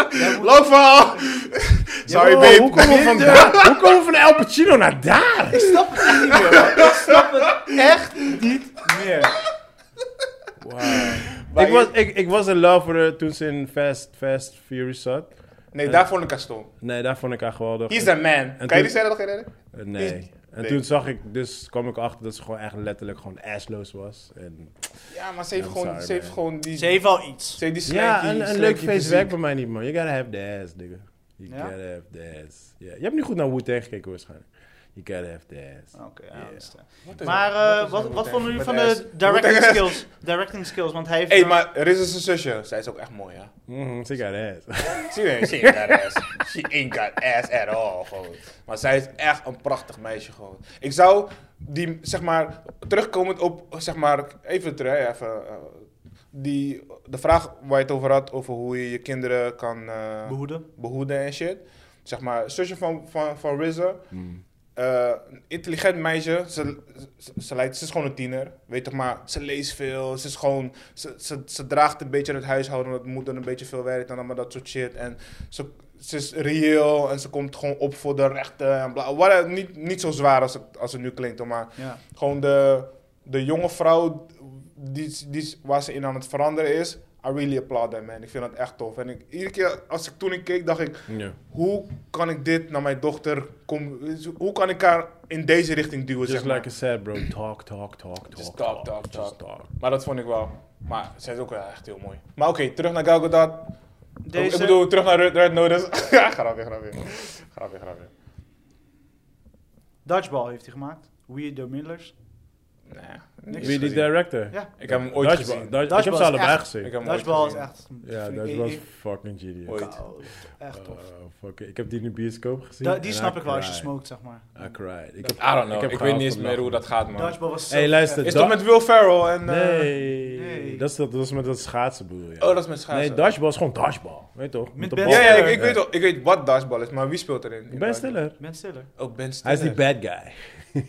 [SPEAKER 3] Lang verhaal. Sorry,
[SPEAKER 1] Ja,
[SPEAKER 3] babe.
[SPEAKER 1] Hoe komen we van daar? Hoe komen we van El Pacino naar daar?
[SPEAKER 2] Ik snap het echt niet meer. man. Ik snap het echt niet meer.
[SPEAKER 1] Ik was, ik, ik was in love with her toen ze in Fast, Fast Furious zat.
[SPEAKER 3] Nee, daar vond ik haar stom.
[SPEAKER 1] Nee, daar vond ik haar geweldig.
[SPEAKER 3] He's a man. Kan
[SPEAKER 1] toen-
[SPEAKER 3] je die zeggen dat geen reden?
[SPEAKER 1] Eh, Nee. En
[SPEAKER 3] Nee.
[SPEAKER 1] toen zag ik, dus kwam ik achter dat ze gewoon echt letterlijk gewoon assloos was. En,
[SPEAKER 3] Ja, maar ze heeft
[SPEAKER 1] I'm
[SPEAKER 3] gewoon,
[SPEAKER 1] sorry,
[SPEAKER 3] ze heeft
[SPEAKER 1] man.
[SPEAKER 3] gewoon die...
[SPEAKER 2] Ze heeft wel iets.
[SPEAKER 3] ze heeft die
[SPEAKER 1] ja, een,
[SPEAKER 3] slanky-
[SPEAKER 1] een leuk
[SPEAKER 3] slanky
[SPEAKER 1] feest
[SPEAKER 3] fysiek.
[SPEAKER 1] werkt bij mij niet, man. You gotta have the ass, nigga. You
[SPEAKER 2] Ja?
[SPEAKER 1] gotta have the ass. Ja, Je hebt niet goed naar Wu-Tang gekeken waarschijnlijk. You gotta have the ass.
[SPEAKER 2] Oké, ja,
[SPEAKER 1] Ja.
[SPEAKER 2] dat is het.
[SPEAKER 3] Wat is
[SPEAKER 2] Maar
[SPEAKER 3] dat?
[SPEAKER 2] eh,
[SPEAKER 3] is
[SPEAKER 2] wat,
[SPEAKER 3] dat?
[SPEAKER 2] wat vonden jullie van
[SPEAKER 3] Met
[SPEAKER 2] de directing
[SPEAKER 3] Moet ik-
[SPEAKER 2] skills? Directing skills, want hij heeft...
[SPEAKER 3] Hé,
[SPEAKER 2] een-
[SPEAKER 3] maar er is een zusje. Zij is ook echt mooi, ja.
[SPEAKER 1] Mhm, ze got ass.
[SPEAKER 3] She ain't, she ain't got ass. She ain't got ass at all, gewoon. Maar zij is echt een prachtig meisje, gewoon. Ik zou die, zeg maar, terugkomend op, zeg maar, even terug, even... eh, die, de vraag waar je het over had, over hoe je je kinderen kan eh,
[SPEAKER 2] Behoeden.
[SPEAKER 3] behoeden en shit. Zeg maar, zusje van, van, van RZA,
[SPEAKER 1] Mm.
[SPEAKER 3] eh, een intelligent meisje. Ze, ze, ze lijkt, ze is gewoon een tiener. Weet toch maar, ze leest veel. Ze, is gewoon, ze, ze, ze draagt een beetje het huishouden. Dat moet dan een beetje veel werk en allemaal dat soort shit. En ze, ze is reëel en ze komt gewoon op voor de rechten. En bla, wat, eh, niet, niet zo zwaar als het, als het nu klinkt, hoor, maar
[SPEAKER 2] Ja.
[SPEAKER 3] gewoon de, de jonge vrouw die, die, waar ze in aan het veranderen is. I really applaud that man. Ik vind dat echt tof. En ik, iedere keer als ik toen ik keek, dacht ik,
[SPEAKER 1] Ja.
[SPEAKER 3] hoe kan ik dit naar mijn dochter kom, hoe kan ik haar in deze richting duwen zeg
[SPEAKER 1] Just
[SPEAKER 3] maar.
[SPEAKER 1] like I said, bro. Talk, talk, talk,
[SPEAKER 3] Just
[SPEAKER 1] talk.
[SPEAKER 3] talk, talk,
[SPEAKER 1] Just
[SPEAKER 3] talk. maar dat vond ik wel maar zij is ook wel echt heel mooi maar oké terug naar Gal Gadot
[SPEAKER 2] Deze...
[SPEAKER 3] ik bedoel terug naar Red, Red Notice Ja, grapje grapje grapje grapje
[SPEAKER 2] Dodgeball heeft hij gemaakt. We the Millers.
[SPEAKER 3] nee niks
[SPEAKER 1] Wie die
[SPEAKER 3] gezien.
[SPEAKER 1] director?
[SPEAKER 2] Ja.
[SPEAKER 3] ik heb hem ooit
[SPEAKER 1] Dodgeball-
[SPEAKER 3] gezien
[SPEAKER 1] Dodge-
[SPEAKER 2] Dodgeball
[SPEAKER 1] ik heb
[SPEAKER 2] is
[SPEAKER 1] ze allebei
[SPEAKER 2] echt-
[SPEAKER 1] gezien.
[SPEAKER 3] ik heb hem ooit
[SPEAKER 2] Dodgeball is
[SPEAKER 3] gezien.
[SPEAKER 2] echt...
[SPEAKER 1] Ja,
[SPEAKER 2] vind
[SPEAKER 1] dat
[SPEAKER 2] ik-
[SPEAKER 1] was
[SPEAKER 2] ik-
[SPEAKER 1] fucking genius.
[SPEAKER 3] Ooit.
[SPEAKER 2] Oh, Echt tof.
[SPEAKER 1] Oh, fuck. Ik heb die in de bioscoop gezien.
[SPEAKER 2] Da- die
[SPEAKER 1] en
[SPEAKER 2] snap
[SPEAKER 1] I
[SPEAKER 2] ik wel als je
[SPEAKER 1] cried.
[SPEAKER 2] smoked, zeg maar.
[SPEAKER 1] I cried. Ik
[SPEAKER 3] I don't know
[SPEAKER 1] heb
[SPEAKER 3] ik, weet
[SPEAKER 1] gehuild
[SPEAKER 3] niet eens
[SPEAKER 1] van
[SPEAKER 3] meer hoe
[SPEAKER 1] lachen.
[SPEAKER 3] dat gaat man
[SPEAKER 2] Dodgeball was zo...
[SPEAKER 1] Hey, luister.
[SPEAKER 3] is
[SPEAKER 1] Dat-
[SPEAKER 3] toch met Will Ferrell en eh,
[SPEAKER 1] Nee.
[SPEAKER 2] Nee.
[SPEAKER 1] Dat, is, dat, dat is met dat schaatsen, bedoel je?
[SPEAKER 3] oh dat is met schaatsen
[SPEAKER 1] Nee, dodgeball is gewoon dodgeball. Weet toch?
[SPEAKER 2] Met
[SPEAKER 1] de
[SPEAKER 2] Ben
[SPEAKER 1] bal.
[SPEAKER 3] ja ja ik,
[SPEAKER 2] Stiller.
[SPEAKER 3] ik weet wel- ik weet wat dodgeball is maar wie speelt erin in
[SPEAKER 1] Ben
[SPEAKER 3] dodgeball?
[SPEAKER 1] Stiller.
[SPEAKER 2] Ben Stiller.
[SPEAKER 3] ook Ben
[SPEAKER 1] Hij
[SPEAKER 3] Stiller
[SPEAKER 1] is die bad guy.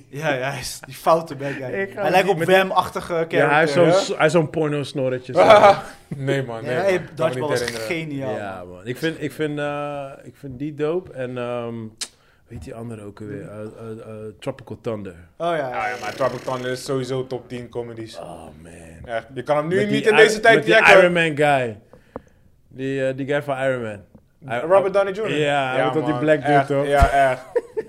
[SPEAKER 2] Ja, ja, hij is die foute bad guy.
[SPEAKER 1] Ik ga
[SPEAKER 2] Hij lijkt
[SPEAKER 1] niet
[SPEAKER 2] op
[SPEAKER 1] met-
[SPEAKER 2] Wham-achtige character.
[SPEAKER 1] Ja, hij heeft zo'n
[SPEAKER 3] hè?
[SPEAKER 1] zo, hij heeft zo'n porno-snorretje. zo.
[SPEAKER 3] nee man
[SPEAKER 2] Ja, hey,
[SPEAKER 3] nee, man. eh. Kan me
[SPEAKER 2] Dodgeball was
[SPEAKER 3] niet herinneren.
[SPEAKER 2] geniaal.
[SPEAKER 1] Ja, man. Ik vind, ik vind, eh, ik vind die dope. En ehm weet die andere ook weer? eh, Tropical Thunder.
[SPEAKER 2] Oh ja, ja.
[SPEAKER 3] Ja, ja, maar Tropic Thunder is sowieso top 10 comedies.
[SPEAKER 1] Oh, man.
[SPEAKER 3] Echt, je kan hem nu
[SPEAKER 1] Met
[SPEAKER 3] niet
[SPEAKER 1] die
[SPEAKER 3] in
[SPEAKER 1] I-
[SPEAKER 3] deze tijd
[SPEAKER 1] met die
[SPEAKER 3] jacken.
[SPEAKER 1] Iron Man guy. Die, eh, die guy van Iron Man. I-
[SPEAKER 3] Eh, Robert Downey Jr.
[SPEAKER 1] Ja, hij wordt tot die
[SPEAKER 3] man,
[SPEAKER 1] black dude,
[SPEAKER 3] echt,
[SPEAKER 1] toch?
[SPEAKER 3] Ja, echt.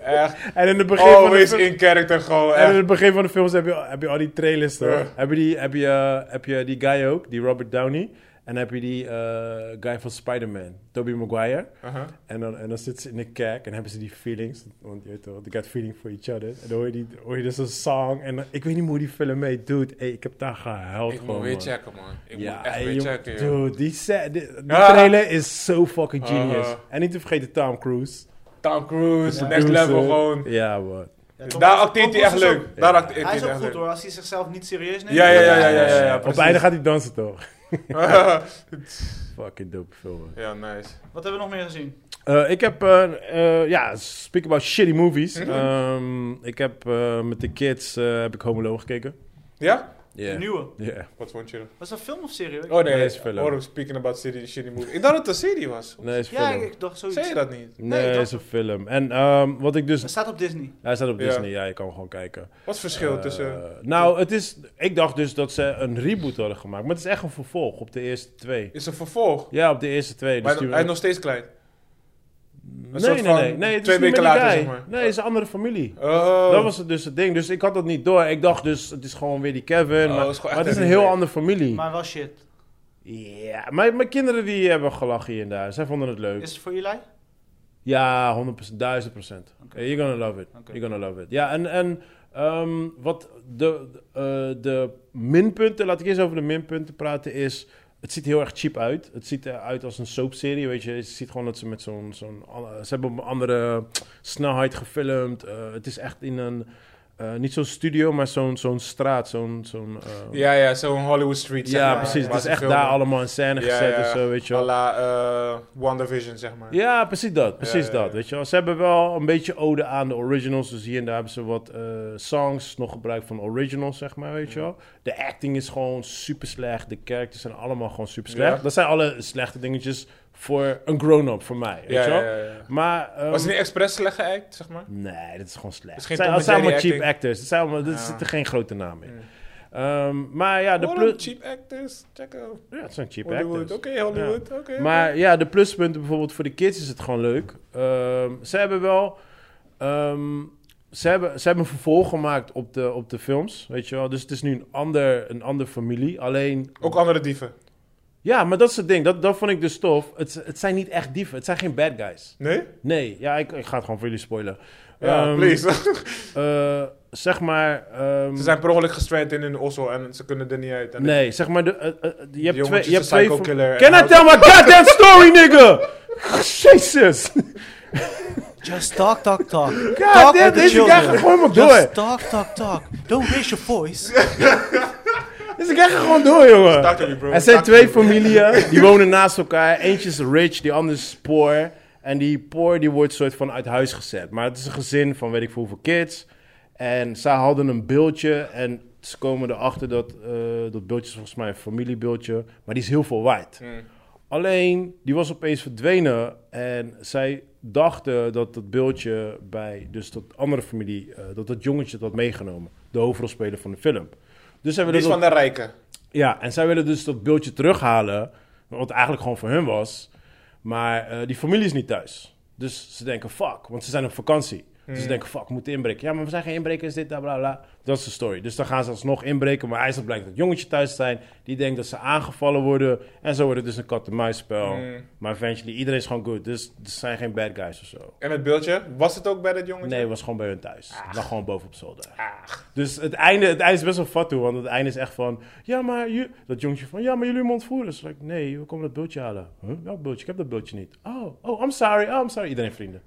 [SPEAKER 3] echt.
[SPEAKER 1] En in het begin van de
[SPEAKER 3] Always
[SPEAKER 1] film-
[SPEAKER 3] in character gewoon.
[SPEAKER 1] en in
[SPEAKER 3] Echt.
[SPEAKER 1] het begin van de films heb je, heb je al die trailers toch?
[SPEAKER 3] Ja.
[SPEAKER 1] Heb, je die, heb, je, eh, heb je die guy ook, die Robert Downey? En heb je die eh, guy van Spider-Man, Tobey Maguire?
[SPEAKER 3] Uh-huh.
[SPEAKER 1] En dan, en dan zitten ze in de kerk en hebben ze die feelings. Want je weet wel, they got feeling for each other. En dan hoor je, die, hoor je dus een song. En dan- ik weet niet meer hoe die film mee doet. Hey, ik heb daar gehuild
[SPEAKER 3] Ik
[SPEAKER 1] gewoon,
[SPEAKER 3] moet weer
[SPEAKER 1] man.
[SPEAKER 3] checken, man. Ik
[SPEAKER 1] ja,
[SPEAKER 3] moet echt
[SPEAKER 1] hey,
[SPEAKER 3] weer
[SPEAKER 1] jongen,
[SPEAKER 3] checken, joh.
[SPEAKER 1] Dude, die, set, die, die
[SPEAKER 3] Ja.
[SPEAKER 1] trailer is so fucking genius.
[SPEAKER 3] Ah.
[SPEAKER 1] En niet te vergeten Tom Cruise.
[SPEAKER 3] Tom Cruise,
[SPEAKER 2] Ja.
[SPEAKER 3] next
[SPEAKER 1] Producer.
[SPEAKER 3] level gewoon.
[SPEAKER 1] eh. Ja, man.
[SPEAKER 2] Ja, Tom
[SPEAKER 3] Daar
[SPEAKER 2] Cruise-
[SPEAKER 3] acteert hij
[SPEAKER 2] Tom
[SPEAKER 3] echt
[SPEAKER 2] Cruise is
[SPEAKER 3] leuk. Daar
[SPEAKER 1] Ja.
[SPEAKER 3] acteert
[SPEAKER 2] ook- Hij
[SPEAKER 3] hij
[SPEAKER 2] is ook
[SPEAKER 3] echt
[SPEAKER 2] goed
[SPEAKER 3] leuk.
[SPEAKER 2] hoor, als hij zichzelf niet serieus neemt.
[SPEAKER 3] Ja, ja, ja, ja, ja, ja, ja,
[SPEAKER 1] Op
[SPEAKER 3] precies.
[SPEAKER 1] einde gaat hij dansen, toch? Fucking dope film, man.
[SPEAKER 3] Ja, nice.
[SPEAKER 2] Wat hebben we nog meer gezien?
[SPEAKER 1] Eh, ik heb, eh, eh, ja, speak about shitty movies.
[SPEAKER 3] Mhm.
[SPEAKER 1] Ehm, ik heb eh, met de kids eh, heb ik Home Alone gekeken.
[SPEAKER 3] Ja?
[SPEAKER 1] Ja.
[SPEAKER 2] De nieuwe.
[SPEAKER 1] Ja.
[SPEAKER 3] Wat vond je?
[SPEAKER 2] Was dat film of serie?
[SPEAKER 3] Oh nee,
[SPEAKER 1] Nee,
[SPEAKER 3] nee
[SPEAKER 1] is film.
[SPEAKER 3] Or speaking about city, shitty movie. Ik dacht dat het een serie was.
[SPEAKER 1] Nee, is
[SPEAKER 2] ja,
[SPEAKER 1] film.
[SPEAKER 2] ik dacht zoiets.
[SPEAKER 3] Zei je dat niet?
[SPEAKER 1] Nee,
[SPEAKER 2] Nee, dat-
[SPEAKER 1] is een film. En ehm, wat ik dus...
[SPEAKER 2] Het staat op Disney.
[SPEAKER 1] Hij staat op
[SPEAKER 3] Ja.
[SPEAKER 1] Disney, ja, je kan hem gewoon kijken.
[SPEAKER 3] Wat is het verschil
[SPEAKER 1] Eh,
[SPEAKER 3] tussen...
[SPEAKER 1] nou, het is... Ik dacht dus dat ze een reboot hadden gemaakt. Maar het is echt een vervolg op de eerste twee.
[SPEAKER 3] Is een vervolg?
[SPEAKER 1] Ja, op de eerste twee.
[SPEAKER 3] Maar
[SPEAKER 1] Dus die-
[SPEAKER 3] hij is nog steeds klein.
[SPEAKER 1] nee,
[SPEAKER 3] soort
[SPEAKER 1] nee,
[SPEAKER 3] van
[SPEAKER 1] nee, nee. het is
[SPEAKER 3] twee
[SPEAKER 1] niet
[SPEAKER 3] weken
[SPEAKER 1] met die
[SPEAKER 3] later,
[SPEAKER 1] guy.
[SPEAKER 3] zeg maar.
[SPEAKER 1] Nee, het is een andere familie.
[SPEAKER 3] Oh.
[SPEAKER 1] Dat was het dus het ding. Dus ik had dat niet door. Ik dacht dus, het is gewoon weer die Kevin.
[SPEAKER 3] Oh,
[SPEAKER 1] maar,
[SPEAKER 3] het is gewoon
[SPEAKER 1] maar
[SPEAKER 3] echt
[SPEAKER 1] het is
[SPEAKER 3] een
[SPEAKER 1] een heel
[SPEAKER 3] remake.
[SPEAKER 1] andere familie.
[SPEAKER 2] Maar wel shit.
[SPEAKER 1] Ja, mijn, mijn kinderen die hebben gelachen hier en daar. Zij vonden het leuk.
[SPEAKER 2] Is het voor Eli?
[SPEAKER 1] Ja, 100%, 1000%. procent.
[SPEAKER 2] Oké.
[SPEAKER 1] You're gonna love it.
[SPEAKER 2] Oké.
[SPEAKER 1] You're gonna love it. Ja, en, en ehm, wat de, eh, de minpunten, laat ik eerst over de minpunten praten, is. Het ziet heel erg cheap uit. Het ziet eruit als een soapserie, weet je. Je ziet gewoon dat ze met zo'n... zo'n eh, ze hebben op een andere snelheid gefilmd. Eh, het is echt in een... eh, niet zo'n studio, maar zo'n zo'n straat. Zo'n... zo'n eh,
[SPEAKER 3] Ja, ja, zo'n Hollywood Street. zeg
[SPEAKER 1] ja,
[SPEAKER 3] maar,
[SPEAKER 1] precies. Het
[SPEAKER 3] waar
[SPEAKER 1] is
[SPEAKER 3] ze
[SPEAKER 1] echt
[SPEAKER 3] filmen.
[SPEAKER 1] daar allemaal in scène
[SPEAKER 3] Ja,
[SPEAKER 1] gezet
[SPEAKER 3] ja.
[SPEAKER 1] en zo, weet je wel.
[SPEAKER 3] À la eh, WandaVision, zeg maar.
[SPEAKER 1] Ja, precies dat. Precies
[SPEAKER 3] ja,
[SPEAKER 1] dat.
[SPEAKER 3] ja.
[SPEAKER 1] Weet je wel. Ze hebben wel een beetje ode aan de originals. Dus hier en daar hebben ze wat eh, songs nog gebruikt van originals, zeg maar. Weet je wel. De acting is gewoon super slecht. De characters zijn allemaal gewoon super slecht.
[SPEAKER 3] Ja.
[SPEAKER 1] Dat zijn alle slechte dingetjes voor een grown-up, voor mij. Weet
[SPEAKER 3] Ja,
[SPEAKER 1] je wel.
[SPEAKER 3] ja, ja, ja.
[SPEAKER 1] Maar. ehm,
[SPEAKER 3] Was het niet expres slecht geact, zeg maar?
[SPEAKER 1] Nee, dat is gewoon slecht.
[SPEAKER 3] Het
[SPEAKER 1] Het
[SPEAKER 3] is geen
[SPEAKER 1] zijn, het
[SPEAKER 3] Tom en
[SPEAKER 1] zijn allemaal
[SPEAKER 3] Jerry
[SPEAKER 1] cheap
[SPEAKER 3] acting.
[SPEAKER 1] actors. Het zijn allemaal, er
[SPEAKER 3] Ja.
[SPEAKER 1] zitten geen grote naam in.
[SPEAKER 3] Mm.
[SPEAKER 1] Ehm, maar ja, de
[SPEAKER 3] Waarom
[SPEAKER 1] plus.
[SPEAKER 3] cheap actors. Check out.
[SPEAKER 1] Ja, het zijn cheap
[SPEAKER 3] Hollywood.
[SPEAKER 1] actors.
[SPEAKER 3] Oké, Hollywood. Oké. oké.
[SPEAKER 1] Maar ja, de pluspunten bijvoorbeeld voor de kids is het gewoon leuk. Ehm, ze hebben wel. ehm, ze, hebben, ze hebben een vervolg gemaakt op de, op de films, weet je wel. Dus het is nu een ander, een ander familie. Alleen.
[SPEAKER 3] Ook andere dieven.
[SPEAKER 1] Ja, maar dat is het ding. Dat, dat vond ik dus tof. Het, het zijn niet echt dieven. Het zijn geen bad guys.
[SPEAKER 3] Nee?
[SPEAKER 1] Nee, ja, ik, ik ga het gewoon voor jullie spoilen.
[SPEAKER 3] Ja,
[SPEAKER 1] Ehm,
[SPEAKER 3] please.
[SPEAKER 1] eh, zeg maar... ehm,
[SPEAKER 3] ze zijn per ongeluk gestrand in hun ossel en ze kunnen er niet uit. En
[SPEAKER 1] Nee, zeg maar... De, eh, eh, je hebt
[SPEAKER 3] jongen
[SPEAKER 1] twee...
[SPEAKER 3] is
[SPEAKER 1] Je hebt
[SPEAKER 3] een
[SPEAKER 1] twee
[SPEAKER 3] psycho killer en
[SPEAKER 1] Can I
[SPEAKER 3] houdt-
[SPEAKER 1] tell my goddamn story, nigga? Jezus.
[SPEAKER 2] Just talk, talk, talk.
[SPEAKER 1] God
[SPEAKER 2] talk with
[SPEAKER 1] damn,
[SPEAKER 2] the
[SPEAKER 1] deze guy
[SPEAKER 2] children.
[SPEAKER 1] gaat gewoon maar door.
[SPEAKER 2] Just talk, talk, talk. Don't raise your voice.
[SPEAKER 1] Dus ik ga gewoon door, jongen.
[SPEAKER 3] Stak jullie, bro.
[SPEAKER 1] Er zijn
[SPEAKER 3] Stak
[SPEAKER 1] twee
[SPEAKER 3] jullie.
[SPEAKER 1] familien, die wonen naast elkaar. Eentje is rich, die andere is poor. En die poor, die wordt soort van uit huis gezet. Maar het is een gezin van weet ik veel hoeveel kids. En zij hadden een beeldje en ze komen erachter dat... eh, dat beeldje is volgens mij een familiebeeldje. Maar die is heel veel waard.
[SPEAKER 3] Mm.
[SPEAKER 1] Alleen, die was opeens verdwenen. En zij dachten dat dat beeldje bij... Dus dat andere familie, eh, dat dat jongetje dat had meegenomen. De hoofdrolspeler van de film. Dus zij
[SPEAKER 3] Die
[SPEAKER 1] willen
[SPEAKER 3] is
[SPEAKER 1] dat-
[SPEAKER 3] van de rijken.
[SPEAKER 1] ja, en zij willen dus dat beeldje terughalen, wat eigenlijk gewoon voor hun was. Maar eh, die familie is niet thuis. Dus ze denken, fuck, want ze zijn op vakantie. Dus ze denken, fuck, we moeten inbreken. Ja, maar we zijn geen inbrekers, dit, bla, bla, bla. Dat is de story. Dus dan gaan ze alsnog inbreken, maar IJsland blijkt dat het jongetje thuis zijn. Die denkt dat ze aangevallen worden. En zo wordt het dus een kat-en-muisspel.
[SPEAKER 3] Mm.
[SPEAKER 1] Maar eventually, iedereen is gewoon goed. Dus er zijn geen bad guys of zo.
[SPEAKER 3] En het beeldje, was het ook bij dat jongetje? Ah,
[SPEAKER 1] Nee, het was gewoon bij hun thuis. Dan gewoon bovenop zolder. Dus het einde, het einde is best wel fatsoen, want het einde is echt van... Ja, maar ju- dat jongetje van... Ja, maar jullie hebben me ontvoeren. Dus ik, nee, we komen dat beeldje halen. Huh? Welk beeldje? Ik heb dat beeldje niet. Oh, oh, I'm sorry, oh, I'm sorry. Iedereen vrienden.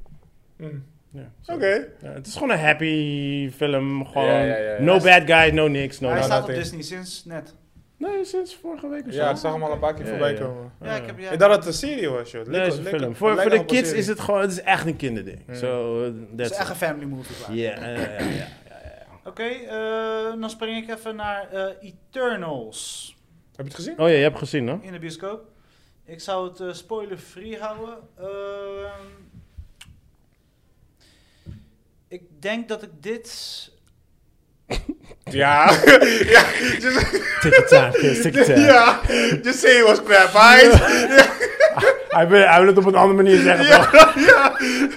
[SPEAKER 3] Mm.
[SPEAKER 1] Ja, zo.
[SPEAKER 3] Oké.
[SPEAKER 1] Ja, het is gewoon een happy film. Gewoon
[SPEAKER 3] Ja, ja, ja, ja.
[SPEAKER 1] no bad guy, no niks, no
[SPEAKER 2] Hij
[SPEAKER 1] nothing.
[SPEAKER 2] staat op
[SPEAKER 3] nothing.
[SPEAKER 2] Disney sinds net.
[SPEAKER 1] Nee, sinds vorige week of zo.
[SPEAKER 3] Ja, ik zag hem al een paar keer
[SPEAKER 1] Ja,
[SPEAKER 3] voorbij
[SPEAKER 1] ja.
[SPEAKER 3] komen.
[SPEAKER 2] Ja, ik heb ja.
[SPEAKER 3] Ik dacht dat het een serie was, joh.
[SPEAKER 1] Nee, het is een film. Voor, voor de kids is het gewoon... Het is echt een kinderding. Zo, eh,
[SPEAKER 2] Het
[SPEAKER 1] that's
[SPEAKER 2] is echt een family movie.
[SPEAKER 1] it.
[SPEAKER 2] waar.
[SPEAKER 1] Ja, ja, ja, ja, ja.
[SPEAKER 2] Oké, eh, dan spring ik even naar eh, Eternals
[SPEAKER 3] Heb je het gezien?
[SPEAKER 1] Oh ja, je hebt gezien, hè?
[SPEAKER 2] in de bioscoop. Ik zou het eh, spoiler-free houden. Ehm, ik denk dat ik dit...
[SPEAKER 1] Oh.
[SPEAKER 3] Ja. ja. Just,
[SPEAKER 1] Take your time, kids, take your time.
[SPEAKER 3] ja. Just say it was crap, right?
[SPEAKER 1] Hij wil, hij wil het op een andere manier zeggen, toch?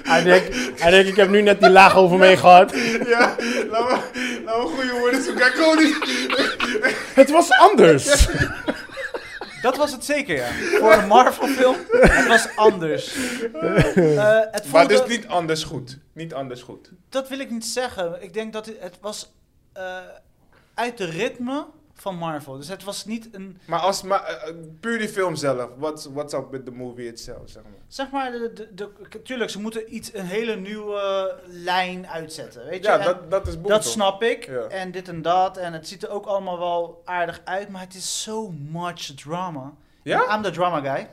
[SPEAKER 1] Hij denkt, hij denkt, ik heb nu net die laag over me heen gehad.
[SPEAKER 3] ja. Laat me, laat me goede Oh, woorden zoeken. Ik hoor niet.
[SPEAKER 1] Het was anders.
[SPEAKER 2] Dat was het zeker, ja. Voor een Marvel-film, het was anders. Eh, het
[SPEAKER 3] Maar
[SPEAKER 2] voelde...
[SPEAKER 3] dus niet anders goed. Niet anders goed.
[SPEAKER 2] Dat wil ik niet zeggen. Ik denk dat het, het was eh, uit de ritme van Marvel. Dus het was niet een...
[SPEAKER 3] Maar als, maar, eh, eh, puur die film zelf. What's, what's up with the movie itself, zeg maar.
[SPEAKER 2] Zeg maar, de, de, de- tuurlijk, ze moeten iets, een hele nieuwe lijn uitzetten. Weet je?
[SPEAKER 3] Ja,
[SPEAKER 2] En
[SPEAKER 3] dat, dat is boem,
[SPEAKER 2] dat
[SPEAKER 3] toch?
[SPEAKER 2] snap ik.
[SPEAKER 3] Ja.
[SPEAKER 2] En dit en dat. En het ziet er ook allemaal wel aardig uit. Maar het is so much drama.
[SPEAKER 3] Ja?
[SPEAKER 2] I'm the drama guy.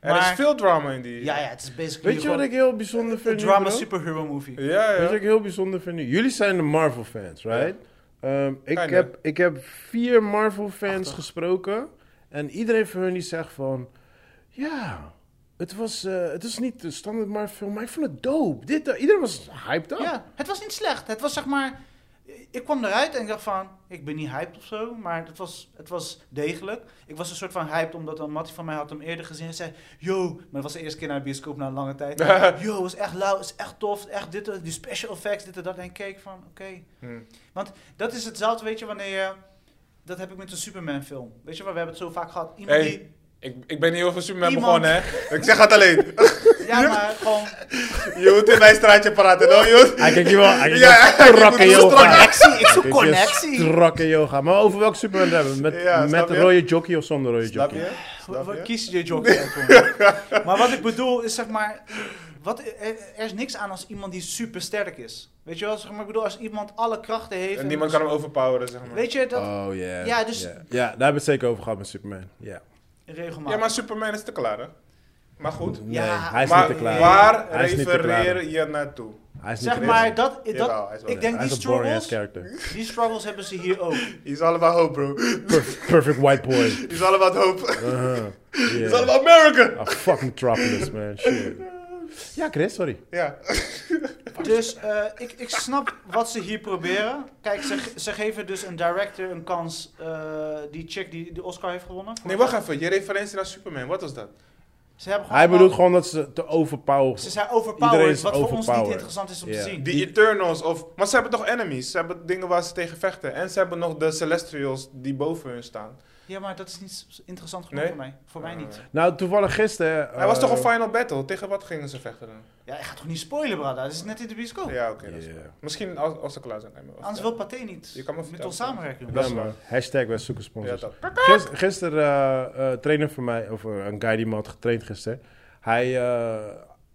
[SPEAKER 3] Er is
[SPEAKER 2] Maar-
[SPEAKER 3] veel drama in die...
[SPEAKER 2] Ja, ja, het is basically
[SPEAKER 1] Weet je wat
[SPEAKER 2] gewoon
[SPEAKER 1] ik heel bijzonder
[SPEAKER 2] een
[SPEAKER 1] vind? nu,
[SPEAKER 2] drama
[SPEAKER 1] bro?
[SPEAKER 2] superhero movie.
[SPEAKER 3] Ja,
[SPEAKER 1] Weet je wat
[SPEAKER 3] ja.
[SPEAKER 1] ik heel bijzonder vind? nu? Jullie zijn de Marvel-fans, right? Ehm, ik,
[SPEAKER 3] Kinda.
[SPEAKER 1] heb, ik heb vier Marvel-fans gesproken. En iedereen van hun die zegt van... Ja, het, was, eh, het is niet de standaard Marvel-film, maar ik vond het dope. Dit, dat." iedereen was hyped up.
[SPEAKER 2] Ja, het was niet slecht. Het was zeg maar. Ik kwam eruit en ik dacht van, ik ben niet hyped of zo, maar het was, het was degelijk. Ik was een soort van hyped omdat een mattie van mij had hem eerder gezien en zei, yo, maar dat was de eerste keer naar de bioscoop na een lange tijd. yo, is echt lauw, is echt tof, echt dit, en- die special effects, dit en dat. En ik keek van, oké.
[SPEAKER 3] Hm.
[SPEAKER 1] Hmm.
[SPEAKER 2] Dat is hetzelfde, weet je, wanneer je, dat heb ik met een Superman film. Weet je, waar we hebben het zo vaak gehad. Iemand
[SPEAKER 3] Hey.
[SPEAKER 2] die,
[SPEAKER 3] Ik, ik ben niet heel veel Superman
[SPEAKER 2] Iemand-
[SPEAKER 3] begonnen, hè. Ik zeg het alleen.
[SPEAKER 2] ja, maar gewoon,
[SPEAKER 3] Je moet in mijn straatje praten, hoor, joh.
[SPEAKER 1] Hij kijkt hier wel, hij kijkt
[SPEAKER 3] Ja,
[SPEAKER 1] wel
[SPEAKER 3] hij kijkt
[SPEAKER 1] strak
[SPEAKER 3] goed
[SPEAKER 1] in
[SPEAKER 3] hoe
[SPEAKER 1] je
[SPEAKER 3] strak
[SPEAKER 1] ogen.
[SPEAKER 3] hij-
[SPEAKER 2] connectie, ik zoek
[SPEAKER 1] Dit is
[SPEAKER 2] connectie.
[SPEAKER 1] Strakke yoga. Maar over welk Superman hebben we? Met,
[SPEAKER 3] Ja,
[SPEAKER 1] met
[SPEAKER 3] snap je?
[SPEAKER 1] rode jockey of zonder rode
[SPEAKER 3] Snap
[SPEAKER 1] jockey?
[SPEAKER 3] je? Snap
[SPEAKER 2] Wat
[SPEAKER 3] je?
[SPEAKER 2] kies je jockey ervoor? Maar wat ik bedoel is zeg maar, wat, er, er is niks aan als iemand die super sterk is. Weet je wel, zeg maar, ik bedoel als iemand alle krachten heeft. dus-
[SPEAKER 3] En niemand kan hem overpoweren, zeg maar.
[SPEAKER 2] Weet je dat
[SPEAKER 1] Oh yeah.
[SPEAKER 2] Ja, dus-
[SPEAKER 1] Ja, Ja, daar hebben we het zeker over gehad met Superman. Ja.
[SPEAKER 2] regelmatig?
[SPEAKER 3] Ja, maar Superman is te klaar, hè? Maar goed.
[SPEAKER 1] Nee,
[SPEAKER 2] Ja,
[SPEAKER 1] hij is
[SPEAKER 3] maar
[SPEAKER 1] niet te klaar.
[SPEAKER 3] waar
[SPEAKER 1] hij is niet te klaar.
[SPEAKER 3] refereer je naartoe?
[SPEAKER 1] Hij is niet
[SPEAKER 2] zeg
[SPEAKER 1] te
[SPEAKER 2] maar
[SPEAKER 1] klaar.
[SPEAKER 2] dat, dat
[SPEAKER 3] Jawel, hij is wel
[SPEAKER 2] ik
[SPEAKER 3] klaar.
[SPEAKER 2] denk
[SPEAKER 1] Hij
[SPEAKER 2] die
[SPEAKER 1] is een boring ass
[SPEAKER 2] struggles,
[SPEAKER 1] character.
[SPEAKER 2] die struggles hebben ze hier ook.
[SPEAKER 3] Hij is allemaal hoop, bro.
[SPEAKER 1] Perf- Perfect white boy.
[SPEAKER 3] Hij is allemaal hoop. Hij
[SPEAKER 1] Uh-huh.
[SPEAKER 3] is
[SPEAKER 1] Yeah.
[SPEAKER 3] allemaal America.
[SPEAKER 1] Ah, fuck Metropolis, man. Shit. Ja, Chris, sorry.
[SPEAKER 3] Ja.
[SPEAKER 2] Dus eh, ik, ik snap wat ze hier proberen. Kijk, ze, ge- ze geven dus een director een kans. eh, die chick die de Oscar heeft gewonnen.
[SPEAKER 3] Nee, wacht even. Je referentie naar Superman, wat was dat?
[SPEAKER 2] Ze hebben
[SPEAKER 1] Hij
[SPEAKER 2] gewoon-
[SPEAKER 1] bedoelt gewoon dat ze te overpower.
[SPEAKER 2] Ze zijn
[SPEAKER 1] Iedereen
[SPEAKER 2] overpowered,
[SPEAKER 1] is
[SPEAKER 2] wat voor ons niet
[SPEAKER 1] overpowered.
[SPEAKER 2] interessant is om
[SPEAKER 1] Ja.
[SPEAKER 2] te zien.
[SPEAKER 3] Die Eternals of... Maar ze hebben toch enemies? Ze hebben dingen waar ze tegen vechten. En ze hebben nog de Celestials die boven hun staan.
[SPEAKER 2] Ja, maar dat is niet s- interessant genoeg
[SPEAKER 3] Nee?
[SPEAKER 2] voor mij. Voor mij
[SPEAKER 3] Ah.
[SPEAKER 2] niet.
[SPEAKER 1] Nou, toevallig gisteren... eh,
[SPEAKER 3] Hij was toch een
[SPEAKER 1] fijn.
[SPEAKER 3] final battle? Tegen wat gingen ze vechten dan?
[SPEAKER 2] Ja, ik ga toch niet spoilen, brada. Dat is net in de bioscoop.
[SPEAKER 3] Ja, oké. dat is
[SPEAKER 1] Ja.
[SPEAKER 3] waar. Misschien als, als ze klaar zijn. Nee, maar wacht,
[SPEAKER 2] Oh. Anders
[SPEAKER 3] ja.
[SPEAKER 2] wil Pathé niet
[SPEAKER 3] Je kan me
[SPEAKER 2] met
[SPEAKER 3] vertellen.
[SPEAKER 2] ons samenwerken. jongen.
[SPEAKER 3] Dat is
[SPEAKER 1] Ja, man.
[SPEAKER 3] waar.
[SPEAKER 1] Hashtag wij zoeken
[SPEAKER 3] Ja,
[SPEAKER 1] sponsors.
[SPEAKER 3] dat.
[SPEAKER 1] Gis- gisteren, eh, eh, trainer van mij, of eh, een guy die me had getraind gisteren. Hij, eh,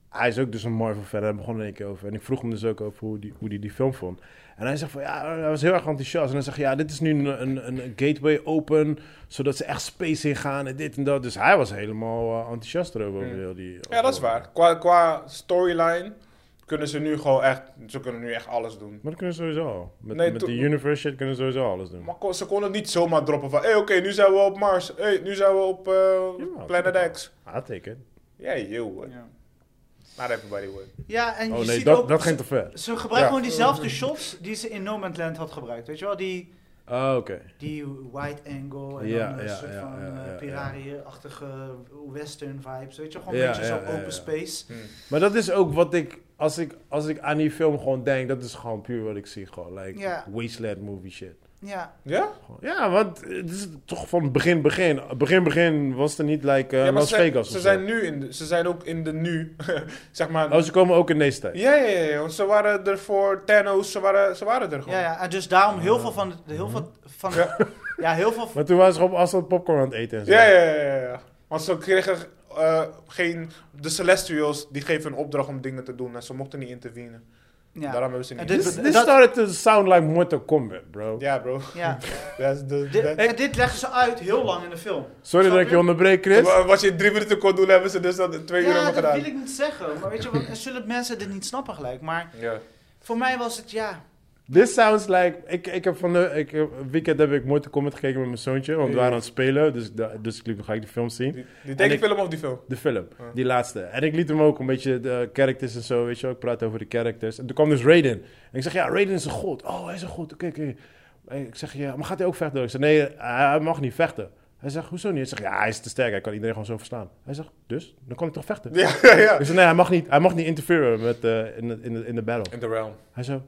[SPEAKER 1] hij is ook dus een Marvel fan. Hij begon er een keer over. En ik vroeg hem dus ook over hoe hij die, hoe die, die film vond. En hij zegt van, ja, hij was heel erg enthousiast. En hij zegt, ja, dit is nu een, een, een gateway open, zodat ze echt space in gaan en dit en dat. Dus hij was helemaal eh, enthousiast erover. over
[SPEAKER 3] Hmm.
[SPEAKER 1] heel die,
[SPEAKER 3] Ja, dat is waar. Qua, qua storyline kunnen ze nu gewoon echt... Ze kunnen nu echt alles doen.
[SPEAKER 1] Maar dat kunnen ze sowieso al. Met,
[SPEAKER 3] Nee,
[SPEAKER 1] met
[SPEAKER 3] to-
[SPEAKER 1] die universe shit kunnen ze sowieso alles doen.
[SPEAKER 3] Maar kon- ze konden niet zomaar droppen van... Hé, hey, oké, nu zijn we op Mars. Hé, hey, nu zijn we op eh, Planet X.
[SPEAKER 1] I take it.
[SPEAKER 3] Ja, yo. hoor.
[SPEAKER 2] Ja.
[SPEAKER 3] Not everybody would.
[SPEAKER 2] Ja, en
[SPEAKER 1] Oh
[SPEAKER 2] je
[SPEAKER 1] nee,
[SPEAKER 2] ziet
[SPEAKER 1] dat,
[SPEAKER 2] ook...
[SPEAKER 1] dat ging te ver.
[SPEAKER 2] Ze gebruiken
[SPEAKER 3] Ja.
[SPEAKER 2] gewoon diezelfde shots die ze in No Man's Land had gebruikt. Weet je wel, die,
[SPEAKER 1] Ah, oké.
[SPEAKER 2] die wide angle en
[SPEAKER 1] Ja,
[SPEAKER 2] dan een
[SPEAKER 1] ja,
[SPEAKER 2] soort
[SPEAKER 1] ja,
[SPEAKER 2] van
[SPEAKER 1] ja, ja,
[SPEAKER 2] eh,
[SPEAKER 1] ja.
[SPEAKER 2] Pirarie-achtige western vibes. Weet je, gewoon
[SPEAKER 1] Ja,
[SPEAKER 2] een beetje
[SPEAKER 1] ja,
[SPEAKER 2] zo
[SPEAKER 1] ja,
[SPEAKER 2] open
[SPEAKER 1] ja.
[SPEAKER 2] space.
[SPEAKER 3] Hmm.
[SPEAKER 1] Maar dat is ook wat ik als, ik, als ik aan die film gewoon denk, dat is gewoon puur wat ik zie. Gewoon, like,
[SPEAKER 2] Ja.
[SPEAKER 1] wasteland movie shit.
[SPEAKER 2] Ja,
[SPEAKER 3] Ja?
[SPEAKER 1] Gewoon- Ja, want het is toch van begin, begin. Begin, begin was er niet, like, eh,
[SPEAKER 3] ja, maar
[SPEAKER 1] Las
[SPEAKER 3] ze zijn-
[SPEAKER 1] Vegas
[SPEAKER 3] Ze
[SPEAKER 1] of
[SPEAKER 3] zijn,
[SPEAKER 1] zo.
[SPEAKER 3] nu in de, ze zijn ook in de nu. zeg maar...
[SPEAKER 1] Oh, ze komen ook in deze tijd.
[SPEAKER 3] Ja, ja, ja, ja. Want ze waren er voor Thanos. Ze waren, ze waren er gewoon.
[SPEAKER 2] ja, ja, en dus daarom heel veel van... de- Heel veel
[SPEAKER 1] Mhm.
[SPEAKER 2] van ja, heel veel van...
[SPEAKER 1] Maar toen waren ze gewoon afstand popcorn aan het eten en zo.
[SPEAKER 3] Ja, ja, ja, ja, ja. Want ze kregen eh, geen... De Celestials, die geven een opdracht om dingen te doen. En ze mochten niet intervenen.
[SPEAKER 2] Ja,
[SPEAKER 3] Daarom hebben ze
[SPEAKER 2] En
[SPEAKER 3] niet...
[SPEAKER 2] dit-
[SPEAKER 1] This, this
[SPEAKER 2] Dat-
[SPEAKER 1] started to sound like Mortal Kombat, bro.
[SPEAKER 3] Ja, bro.
[SPEAKER 2] ja.
[SPEAKER 3] Dat is de...
[SPEAKER 2] Dit,
[SPEAKER 3] dat-
[SPEAKER 2] en dit leggen ze uit heel lang in de film.
[SPEAKER 1] Sorry
[SPEAKER 2] Snap
[SPEAKER 1] dat ik je onderbreek, Chris.
[SPEAKER 3] Wa- Wat je in drie minuten kon doen, hebben ze dus dat in twee uur
[SPEAKER 2] Ja,
[SPEAKER 3] hebben
[SPEAKER 2] dat
[SPEAKER 3] gedaan.
[SPEAKER 2] wil ik niet zeggen. Maar weet je, want, er zullen mensen dit niet snappen gelijk. Maar
[SPEAKER 3] Ja.
[SPEAKER 2] voor mij was het, ja...
[SPEAKER 1] This sounds like... Ik, ik heb van de... Ik, heb- weekend heb ik Mortal Kombat gekeken met mijn zoontje. Want we
[SPEAKER 3] Ja.
[SPEAKER 1] waren aan het spelen. Dus, ik dacht- dus ik liep, ga ik de film zien.
[SPEAKER 3] Die, die tekenfilm of die film?
[SPEAKER 1] De film,
[SPEAKER 3] Ja.
[SPEAKER 1] die laatste. En ik liet hem ook een beetje de characters en zo, weet je wel. Ik praat over de characters. En toen kwam dus Raiden. En ik zeg, ja, Raiden is een god. Oh, hij is een god. Oké, oké. En Ik zeg, ja, maar gaat hij ook vechten? Ik zeg, nee, hij mag niet vechten. Hij zegt, hoezo niet? Ik zeg, ja, hij is te sterk. Hij kan iedereen gewoon zo verslaan. Hij zegt, dus? Dan kan ik toch vechten?
[SPEAKER 3] Ja, ja, ja.
[SPEAKER 1] Ik zeg, nee, hij mag niet, hij mag niet interfereren met, eh, in, de, in, de, in de battle.
[SPEAKER 3] In the realm.
[SPEAKER 1] Hij zo,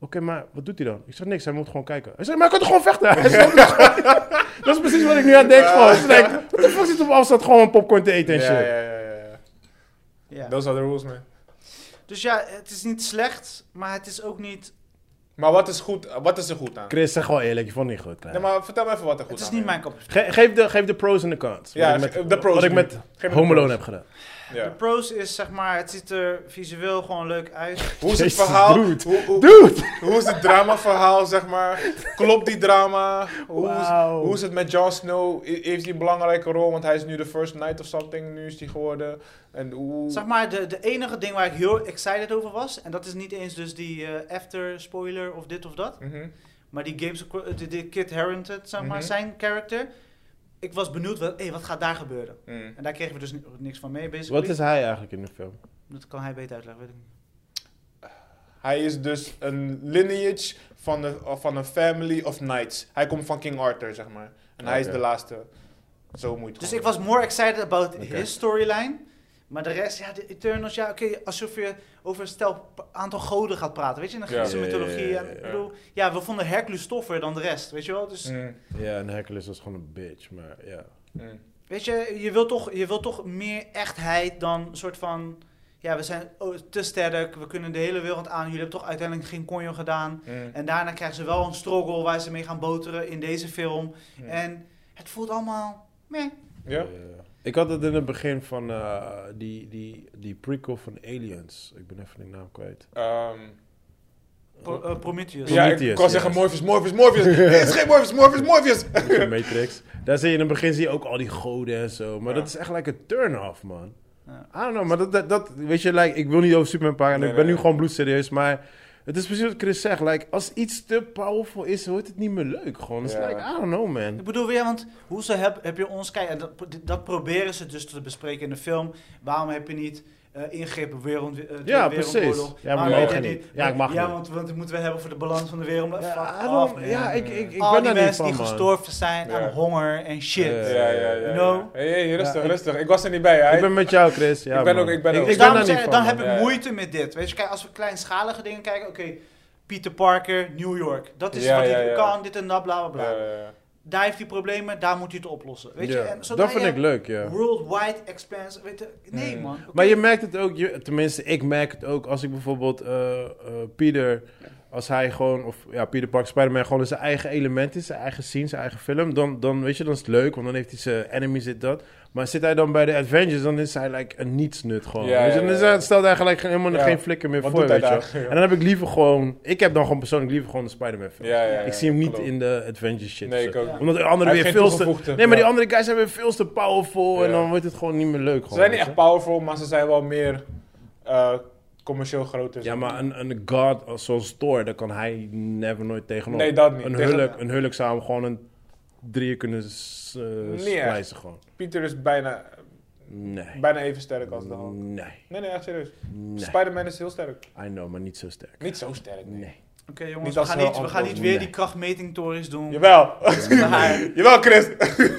[SPEAKER 1] oké, maar wat doet hij dan? Ik zeg, niks, hij moet gewoon kijken. Hij zegt, maar hij kan toch gewoon vechten? Hij snapt het gewoon. Dat is precies wat ik nu aan denk, gewoon. Ik denk, wat de fuck zit op afstand gewoon een popcorn te eten
[SPEAKER 3] Ja,
[SPEAKER 1] en shit?
[SPEAKER 3] ja, ja, ja, ja.
[SPEAKER 2] ja.
[SPEAKER 3] Those are the rules, man.
[SPEAKER 2] Dus ja, het is niet slecht, maar het is ook niet...
[SPEAKER 3] Maar wat is, goed, wat is er goed aan?
[SPEAKER 1] Chris, zeg gewoon eerlijk, je vond het niet goed. Kleine.
[SPEAKER 3] Nee, maar vertel me even wat er goed
[SPEAKER 2] Het is
[SPEAKER 3] aan
[SPEAKER 2] niet mijn kop.
[SPEAKER 1] Ge- geef, de, geef de pros en de cons.
[SPEAKER 3] Ja,
[SPEAKER 1] Wat ik met-
[SPEAKER 3] de pros
[SPEAKER 1] Wat ik
[SPEAKER 3] nu.
[SPEAKER 1] met
[SPEAKER 3] Geef me
[SPEAKER 1] Home
[SPEAKER 3] de
[SPEAKER 1] Alone
[SPEAKER 3] pros.
[SPEAKER 1] heb gedaan.
[SPEAKER 2] De
[SPEAKER 3] Ja.
[SPEAKER 2] pros is, zeg maar, het ziet er visueel gewoon leuk uit.
[SPEAKER 3] Hoe is het
[SPEAKER 1] Jezus,
[SPEAKER 3] verhaal?
[SPEAKER 1] dude.
[SPEAKER 3] Hoe, hoe,
[SPEAKER 1] Dude!
[SPEAKER 3] hoe is het dramaverhaal, zeg maar? Klopt die drama? Hoe,
[SPEAKER 1] Wauw.
[SPEAKER 3] is, hoe is het met Jon Snow? I- Heeft hij een belangrijke rol? Want hij is nu de first knight of something. Nu is hij geworden. En hoe...
[SPEAKER 2] Zeg maar, de, de enige ding waar ik heel excited over was, en dat is niet eens dus die eh, after spoiler of dit of dat,
[SPEAKER 3] Mhm.
[SPEAKER 2] maar die Games, of Cro- eh, de, de Kid Harington, zeg maar,
[SPEAKER 3] Mhm.
[SPEAKER 2] zijn character. Ik was benieuwd, wat, hey, wat gaat daar gebeuren?
[SPEAKER 3] Mm.
[SPEAKER 2] En daar kregen we dus ni- niks van mee, basically.
[SPEAKER 1] Wat is hij eigenlijk in de film?
[SPEAKER 2] Dat kan hij beter uitleggen, weet ik niet.
[SPEAKER 3] Hij is dus een lineage van, de, van een family of knights. Hij komt van King Arthur, zeg maar. En hij is
[SPEAKER 1] Oké.
[SPEAKER 3] de laatste. Zo moet je het
[SPEAKER 2] Dus ik
[SPEAKER 3] gewoon
[SPEAKER 2] was more excited about
[SPEAKER 1] Oké.
[SPEAKER 2] his storyline. Maar de rest, ja, de Eternals, ja, oké, alsof je over een stel p- aantal goden gaat praten, weet je, in de
[SPEAKER 3] Ja.
[SPEAKER 2] Griekse
[SPEAKER 1] Ja, ja, ja,
[SPEAKER 2] mythologie.
[SPEAKER 1] ja,
[SPEAKER 2] En,
[SPEAKER 1] ja.
[SPEAKER 2] ik bedoel, ja, we vonden Hercules toffer dan de rest, weet je wel? Dus,
[SPEAKER 3] doen.
[SPEAKER 1] Ja, en Hercules was gewoon een bitch, maar ja.
[SPEAKER 3] Mm, mm.
[SPEAKER 2] weet je, je wilt, toch, je wilt toch meer echtheid dan een soort van, ja, we zijn oh, te sterk, we kunnen de hele wereld aan, jullie hebben toch uiteindelijk geen konjo gedaan.
[SPEAKER 3] Mm.
[SPEAKER 2] En daarna krijgen ze wel een struggle waar ze mee gaan boteren in deze film.
[SPEAKER 3] Ja.
[SPEAKER 2] En het voelt allemaal, meh.
[SPEAKER 3] Ja?
[SPEAKER 1] Ja. Eh, Ik had het in het begin van eh, die, die, die prequel van Aliens. Ik ben even de naam kwijt.
[SPEAKER 3] Ehm,
[SPEAKER 2] Pro- eh, Prometheus.
[SPEAKER 3] ja, ik
[SPEAKER 1] Prometheus,
[SPEAKER 3] kan zeggen
[SPEAKER 1] ja.
[SPEAKER 3] Morpheus, Morpheus, Morpheus. Nee, het is geen Morpheus, Morpheus, Morpheus.
[SPEAKER 1] De Matrix. Daar zie je in het begin zie je ook al die goden en zo. Maar
[SPEAKER 3] Ja.
[SPEAKER 1] dat is echt like een turn-off, man.
[SPEAKER 2] Ja.
[SPEAKER 1] I don't know, maar dat, dat, dat- weet je, like, ik wil niet over Superman praten.
[SPEAKER 3] Nee,
[SPEAKER 1] ik ben
[SPEAKER 3] nee,
[SPEAKER 1] nu gewoon bloedserieus, maar het is precies wat Chris zegt. Like, als iets te powerful is, wordt het niet meer leuk. Gewoon, It's
[SPEAKER 3] Ja.
[SPEAKER 1] like, I don't know,
[SPEAKER 2] Ik
[SPEAKER 1] man.
[SPEAKER 2] bedoel weer, want hoe ze heb, heb je ons kijk, en dat, dat proberen ze dus te bespreken in de film. Waarom heb je niet eh ingrepen wereld, eh, Tweede
[SPEAKER 1] Ja, precies.
[SPEAKER 2] Wereldoorlog?
[SPEAKER 1] Ja, maar
[SPEAKER 2] Waarom
[SPEAKER 1] we
[SPEAKER 2] heb je
[SPEAKER 1] mogen
[SPEAKER 2] dat
[SPEAKER 1] niet. Ja, ik mag
[SPEAKER 2] ja,
[SPEAKER 1] niet.
[SPEAKER 2] want, want dat moeten we hebben voor de balans van de wereld.
[SPEAKER 1] Ja,
[SPEAKER 2] Fuck
[SPEAKER 1] I
[SPEAKER 2] off,
[SPEAKER 1] don't-
[SPEAKER 2] man.
[SPEAKER 1] ja ik, ik, ik
[SPEAKER 2] Al die
[SPEAKER 1] ben daar niet
[SPEAKER 2] mensen
[SPEAKER 1] van,
[SPEAKER 2] die
[SPEAKER 1] man.
[SPEAKER 2] gestorven zijn
[SPEAKER 3] Ja.
[SPEAKER 2] aan honger en shit.
[SPEAKER 1] Ja,
[SPEAKER 3] Ja, ja, ja. ja.
[SPEAKER 2] No.
[SPEAKER 3] Hey, hey, rustig,
[SPEAKER 1] Ja, ik-
[SPEAKER 3] rustig. Ik was er niet bij, hè.
[SPEAKER 1] Ik ben met jou, Chris. Ja,
[SPEAKER 3] Ik ben
[SPEAKER 1] man.
[SPEAKER 3] ook- ik ben ook.
[SPEAKER 2] Dus
[SPEAKER 3] ik
[SPEAKER 2] daarom
[SPEAKER 1] daar
[SPEAKER 2] zeg-
[SPEAKER 1] niet van,
[SPEAKER 2] dan
[SPEAKER 1] man.
[SPEAKER 2] heb ik
[SPEAKER 3] Ja, ja.
[SPEAKER 2] moeite met dit. Weet je, kijk, als we kleinschalige dingen kijken, oké, Peter Parker, New York. Dat is
[SPEAKER 3] Ja,
[SPEAKER 2] wat
[SPEAKER 3] ja,
[SPEAKER 2] hij
[SPEAKER 3] ja. Eh,
[SPEAKER 2] kan, dit en dat, bla bla bla.
[SPEAKER 3] Ja, ja, ja.
[SPEAKER 2] daar heeft hij problemen, daar moet hij het oplossen. Weet je?
[SPEAKER 1] Ja.
[SPEAKER 2] En zodra
[SPEAKER 1] dat vind
[SPEAKER 2] je
[SPEAKER 1] ik leuk, ja.
[SPEAKER 2] Worldwide expense. Weet je, nee,
[SPEAKER 3] Mm.
[SPEAKER 2] man. oké.
[SPEAKER 1] Maar je merkt het ook, je- tenminste, ik merk het ook als ik bijvoorbeeld eh, eh, Pieter, als hij gewoon, of ja, Pieter Park Spider-Man gewoon in zijn eigen element is, zijn eigen scene, zijn eigen film, dan, dan weet je, dan is het leuk, want dan heeft hij zijn enemies dit, dat. Maar zit hij dan bij de Avengers, dan is hij like, een nietsnut gewoon.
[SPEAKER 3] Ja,
[SPEAKER 1] weet je?
[SPEAKER 3] ja,
[SPEAKER 1] Dan is
[SPEAKER 3] ja,
[SPEAKER 1] hij-
[SPEAKER 3] ja.
[SPEAKER 1] stelt hij eigenlijk geen- helemaal
[SPEAKER 3] Ja.
[SPEAKER 1] geen flikker meer
[SPEAKER 3] Wat
[SPEAKER 1] voor,
[SPEAKER 3] doet hij
[SPEAKER 1] weet je.
[SPEAKER 3] daar?
[SPEAKER 1] wel. En dan heb ik liever gewoon, ik heb dan gewoon persoonlijk liever gewoon de Spider-Man film.
[SPEAKER 3] Ja, ja, ja,
[SPEAKER 1] ik zie hem niet
[SPEAKER 3] klopt.
[SPEAKER 1] in de Avengers shit.
[SPEAKER 3] Nee,
[SPEAKER 1] of
[SPEAKER 3] ik
[SPEAKER 1] zo.
[SPEAKER 3] ook
[SPEAKER 2] Ja.
[SPEAKER 3] niet.
[SPEAKER 1] Omdat de anderen
[SPEAKER 3] Hij heeft
[SPEAKER 1] weer
[SPEAKER 3] geen
[SPEAKER 1] veel te...
[SPEAKER 3] toegevoegde-
[SPEAKER 1] Nee, maar die
[SPEAKER 3] ja.
[SPEAKER 1] andere guys zijn weer veel te powerful en
[SPEAKER 3] Ja.
[SPEAKER 1] dan wordt het gewoon niet meer leuk.
[SPEAKER 3] Ze
[SPEAKER 1] Gewoon,
[SPEAKER 3] zijn
[SPEAKER 1] weet
[SPEAKER 3] niet
[SPEAKER 1] je.
[SPEAKER 3] echt powerful, maar ze zijn wel meer eh, commercieel groter.
[SPEAKER 1] Ja, maar een, een god als- zoals Thor, daar kan hij never nooit tegenop.
[SPEAKER 3] Nee, dat niet.
[SPEAKER 1] Een
[SPEAKER 3] Tegen-
[SPEAKER 1] huwelijk, een huwelijk zou hem gewoon een drieën kunnen s- eh,
[SPEAKER 3] echt.
[SPEAKER 1] splijzen gewoon.
[SPEAKER 3] Pieter is bijna,
[SPEAKER 1] Nee.
[SPEAKER 3] bijna even sterk als de Hulk.
[SPEAKER 1] Nee,
[SPEAKER 3] Nee, nee, echt serieus.
[SPEAKER 1] nee.
[SPEAKER 3] Spider-Man is heel sterk.
[SPEAKER 1] I know, maar niet zo sterk.
[SPEAKER 3] Niet zo sterk, nee.
[SPEAKER 1] Nee.
[SPEAKER 2] Oké, jongens,
[SPEAKER 3] Niet
[SPEAKER 2] we
[SPEAKER 3] als
[SPEAKER 2] gaan
[SPEAKER 3] heel
[SPEAKER 2] niet, we gaan
[SPEAKER 3] antwoord,
[SPEAKER 2] niet weer
[SPEAKER 1] nee.
[SPEAKER 2] die krachtmetingtorens doen.
[SPEAKER 3] Jawel.
[SPEAKER 2] Maar
[SPEAKER 3] Jawel, Chris.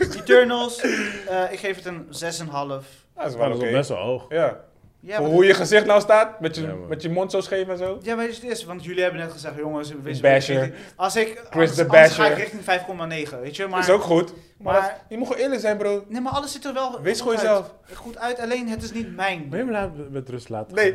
[SPEAKER 2] Eternals, eh, ik geef het een 6,5.
[SPEAKER 3] Dat is
[SPEAKER 1] Maar
[SPEAKER 3] wel
[SPEAKER 1] dat is
[SPEAKER 3] oké.
[SPEAKER 1] wel best wel hoog.
[SPEAKER 3] Ja.
[SPEAKER 2] Ja,
[SPEAKER 3] Voor
[SPEAKER 2] maar-
[SPEAKER 3] hoe je gezicht nou staat, met je,
[SPEAKER 1] Ja, man.
[SPEAKER 3] met je mond zo scheef en zo.
[SPEAKER 2] Ja, maar het is, want jullie hebben net gezegd, jongens, wees
[SPEAKER 3] Basher.
[SPEAKER 2] Als ik, anders,
[SPEAKER 3] the
[SPEAKER 2] anders ga ik
[SPEAKER 3] Basher.
[SPEAKER 2] richting 5,9, weet je, maar...
[SPEAKER 3] Dat is ook goed. Maar,
[SPEAKER 2] maar-
[SPEAKER 3] dat- je moet gewoon eerlijk zijn, bro.
[SPEAKER 2] Nee, maar alles zit er wel goed
[SPEAKER 3] Wees gewoon
[SPEAKER 2] uit.
[SPEAKER 3] jezelf.
[SPEAKER 2] Goed uit, alleen het is niet mijn.
[SPEAKER 1] Ben je me laat- met rust laten?
[SPEAKER 3] Nee,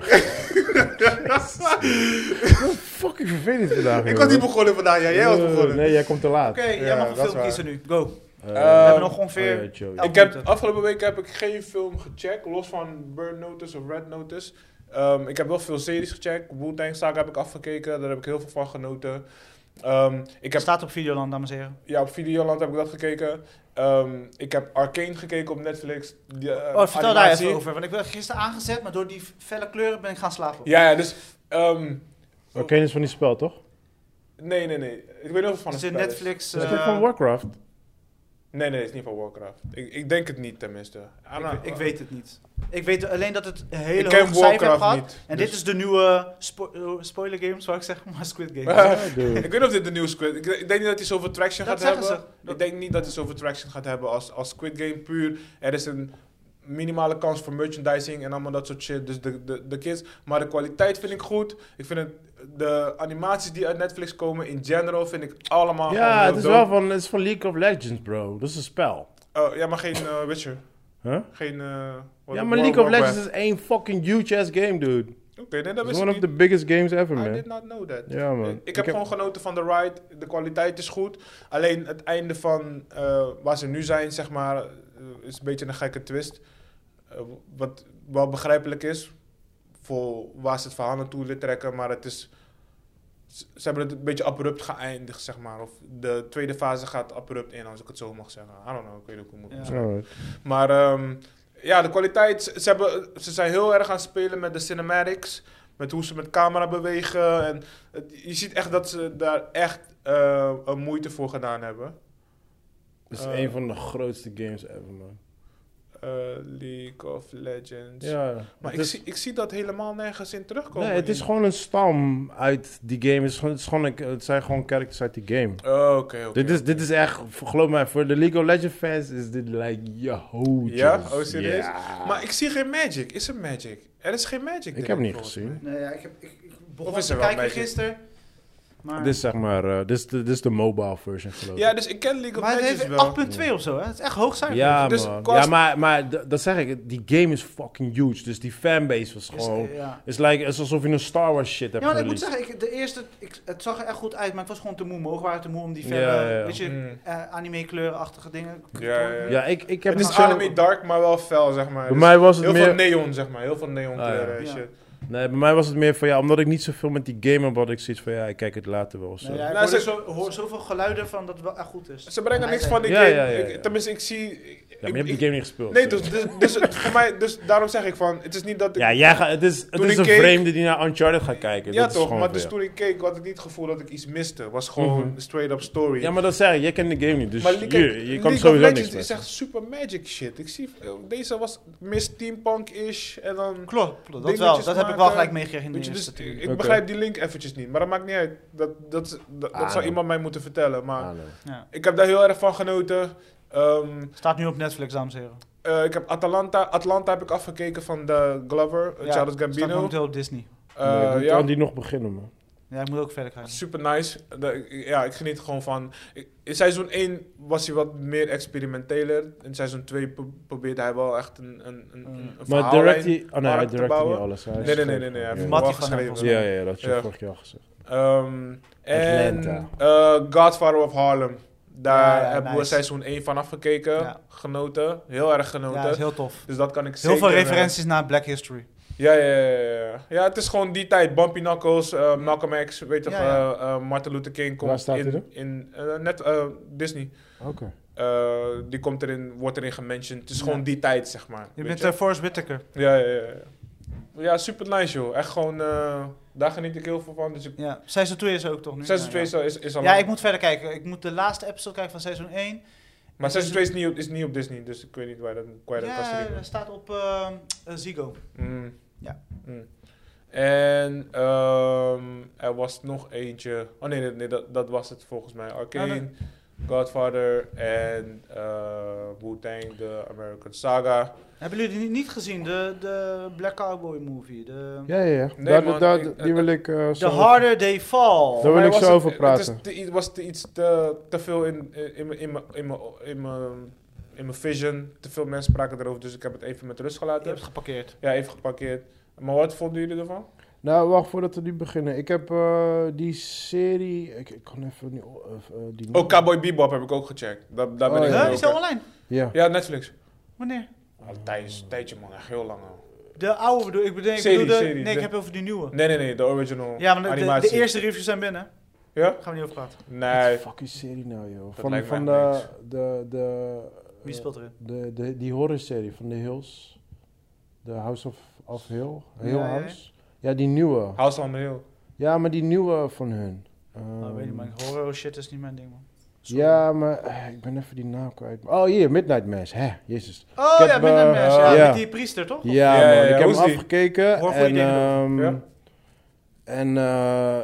[SPEAKER 1] Fucking vervelend vandaag.
[SPEAKER 3] ik
[SPEAKER 1] had
[SPEAKER 3] was niet begonnen vandaag. Ja, jij was begonnen.
[SPEAKER 1] Nee, jij komt te laat.
[SPEAKER 2] Oké, jij
[SPEAKER 3] Ja,
[SPEAKER 2] mag een
[SPEAKER 3] dat
[SPEAKER 2] film
[SPEAKER 3] is
[SPEAKER 2] kiezen nu. Go.
[SPEAKER 1] Eh,
[SPEAKER 2] We
[SPEAKER 3] Eh,
[SPEAKER 2] hebben nog ongeveer...
[SPEAKER 1] oh ja, Joe, ja.
[SPEAKER 2] elf
[SPEAKER 3] Ik heb,
[SPEAKER 2] minuten.
[SPEAKER 3] afgelopen week heb ik geen film gecheckt, los van Burn Notice of Red Notice. Ehm, ik heb wel veel series gecheckt. Wu-Tang Saga heb ik afgekeken, daar heb ik heel veel van genoten. Ehm, ik heb,
[SPEAKER 2] staat op Videoland, dames en heren.
[SPEAKER 3] ja, op Videoland heb ik dat gekeken. Ehm, ik heb Arcane gekeken op Netflix. Die, eh,
[SPEAKER 2] oh, vertel daar
[SPEAKER 3] animatie.
[SPEAKER 2] even over, want ik ben gisteren aangezet, maar door die felle kleuren ben ik gaan slapen.
[SPEAKER 3] Ja, ja, dus... ehm,
[SPEAKER 1] Oké, dat is van die spel, toch?
[SPEAKER 3] nee, nee, nee. Ik weet niet of het van
[SPEAKER 2] Het is
[SPEAKER 3] een
[SPEAKER 2] een
[SPEAKER 3] spel is.
[SPEAKER 2] Netflix...
[SPEAKER 1] Dat is
[SPEAKER 2] eh,
[SPEAKER 1] toch van Warcraft?
[SPEAKER 3] Nee, nee, het is niet van Warcraft. Ik, ik denk het niet, tenminste. Ah, nou,
[SPEAKER 2] ik, ik weet het niet. Ik weet alleen dat het een hele
[SPEAKER 3] Ik ken
[SPEAKER 2] hoge cijfer heeft
[SPEAKER 3] Warcraft
[SPEAKER 2] gehad.
[SPEAKER 3] niet,
[SPEAKER 2] en
[SPEAKER 3] dus-
[SPEAKER 2] dit is de nieuwe spo- eh, spoiler game, zou ik zeggen, maar Squid Game.
[SPEAKER 1] Ja, dude.
[SPEAKER 3] Ik weet niet of dit de nieuwe Squid... Ik, ik denk niet dat hij zoveel traction
[SPEAKER 2] Dat
[SPEAKER 3] gaat
[SPEAKER 2] zeggen
[SPEAKER 3] hebben.
[SPEAKER 2] ze.
[SPEAKER 3] Ik denk niet dat hij zoveel traction gaat hebben als, als Squid Game puur. Er is een minimale kans voor merchandising en allemaal dat soort shit. Dus de, de, de kids... Maar de kwaliteit vind ik goed. Ik vind het... De animaties die uit Netflix komen in general vind ik allemaal gewoon
[SPEAKER 1] Ja,
[SPEAKER 3] heel
[SPEAKER 1] het is
[SPEAKER 3] dope.
[SPEAKER 1] wel van, het is van League of Legends, bro. Dat is een spel.
[SPEAKER 3] Oh, ja, maar geen eh, Witcher.
[SPEAKER 1] Huh?
[SPEAKER 3] Geen... eh, wat-
[SPEAKER 1] Ja, maar League of Legends is één fucking huge ass game, dude.
[SPEAKER 3] Oké, nee, dat
[SPEAKER 1] It's
[SPEAKER 3] wist
[SPEAKER 1] one
[SPEAKER 3] ik
[SPEAKER 1] of the
[SPEAKER 3] niet.
[SPEAKER 1] biggest games ever,
[SPEAKER 3] I
[SPEAKER 1] man.
[SPEAKER 3] did not know that.
[SPEAKER 1] Ja, man.
[SPEAKER 3] Ik, heb gewoon genoten van de ride. De kwaliteit is goed. Alleen het einde van eh, waar ze nu zijn, zeg maar, eh, is een beetje een gekke twist. Eh, wat wel begrijpelijk is voor waar ze het verhaal naartoe willen trekken, maar het is. Ze ze hebben het een beetje abrupt geëindigd, zeg maar. Of de tweede fase gaat abrupt in, als ik het zo mag zeggen. I don't know, ik weet niet hoe ik het moet
[SPEAKER 2] Ja.
[SPEAKER 3] zeggen.
[SPEAKER 1] Alright.
[SPEAKER 3] Maar ehm, ja, de kwaliteit. Ze, ze hebben, ze zijn heel erg aan het spelen met de cinematics. Met hoe ze met camera bewegen. En het- je ziet echt dat ze daar echt eh, een moeite voor gedaan hebben.
[SPEAKER 1] Het is
[SPEAKER 3] Eh.
[SPEAKER 1] een van de grootste games ever, man.
[SPEAKER 3] Eh, League of Legends.
[SPEAKER 1] Ja. het
[SPEAKER 3] Maar ik,
[SPEAKER 1] is-
[SPEAKER 3] zie, ik zie dat helemaal nergens in terugkomen.
[SPEAKER 1] Nee, het is
[SPEAKER 3] in-
[SPEAKER 1] gewoon een stam uit die game. Het, is gewoon, het, is gewoon een- het zijn gewoon characters uit die game.
[SPEAKER 3] Oh, Oké, oké.
[SPEAKER 1] Dit, is, dit is echt, geloof mij, voor de League of Legends fans is dit like, yo.
[SPEAKER 3] Ja?
[SPEAKER 1] Jesus.
[SPEAKER 3] Oh, serieus?
[SPEAKER 1] Ja.
[SPEAKER 3] Maar ik zie geen magic. Is er magic? Er is geen
[SPEAKER 1] Ik
[SPEAKER 3] magic.
[SPEAKER 1] heb
[SPEAKER 3] direct,
[SPEAKER 1] niet
[SPEAKER 3] volgens
[SPEAKER 1] gezien.
[SPEAKER 2] Nee, ja, ik, heb, ik, ik begon
[SPEAKER 3] Of is
[SPEAKER 2] te
[SPEAKER 3] er wel
[SPEAKER 2] kijken
[SPEAKER 3] een beetje-
[SPEAKER 2] gisteren. Maar,
[SPEAKER 1] Dit is zeg maar, eh, dit, is de, dit is de mobile version,
[SPEAKER 3] mij.
[SPEAKER 1] geloof
[SPEAKER 3] Ah. Ja,
[SPEAKER 1] ik.
[SPEAKER 3] dus ik ken League of
[SPEAKER 2] maar het
[SPEAKER 3] Legends
[SPEAKER 2] heeft
[SPEAKER 3] wel.
[SPEAKER 2] 8,2 of zo, hè? Het is echt hoog cijfer.
[SPEAKER 1] Ja,
[SPEAKER 3] Dus
[SPEAKER 1] man.
[SPEAKER 3] kost-
[SPEAKER 1] Ja, maar, maar d- dat zeg ik, die game is fucking huge. Dus die fanbase was
[SPEAKER 2] Dus,
[SPEAKER 1] gewoon...
[SPEAKER 2] eh, ja.
[SPEAKER 1] Het is like, het is alsof je een Star Wars shit
[SPEAKER 2] Ja,
[SPEAKER 1] hebt
[SPEAKER 2] maar ik moet
[SPEAKER 1] gereleased.
[SPEAKER 2] zeggen, ik, de eerste, ik, het zag er echt goed uit, maar ik was gewoon te moe. Mijn ogen waren te moe om die
[SPEAKER 1] Ja,
[SPEAKER 2] verre,
[SPEAKER 1] ja, ja.
[SPEAKER 2] weet je,
[SPEAKER 3] Mm.
[SPEAKER 2] eh, anime-kleurenachtige dingen.
[SPEAKER 3] Ja, ja, ja.
[SPEAKER 1] Ja, ik, ik heb
[SPEAKER 3] Het is
[SPEAKER 1] zo-
[SPEAKER 3] anime dark, maar wel fel, zeg maar.
[SPEAKER 1] Bij
[SPEAKER 3] Dus-
[SPEAKER 1] mij was het
[SPEAKER 3] Heel
[SPEAKER 1] meer...
[SPEAKER 3] veel neon, zeg maar. Heel veel
[SPEAKER 1] Ah,
[SPEAKER 3] neon
[SPEAKER 1] ja.
[SPEAKER 3] kleuren en
[SPEAKER 2] Ja.
[SPEAKER 3] shit.
[SPEAKER 1] Nee, bij mij was het meer van ja, omdat ik niet zoveel met die game heb, had ik zoiets van ja, ik kijk het later wel. of Zo.
[SPEAKER 2] Nou, ja, ik
[SPEAKER 3] Nou,
[SPEAKER 2] hoorde
[SPEAKER 3] ze-
[SPEAKER 2] zo, hoor zoveel geluiden van dat het wel echt goed is.
[SPEAKER 3] Ze brengen
[SPEAKER 2] Hij
[SPEAKER 3] niks
[SPEAKER 2] zei-
[SPEAKER 3] van die
[SPEAKER 1] Ja,
[SPEAKER 3] game.
[SPEAKER 1] ja, ja,
[SPEAKER 3] Ik-
[SPEAKER 1] ja.
[SPEAKER 3] tenminste, ik zie... ik-
[SPEAKER 1] Ja, maar je
[SPEAKER 3] ik-
[SPEAKER 1] hebt
[SPEAKER 3] ik-
[SPEAKER 1] die game niet gespeeld.
[SPEAKER 3] Nee,
[SPEAKER 1] dus
[SPEAKER 3] dus, dus, dus het- voor mij, dus daarom zeg ik van, het is niet dat ik...
[SPEAKER 1] Ja, jij gaat, het is, het
[SPEAKER 3] Toen
[SPEAKER 1] is
[SPEAKER 3] ik
[SPEAKER 1] een
[SPEAKER 3] keek-
[SPEAKER 1] vreemde die naar Uncharted gaat kijken.
[SPEAKER 3] Ja,
[SPEAKER 1] dat is
[SPEAKER 3] toch,
[SPEAKER 1] gewoon
[SPEAKER 3] maar dus
[SPEAKER 1] weer.
[SPEAKER 3] toen ik keek had ik niet het gevoel dat ik iets miste. was gewoon
[SPEAKER 1] Mhm.
[SPEAKER 3] straight-up story.
[SPEAKER 1] Ja, maar dat zeg ik, jij kent de game niet, dus
[SPEAKER 3] Maar
[SPEAKER 1] je,
[SPEAKER 3] kijk,
[SPEAKER 1] je kan
[SPEAKER 3] League
[SPEAKER 1] er
[SPEAKER 3] of
[SPEAKER 1] sowieso niks
[SPEAKER 3] Legends
[SPEAKER 1] mee.
[SPEAKER 3] is echt super magic shit. Ik zie, deze was meer steampunk-ish en dan...
[SPEAKER 2] Klopt, dat wel.
[SPEAKER 3] dingetjes
[SPEAKER 2] Dat heb ik wel
[SPEAKER 3] maken.
[SPEAKER 2] gelijk meegekregen in de
[SPEAKER 3] Weet je,
[SPEAKER 2] eerste.
[SPEAKER 3] dus ik,
[SPEAKER 2] natuurlijk.
[SPEAKER 3] ik
[SPEAKER 1] Oké.
[SPEAKER 3] begrijp die link eventjes niet, maar dat maakt niet uit. Dat, dat, dat, dat
[SPEAKER 1] Ah,
[SPEAKER 3] zou
[SPEAKER 1] nee.
[SPEAKER 3] iemand mij moeten vertellen, maar...
[SPEAKER 1] Ah, nee.
[SPEAKER 2] Ja.
[SPEAKER 3] Ik heb daar heel erg van genoten. Ehm,
[SPEAKER 2] Staat nu op Netflix, dames en heren.
[SPEAKER 3] eh, ik heb Atalanta, Atlanta heb ik afgekeken van de Glover, eh, Charles
[SPEAKER 2] Staat
[SPEAKER 3] Gambino.
[SPEAKER 2] momenteel op Disney.
[SPEAKER 3] Eh,
[SPEAKER 1] Nee, ik moet
[SPEAKER 3] ja.
[SPEAKER 1] aan die nog beginnen, man.
[SPEAKER 2] Ja, ik moet ook verder gaan.
[SPEAKER 3] Super nice. De- Ja, ik geniet gewoon van. ik- In seizoen 1 was hij wat meer experimenteler. In seizoen 2 pro- probeerde hij wel echt een, een, een,
[SPEAKER 2] Mm.
[SPEAKER 3] een
[SPEAKER 1] Maar
[SPEAKER 3] verhaallijn
[SPEAKER 1] direct hij... Oh nee, hij
[SPEAKER 3] markt te
[SPEAKER 1] direct niet
[SPEAKER 3] bouwen.
[SPEAKER 1] alles. Hij is
[SPEAKER 3] Nee, nee, nee,
[SPEAKER 1] gewoon-
[SPEAKER 3] nee. nee.
[SPEAKER 1] Ja,
[SPEAKER 3] Hij heeft
[SPEAKER 1] ja.
[SPEAKER 2] Mattie
[SPEAKER 3] wel
[SPEAKER 2] van hem,
[SPEAKER 3] geschreven.
[SPEAKER 2] volgens
[SPEAKER 1] Ja, ja, dat heb je
[SPEAKER 3] Ja.
[SPEAKER 1] vorige keer al gezegd.
[SPEAKER 3] Ehm, en
[SPEAKER 1] Atlanta.
[SPEAKER 3] eh, Godfather of Harlem. Daar
[SPEAKER 2] Ja, ja,
[SPEAKER 3] hebben we
[SPEAKER 2] nice.
[SPEAKER 3] seizoen 1 van afgekeken.
[SPEAKER 2] Ja.
[SPEAKER 3] Genoten. Heel erg
[SPEAKER 2] Ja,
[SPEAKER 3] genoten.
[SPEAKER 2] dat is heel tof.
[SPEAKER 3] Dus dat kan ik
[SPEAKER 2] Heel
[SPEAKER 3] zeker...
[SPEAKER 2] veel
[SPEAKER 3] eh,
[SPEAKER 2] referenties naar Black History.
[SPEAKER 3] Ja, ja, ja, ja, ja. Ja, het is gewoon die tijd. Bumpy Knuckles, eh, Malcolm X, weet je
[SPEAKER 2] Ja,
[SPEAKER 3] toch,
[SPEAKER 2] ja.
[SPEAKER 3] eh, eh, Martin Luther King komt
[SPEAKER 1] Waar staat
[SPEAKER 3] in,
[SPEAKER 1] dit op?
[SPEAKER 3] in eh, net eh, Disney.
[SPEAKER 1] Oké.
[SPEAKER 3] Eh, die komt erin, wordt erin gementioned. Het is
[SPEAKER 2] Ja.
[SPEAKER 3] gewoon die tijd, zeg maar.
[SPEAKER 2] Je
[SPEAKER 3] weet
[SPEAKER 2] bent
[SPEAKER 3] je.
[SPEAKER 2] eh, Forrest Whitaker.
[SPEAKER 3] Ja, ja, ja. ja. Ja, super nice, joh. Echt gewoon, eh, daar geniet ik heel veel van. Dus ik...
[SPEAKER 2] Ja, seizoen 2 is er ook toch nu?
[SPEAKER 3] Seizoen 2
[SPEAKER 2] ja,
[SPEAKER 3] is al... Is, is al
[SPEAKER 2] ja.
[SPEAKER 3] lang.
[SPEAKER 2] ja, ik moet verder kijken. Ik moet de laatste episode kijken van seizoen 1.
[SPEAKER 3] Maar
[SPEAKER 2] Het is-
[SPEAKER 3] seizoen 2 is niet, op, is niet op Disney, dus ik weet niet waar dat kwijt dat kan
[SPEAKER 2] Ja,
[SPEAKER 3] streamen.
[SPEAKER 2] dat staat op ehm, eh, Ziggo.
[SPEAKER 3] Mm.
[SPEAKER 2] Ja.
[SPEAKER 3] Mm. En ehm, er was nog eentje. Oh nee, nee, nee, dat, dat was het volgens mij. Arcane,
[SPEAKER 2] Ja, Ah, dat-
[SPEAKER 3] Godfather en eh Wu-Tang, The American Saga.
[SPEAKER 2] Hebben jullie die niet gezien? De, de Black Cowboy movie. De,
[SPEAKER 1] Ja, ja, ja.
[SPEAKER 3] Nee,
[SPEAKER 1] Daar-
[SPEAKER 3] man,
[SPEAKER 1] daar-
[SPEAKER 3] ik-
[SPEAKER 1] die wil ik eh,
[SPEAKER 2] The
[SPEAKER 1] zo...
[SPEAKER 2] Harder They Fall.
[SPEAKER 1] Daar wil
[SPEAKER 3] Maar
[SPEAKER 1] ik
[SPEAKER 3] was
[SPEAKER 1] zo
[SPEAKER 3] het-
[SPEAKER 1] over
[SPEAKER 3] Het
[SPEAKER 1] praten.
[SPEAKER 3] is te- het was te iets te, te veel in, in, mijn- in, mijn- in, mijn- in, mijn- in mijn vision. Te veel mensen spraken erover, dus ik heb het even met rust
[SPEAKER 2] Je
[SPEAKER 3] gelaten.
[SPEAKER 2] hebt geparkeerd.
[SPEAKER 3] Ja, even geparkeerd. Maar wat vonden jullie ervan?
[SPEAKER 1] Nou, wacht voordat we nu beginnen. Ik heb eh, die serie... Ik, ik kan even... niet- eh, eh, die
[SPEAKER 3] Oh, Cowboy Bebop heb ik ook gecheckt. Daar, daar ben
[SPEAKER 1] Oh,
[SPEAKER 3] ik
[SPEAKER 1] ja.
[SPEAKER 2] Huh?
[SPEAKER 3] ook
[SPEAKER 2] Is dat
[SPEAKER 3] in.
[SPEAKER 2] online?
[SPEAKER 1] Ja.
[SPEAKER 3] Ja, Netflix.
[SPEAKER 2] Wanneer?
[SPEAKER 3] Al tijdens, Nou, een tijdje man, echt heel lang al.
[SPEAKER 2] De oude bedoel ik. Bedoel, ik
[SPEAKER 3] Serie,
[SPEAKER 2] bedoel de,
[SPEAKER 3] serie,
[SPEAKER 2] nee, ik
[SPEAKER 3] de-
[SPEAKER 2] heb het over die nieuwe.
[SPEAKER 3] Nee, nee, nee, de original
[SPEAKER 2] Ja, want de- de,
[SPEAKER 3] animatie.
[SPEAKER 2] de eerste reviews zijn binnen.
[SPEAKER 3] Ja?
[SPEAKER 2] Daar gaan we niet over praten.
[SPEAKER 1] Wat
[SPEAKER 3] Nee.
[SPEAKER 1] fuck is serie nou, joh?
[SPEAKER 3] Dat
[SPEAKER 1] Van,
[SPEAKER 3] lijkt me
[SPEAKER 1] van
[SPEAKER 3] echt
[SPEAKER 1] de, de, de...
[SPEAKER 2] Wie
[SPEAKER 1] eh,
[SPEAKER 2] speelt erin?
[SPEAKER 1] de, de, die horrorserie van The Hills. The House of, of Hill. Hill
[SPEAKER 2] Ja, ja, ja.
[SPEAKER 1] House. Ja, die nieuwe.
[SPEAKER 3] House on the Hill.
[SPEAKER 1] Ja, maar die nieuwe van hun.
[SPEAKER 2] Oh, ik weet niet,
[SPEAKER 1] Ehm,
[SPEAKER 2] man. Horror shit is niet mijn ding, man. Sorry.
[SPEAKER 1] ja, maar eh, ik ben even die naam kwijt. Oh, hier, Midnight Mass. Hè, jezus.
[SPEAKER 2] Oh
[SPEAKER 1] Ik
[SPEAKER 2] ja,
[SPEAKER 1] heb,
[SPEAKER 2] Midnight
[SPEAKER 1] eh,
[SPEAKER 2] Mass, ja,
[SPEAKER 1] ja.
[SPEAKER 2] met die priester, toch?
[SPEAKER 1] Ja,
[SPEAKER 3] Ja, ja,
[SPEAKER 1] man,
[SPEAKER 3] ja,
[SPEAKER 1] ik heb
[SPEAKER 3] hoe
[SPEAKER 1] hem
[SPEAKER 3] is die?
[SPEAKER 1] afgekeken.
[SPEAKER 2] Hoor voor je
[SPEAKER 1] en,
[SPEAKER 2] ding
[SPEAKER 1] ehm,
[SPEAKER 3] Ja.
[SPEAKER 1] en eh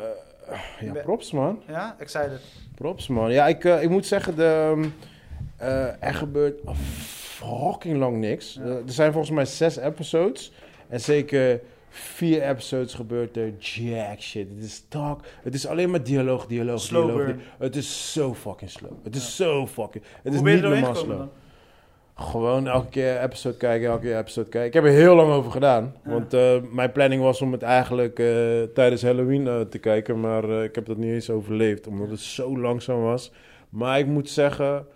[SPEAKER 1] ja,
[SPEAKER 2] Ben-
[SPEAKER 1] props, man.
[SPEAKER 2] Ja, excited.
[SPEAKER 1] Props, man. Ja, ik, eh, ik moet zeggen, de, ehm, eh, er gebeurt fucking lang niks.
[SPEAKER 2] Ja.
[SPEAKER 1] Eh, er zijn volgens mij zes episodes. En zeker vier episodes gebeurt er jack shit. Het is talk. Het is alleen maar dialoog, dialoog,
[SPEAKER 2] Slow
[SPEAKER 1] dialoog.
[SPEAKER 2] burn.
[SPEAKER 1] Het is zo fucking slow. Het is zo fucking... Het
[SPEAKER 2] Hoe
[SPEAKER 1] is
[SPEAKER 2] ben je
[SPEAKER 1] niet
[SPEAKER 2] er doorheen
[SPEAKER 1] normaal
[SPEAKER 2] gekomen
[SPEAKER 1] slow.
[SPEAKER 2] dan?
[SPEAKER 1] Gewoon elke keer episode kijken, elke keer episode kijken. Ik heb er heel lang over gedaan.
[SPEAKER 2] Ja.
[SPEAKER 1] Want eh, mijn planning was om het eigenlijk eh, tijdens Halloween eh, te kijken. Maar eh, ik heb dat niet eens overleefd, omdat het zo langzaam was. Maar ik moet zeggen,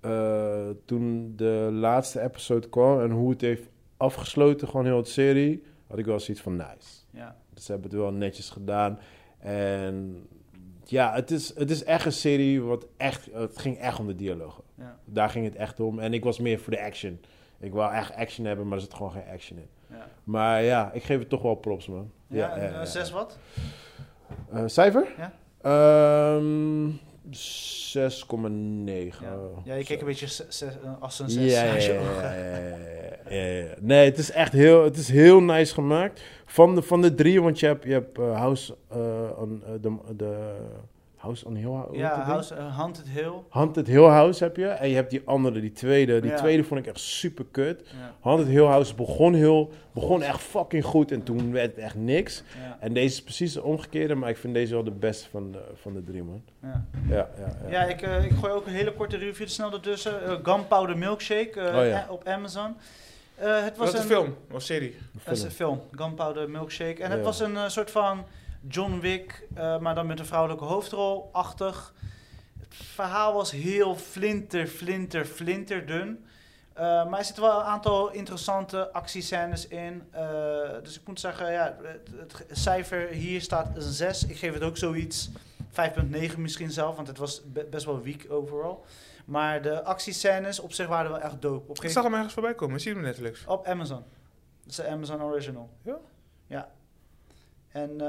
[SPEAKER 1] eh, toen de laatste episode kwam en hoe het heeft afgesloten, gewoon heel het serie, had ik wel zoiets van nice.
[SPEAKER 2] Ja.
[SPEAKER 1] Dus Ze hebben het wel netjes gedaan. En ja, het is, het is echt een serie wat echt... Het ging echt om de dialogen.
[SPEAKER 2] Ja.
[SPEAKER 1] Daar ging het echt om. En ik was meer voor de action. Ik wou echt action hebben, maar er zit gewoon geen action in.
[SPEAKER 2] Ja,
[SPEAKER 1] Maar ja, ik geef het toch wel props, man.
[SPEAKER 2] ja, en, eh, zes wat?
[SPEAKER 1] Eh, cijfer?
[SPEAKER 2] Ja.
[SPEAKER 1] Ehm, 6,9.
[SPEAKER 2] Ja, ja je keek een beetje zes, zes, eh, als een zes.
[SPEAKER 1] Ja, ja,
[SPEAKER 2] als je
[SPEAKER 1] ja,
[SPEAKER 2] ogen-
[SPEAKER 1] ja, ja, ja, ja, ja. Nee, het is echt heel, het is heel nice gemaakt. Van de, van de drie, want je hebt, je hebt eh, House eh, on eh, de, de House on Hill hoe heet
[SPEAKER 2] Ja,
[SPEAKER 1] dat ding?
[SPEAKER 2] House, eh, Haunted Hill.
[SPEAKER 1] Haunted Hill House heb je. En je hebt die andere, die tweede. Die
[SPEAKER 2] Ja.
[SPEAKER 1] tweede vond ik echt super kut.
[SPEAKER 2] Ja,
[SPEAKER 1] Haunted Hill House begon heel, begon echt fucking goed en toen werd het echt niks.
[SPEAKER 2] ja,
[SPEAKER 1] En deze is precies de omgekeerde, maar ik vind deze wel de beste van de, van de drie, man.
[SPEAKER 2] ja.
[SPEAKER 1] Ja, ja, ja.
[SPEAKER 2] Ja, ik, eh, ik gooi ook een hele korte review er snel ertussen. Eh, Gunpowder Milkshake eh,
[SPEAKER 1] Oh ja.
[SPEAKER 2] eh, op Amazon. Eh, het was
[SPEAKER 3] dat is een film of serie.
[SPEAKER 2] Dat is een film, Gunpowder Milkshake. En het
[SPEAKER 1] Ja.
[SPEAKER 2] was een eh, soort van John Wick, eh, maar dan met een vrouwelijke hoofdrol-achtig. Het verhaal was heel flinter, flinter, flinterdun. Eh maar er zitten wel een aantal interessante actiescènes in. Eh, dus ik moet zeggen, ja, het, het cijfer hier staat een 6. Ik geef het ook zoiets. 5.9 misschien zelf, want het was be- best wel weak overal. Maar de actiescènes op zich waren wel echt dope. Op een
[SPEAKER 3] Ik
[SPEAKER 2] gegeven
[SPEAKER 3] zag hem ergens voorbij komen, zie je hem op Netflix.
[SPEAKER 2] op Amazon. Dat is de Amazon Original.
[SPEAKER 3] Ja?
[SPEAKER 2] Ja. En eh,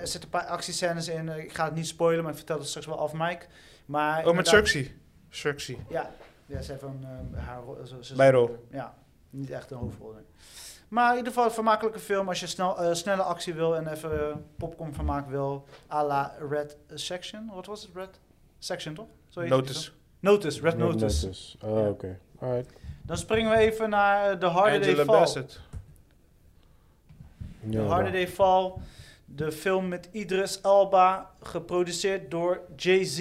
[SPEAKER 2] er zitten een paar actiescènes in. Eh, Ik ga het niet spoilen, maar ik vertel het straks wel af, Mike. Maar
[SPEAKER 3] Oh, met
[SPEAKER 2] inderdaad-
[SPEAKER 3] Cirxy. Cirxy.
[SPEAKER 2] Ja. Ja, ze heeft een eh, haar... ro- zo- zo-
[SPEAKER 3] Bijrol.
[SPEAKER 2] Ja, niet echt een hoofdrol. nee. Maar in ieder geval een vermakelijke film als je snel, eh, snelle actie wil en even eh, popcorn vermaak wil. à la Red Section. Wat was het? Red Section, toch? Zo heet die
[SPEAKER 3] Notice.
[SPEAKER 2] film. Notice, Red, Notice.
[SPEAKER 1] Oh,
[SPEAKER 2] Ja.
[SPEAKER 1] oké. Alright.
[SPEAKER 2] Dan springen we even naar de The Harder They
[SPEAKER 3] Angela
[SPEAKER 2] Fall.
[SPEAKER 3] Bassett.
[SPEAKER 1] Ja,
[SPEAKER 2] De Harder
[SPEAKER 1] dan.
[SPEAKER 2] Day Fall. De film met Idris Elba, geproduceerd door Jay-Z.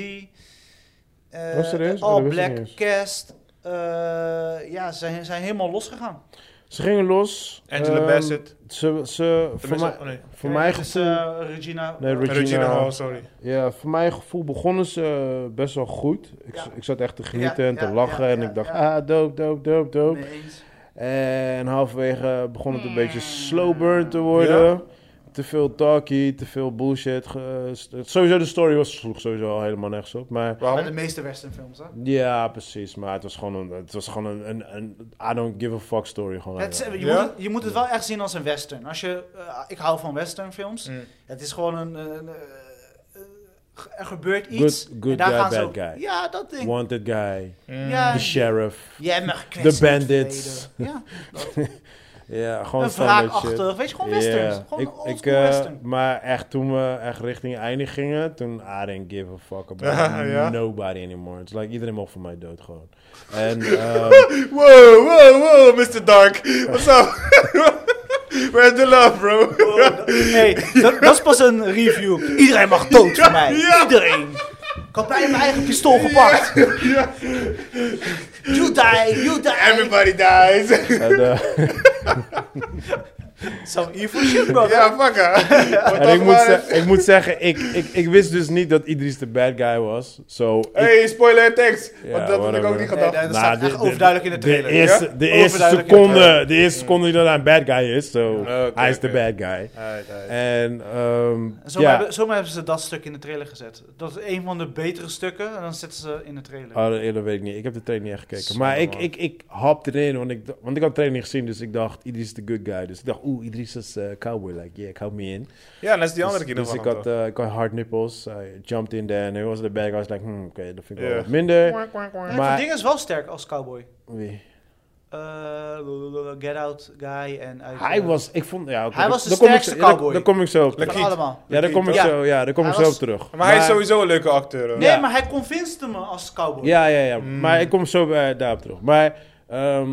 [SPEAKER 2] eh,
[SPEAKER 1] Oh, serieus? Oh,
[SPEAKER 2] All
[SPEAKER 1] dat wist ik
[SPEAKER 2] Black
[SPEAKER 1] niet eens.
[SPEAKER 2] Cast. eh, ja, ze zijn, zijn helemaal losgegaan.
[SPEAKER 1] Ze gingen los.
[SPEAKER 3] Angela
[SPEAKER 1] ehm,
[SPEAKER 3] Bassett.
[SPEAKER 1] Ze, ze, voor
[SPEAKER 3] Tenminste,
[SPEAKER 1] mij,
[SPEAKER 3] oh nee.
[SPEAKER 1] voor mij
[SPEAKER 2] dus,
[SPEAKER 1] gevoel,
[SPEAKER 2] Regina.
[SPEAKER 1] Nee, Regina-
[SPEAKER 3] Regina Hall, sorry.
[SPEAKER 1] ja, voor mijn gevoel begonnen ze eh, best wel goed. Ik,
[SPEAKER 2] Ja.
[SPEAKER 1] ik zat echt te genieten
[SPEAKER 2] Ja,
[SPEAKER 1] en te
[SPEAKER 2] ja,
[SPEAKER 1] lachen.
[SPEAKER 2] ja,
[SPEAKER 1] en
[SPEAKER 2] ja,
[SPEAKER 1] ik dacht,
[SPEAKER 2] ja.
[SPEAKER 1] ah, dope, dope, dope, dope.
[SPEAKER 2] Mee eens.
[SPEAKER 1] En halverwege begon het een beetje
[SPEAKER 2] Hmm.
[SPEAKER 1] slow burn te worden.
[SPEAKER 3] Ja.
[SPEAKER 1] Te veel talkie, te veel bullshit. ge- st- sowieso de story was sloeg sowieso al helemaal nergens op. Maar
[SPEAKER 2] Bij de
[SPEAKER 3] Waarom?
[SPEAKER 2] meeste westernfilms, hè?
[SPEAKER 1] ja, precies. Maar het was gewoon een, het was gewoon een, een, een I don't give a fuck story. Gewoon
[SPEAKER 2] Het,
[SPEAKER 1] eigenlijk.
[SPEAKER 2] is- je,
[SPEAKER 3] Ja?
[SPEAKER 2] moet het, je moet het wel echt zien als een western. Als je, eh, ik hou van westernfilms.
[SPEAKER 3] Mm.
[SPEAKER 2] Het is gewoon een... een, eh, eh, er gebeurt
[SPEAKER 1] Good-
[SPEAKER 2] iets.
[SPEAKER 1] good
[SPEAKER 2] en daar
[SPEAKER 1] guy,
[SPEAKER 2] gaan ze
[SPEAKER 1] bad
[SPEAKER 2] ook-
[SPEAKER 1] guy.
[SPEAKER 2] Ja, dat ding.
[SPEAKER 1] Wanted guy,
[SPEAKER 2] Ja,
[SPEAKER 1] the sheriff.
[SPEAKER 2] Jij hebt me gekwetst in het
[SPEAKER 1] bandits.
[SPEAKER 2] verleden. Ja, dat-
[SPEAKER 1] Ja, gewoon
[SPEAKER 2] een
[SPEAKER 1] standaard shit.
[SPEAKER 2] wraakachtig. Weet je, gewoon
[SPEAKER 1] Ja,
[SPEAKER 2] westerns. Gewoon
[SPEAKER 1] ik,
[SPEAKER 2] oldschool
[SPEAKER 1] ik, eh,
[SPEAKER 2] western.
[SPEAKER 1] Maar echt, toen we echt richting einde gingen, toen I didn't give a fuck about
[SPEAKER 3] Ja.
[SPEAKER 1] nobody anymore. It's like, iedereen mocht voor mij dood gewoon. En ehm,
[SPEAKER 3] Wow, wow, wow, Mr. Dark. What's up? Where's the love, bro?
[SPEAKER 2] hey, dat, dat is pas een review. Iedereen mag dood voor mij. Iedereen. Ik had bijna mijn eigen pistool gepakt. You die, you die.
[SPEAKER 3] Everybody dies.
[SPEAKER 1] en, eh,
[SPEAKER 2] Some evil shit, brother.
[SPEAKER 3] Ja, fuck her. Wat
[SPEAKER 1] en ik,
[SPEAKER 3] dan
[SPEAKER 1] moet
[SPEAKER 3] maar.
[SPEAKER 1] ze- ik moet zeggen, ik, ik, ik wist dus niet dat Idris de bad guy was. So, ik-
[SPEAKER 3] Hey, spoiler tekst.
[SPEAKER 1] Ja,
[SPEAKER 3] Want dat had ik
[SPEAKER 1] whatever.
[SPEAKER 3] ook niet
[SPEAKER 2] Nee,
[SPEAKER 3] gedacht.
[SPEAKER 2] nee, dat staat
[SPEAKER 1] Nou,
[SPEAKER 2] echt overduidelijk in de trailer.
[SPEAKER 1] De eerste,
[SPEAKER 3] ja?
[SPEAKER 1] de eerste
[SPEAKER 2] Overduidelijk in de Oh,
[SPEAKER 1] seconde, de eerste seconde die dat hij een bad guy is, so
[SPEAKER 3] Oké,
[SPEAKER 1] hij is de
[SPEAKER 3] oké.
[SPEAKER 1] bad guy.
[SPEAKER 3] Alright, alright.
[SPEAKER 1] En ehm
[SPEAKER 2] En Zomaar,
[SPEAKER 1] ja,
[SPEAKER 2] hebben, zomaar hebben ze dat stuk in de trailer gezet. Dat is een van de betere stukken en dan zetten ze in de trailer.
[SPEAKER 1] Oh, dat eerder weet ik niet. Ik heb de trailer niet echt gekeken.
[SPEAKER 3] Zo,
[SPEAKER 1] maar ik,
[SPEAKER 3] man.
[SPEAKER 1] ik, ik hapte erin, want ik, d- want ik had de trailer niet gezien. Dus ik dacht, Idris is de good guy. Dus ik dacht, oeh, Idris is eh, cowboy. Like, yeah, count me in.
[SPEAKER 3] Ja, en dat is die andere
[SPEAKER 1] dus,
[SPEAKER 3] keer
[SPEAKER 1] dus
[SPEAKER 3] nog
[SPEAKER 1] ik, had, eh, ik had hard nipples. I jumped in there. En hij was de bad guy. I was like, hmm, oké, dat vind ik
[SPEAKER 3] Ja.
[SPEAKER 1] wel wat minder.
[SPEAKER 2] maar...
[SPEAKER 1] maar-
[SPEAKER 2] Het ding is wel sterk als cowboy.
[SPEAKER 1] Wie?
[SPEAKER 2] Eh, get out guy en uit... eh,
[SPEAKER 1] Hij was, ik vond, ja. oké,
[SPEAKER 2] Hij
[SPEAKER 1] dat-
[SPEAKER 2] was de
[SPEAKER 1] daar kom ik zo-
[SPEAKER 2] sterkste
[SPEAKER 1] ja, daar-
[SPEAKER 2] cowboy.
[SPEAKER 1] Daar kom ik zo op terug.
[SPEAKER 2] Van
[SPEAKER 3] Lakiet.
[SPEAKER 2] allemaal.
[SPEAKER 1] Ja, daar kom ik
[SPEAKER 2] Ja.
[SPEAKER 1] zo, ja, daar kom
[SPEAKER 2] Hij
[SPEAKER 1] ik zo
[SPEAKER 2] was-
[SPEAKER 1] op terug.
[SPEAKER 3] Maar hij is sowieso een leuke acteur. hoor.
[SPEAKER 2] Nee,
[SPEAKER 1] Ja.
[SPEAKER 2] maar hij convinced me als cowboy.
[SPEAKER 1] Ja, ja, ja.
[SPEAKER 3] Mm.
[SPEAKER 1] Maar ik kom zo bij, daarop terug. Maar, ehm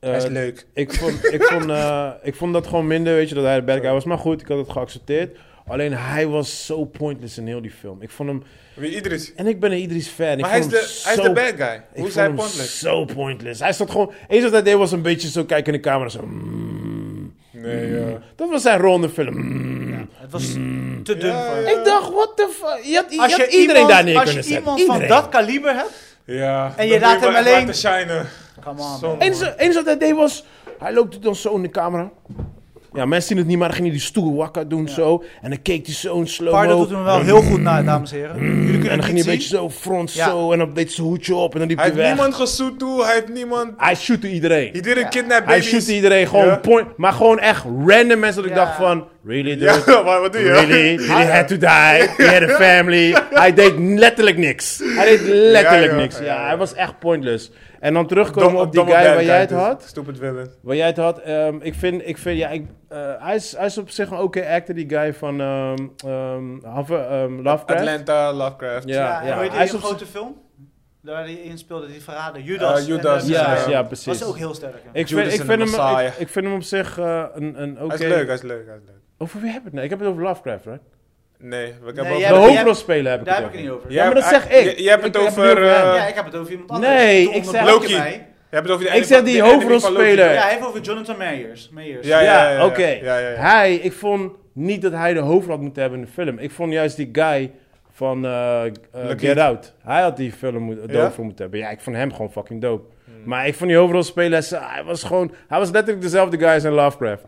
[SPEAKER 3] Hij is
[SPEAKER 1] eh,
[SPEAKER 3] leuk.
[SPEAKER 1] Ik vond, ik, vond, eh, ik vond dat gewoon minder, weet je, dat hij de bad guy was. Maar goed, ik had het geaccepteerd. Alleen hij was zo pointless in heel die film. Ik vond hem...
[SPEAKER 3] Wie Idris.
[SPEAKER 1] En ik ben een Idris fan. Ik
[SPEAKER 3] Maar hij is,
[SPEAKER 1] vond hem
[SPEAKER 3] de, hij
[SPEAKER 1] zo-
[SPEAKER 3] is de bad guy.
[SPEAKER 1] ik
[SPEAKER 3] Hoe is
[SPEAKER 1] vond
[SPEAKER 3] hij
[SPEAKER 1] hem
[SPEAKER 3] pointless?
[SPEAKER 1] zo pointless. Hij zat gewoon... Eens wat hij deed was een beetje zo kijken in de camera. Zo... mm,
[SPEAKER 3] Nee, ja.
[SPEAKER 1] dat was zijn rol in de film. Mm.
[SPEAKER 2] Het was te dun
[SPEAKER 3] Ja,
[SPEAKER 2] voor
[SPEAKER 3] ja.
[SPEAKER 2] hem.
[SPEAKER 1] Ik dacht, what the fuck? Je had, je
[SPEAKER 2] Als
[SPEAKER 1] had
[SPEAKER 2] je
[SPEAKER 1] iedereen
[SPEAKER 2] iemand,
[SPEAKER 1] daar neer
[SPEAKER 2] als je
[SPEAKER 1] kunnen zetten.
[SPEAKER 2] iemand
[SPEAKER 1] iedereen.
[SPEAKER 2] van dat kaliber hebt...
[SPEAKER 3] Ja.
[SPEAKER 2] En je
[SPEAKER 3] dan
[SPEAKER 2] laat
[SPEAKER 3] moet
[SPEAKER 2] hem
[SPEAKER 3] wel echt
[SPEAKER 2] alleen-
[SPEAKER 3] laten shinen.
[SPEAKER 2] Come on.
[SPEAKER 3] Zo.
[SPEAKER 2] man.
[SPEAKER 1] Eens, eens wat hij deed was... Hij loopt dan zo in de camera. Ja, mensen zien het niet, maar dan ging hij die stoel wakker doen zo. En dan keek hij zo in slow-mo.
[SPEAKER 2] Pardo doet hem wel heel goed na, dames en heren. Jullie kunnen
[SPEAKER 1] Mm, En dan
[SPEAKER 2] het
[SPEAKER 1] ging hij
[SPEAKER 2] niet
[SPEAKER 1] een
[SPEAKER 2] zien.
[SPEAKER 1] beetje zo front
[SPEAKER 2] Ja.
[SPEAKER 1] zo en dan deed zijn hoedje op en dan liep
[SPEAKER 3] Hij
[SPEAKER 1] hij
[SPEAKER 3] heeft
[SPEAKER 1] weg.
[SPEAKER 3] niemand gezoet toe. Hij heeft niemand...
[SPEAKER 1] Hij shootte
[SPEAKER 3] He
[SPEAKER 1] iedereen.
[SPEAKER 3] didn't kidnap
[SPEAKER 1] Hij
[SPEAKER 3] babies.
[SPEAKER 1] shootte iedereen gewoon
[SPEAKER 3] Ja.
[SPEAKER 1] point, maar gewoon echt random mensen dat ik
[SPEAKER 2] Ja.
[SPEAKER 1] dacht van, really dude?
[SPEAKER 3] Ja, maar wat doe je?
[SPEAKER 1] Really? He had to die. He had a family. Hij deed letterlijk niks. Hij deed letterlijk
[SPEAKER 3] Ja, ja,
[SPEAKER 1] niks.
[SPEAKER 3] ja,
[SPEAKER 1] Ja,
[SPEAKER 3] ja.
[SPEAKER 1] hij was echt pointless. En dan terugkomen
[SPEAKER 3] Dom-
[SPEAKER 1] op die
[SPEAKER 3] domme
[SPEAKER 1] guy
[SPEAKER 3] bad
[SPEAKER 1] waar jij het
[SPEAKER 3] dus.
[SPEAKER 1] had.
[SPEAKER 3] Stupid villain.
[SPEAKER 1] Waar jij het had. ehm, ik vind, ik vind ja, ik, eh, hij, is, hij is op zich een oké actor, die guy van ehm ehm, Hover- ehm, Lovecraft.
[SPEAKER 3] Atlanta, Lovecraft.
[SPEAKER 1] Ja,
[SPEAKER 2] Ja,
[SPEAKER 1] ja.
[SPEAKER 2] en weet je
[SPEAKER 1] Hij
[SPEAKER 2] die
[SPEAKER 1] is op
[SPEAKER 2] grote film? Daar die in speelde, die verraden. Judas.
[SPEAKER 3] Eh, Judas,
[SPEAKER 2] en, eh,
[SPEAKER 1] Ja,
[SPEAKER 3] Ja.
[SPEAKER 1] ja,
[SPEAKER 2] was
[SPEAKER 1] precies.
[SPEAKER 2] ook heel sterk. hè.
[SPEAKER 1] Ik
[SPEAKER 3] Judas
[SPEAKER 1] vind, ik,
[SPEAKER 3] en
[SPEAKER 1] vind
[SPEAKER 3] de
[SPEAKER 1] hem,
[SPEAKER 3] Messiah.
[SPEAKER 1] ik, ik vind hem op zich eh, een, een oké...
[SPEAKER 3] Hij is leuk, hij is leuk, hij is leuk.
[SPEAKER 1] Over wie heb je het? nou? Ik heb het over Lovecraft, right?
[SPEAKER 3] Nee, we hebben
[SPEAKER 2] Nee,
[SPEAKER 3] ook-
[SPEAKER 1] De
[SPEAKER 2] jij hebt-
[SPEAKER 1] hoofdrolspeler heb ik
[SPEAKER 2] Daar
[SPEAKER 1] het
[SPEAKER 2] heb ik het niet over.
[SPEAKER 1] Ja, maar dat zeg ik.
[SPEAKER 3] Je, je hebt het
[SPEAKER 1] Ik heb het
[SPEAKER 3] over...
[SPEAKER 1] niet over hem.
[SPEAKER 3] eh,
[SPEAKER 2] Ja, ik heb het over iemand anders.
[SPEAKER 1] Nee,
[SPEAKER 2] Toen
[SPEAKER 1] ik zeg-
[SPEAKER 2] onderbrak je
[SPEAKER 3] Loki.
[SPEAKER 2] mij.
[SPEAKER 3] Je hebt het over die
[SPEAKER 1] Ik
[SPEAKER 3] ene-
[SPEAKER 1] zeg die
[SPEAKER 3] ene van
[SPEAKER 1] hoofdrolspeler.
[SPEAKER 3] Loki.
[SPEAKER 2] Ja, hij heeft over Jonathan Meyers. Meyers.
[SPEAKER 3] Ja, ja,
[SPEAKER 1] Ja,
[SPEAKER 3] ja, ja.
[SPEAKER 1] oké.
[SPEAKER 3] Ja, ja, ja.
[SPEAKER 1] Hij, ik vond niet dat hij de hoofdrol had moeten hebben in de film. Ik vond juist die guy van eh, eh,
[SPEAKER 3] Lokiet.
[SPEAKER 1] Get Out. Hij had die film moet, dope
[SPEAKER 3] Ja?
[SPEAKER 1] voor moeten hebben. Ja, ik vond hem gewoon fucking dope. Maar ik vond die hoofdrolspeler, hij zei- hij was gewoon... Hij was letterlijk dezelfde guy als in Lovecraft.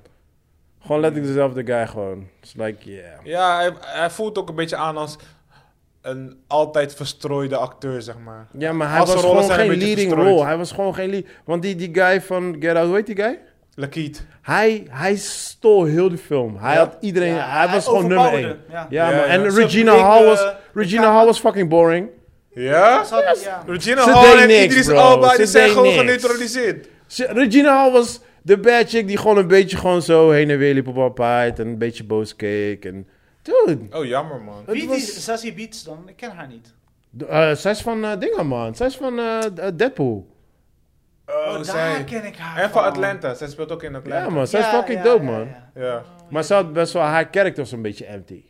[SPEAKER 1] Gewoon letterlijk
[SPEAKER 3] Hmm.
[SPEAKER 1] dezelfde guy gewoon. It's like, yeah.
[SPEAKER 3] Ja, hij, hij voelt ook een beetje aan als een altijd verstrooide acteur, zeg maar.
[SPEAKER 1] Ja, maar hij
[SPEAKER 3] Als
[SPEAKER 1] was
[SPEAKER 3] zijn rollen
[SPEAKER 1] gewoon
[SPEAKER 3] zijn een
[SPEAKER 1] geen
[SPEAKER 3] beetje
[SPEAKER 1] leading
[SPEAKER 3] verstrooid.
[SPEAKER 1] rol. Hij was gewoon geen lead. Want die, die guy van Get Out, hoe heet die guy?
[SPEAKER 3] Lakiet.
[SPEAKER 1] Hij, hij stol heel de film. Hij
[SPEAKER 3] Ja.
[SPEAKER 1] had iedereen...
[SPEAKER 2] Ja,
[SPEAKER 1] hij was gewoon nummer
[SPEAKER 2] overpowerde.
[SPEAKER 1] één.
[SPEAKER 2] Ja.
[SPEAKER 1] Ja,
[SPEAKER 3] Ja,
[SPEAKER 1] man.
[SPEAKER 3] ja.
[SPEAKER 1] En
[SPEAKER 2] Ze
[SPEAKER 1] Regina
[SPEAKER 2] bleek,
[SPEAKER 1] Hall
[SPEAKER 2] eh,
[SPEAKER 1] was...
[SPEAKER 2] de
[SPEAKER 1] Regina
[SPEAKER 2] kaart-
[SPEAKER 1] Hall was fucking boring.
[SPEAKER 3] Ja?
[SPEAKER 2] Ze had- ja.
[SPEAKER 3] Regina
[SPEAKER 1] Ze
[SPEAKER 3] Hall
[SPEAKER 1] deed
[SPEAKER 3] en
[SPEAKER 1] niks,
[SPEAKER 3] Idris
[SPEAKER 1] bro.
[SPEAKER 3] Elba,
[SPEAKER 1] Ze
[SPEAKER 3] die zijn
[SPEAKER 1] deed
[SPEAKER 3] gewoon
[SPEAKER 1] niks.
[SPEAKER 3] geneutraliseerd.
[SPEAKER 1] Ze- Regina Hall was de bad chick die gewoon een beetje gewoon zo heen en weer liep op haar paard. En een beetje boos keek. En... Dude.
[SPEAKER 3] Oh, jammer, man.
[SPEAKER 1] Het
[SPEAKER 2] Wie is
[SPEAKER 1] was-
[SPEAKER 2] die Sassy Beats dan? Ik ken haar niet.
[SPEAKER 1] eh, zij is van eh Dingen, man. Zij is van eh, eh, Deadpool.
[SPEAKER 3] Oh,
[SPEAKER 2] daar
[SPEAKER 3] zij.
[SPEAKER 2] Oh, ken ik haar
[SPEAKER 3] En van Atlanta. Zij speelt ook in Atlanta.
[SPEAKER 1] Ja, man. Zij is
[SPEAKER 2] Ja,
[SPEAKER 1] fucking
[SPEAKER 2] ja,
[SPEAKER 1] dope,
[SPEAKER 2] ja,
[SPEAKER 1] man.
[SPEAKER 2] ja.
[SPEAKER 3] Ja.
[SPEAKER 1] Maar ze had best wel, haar character was een beetje empty.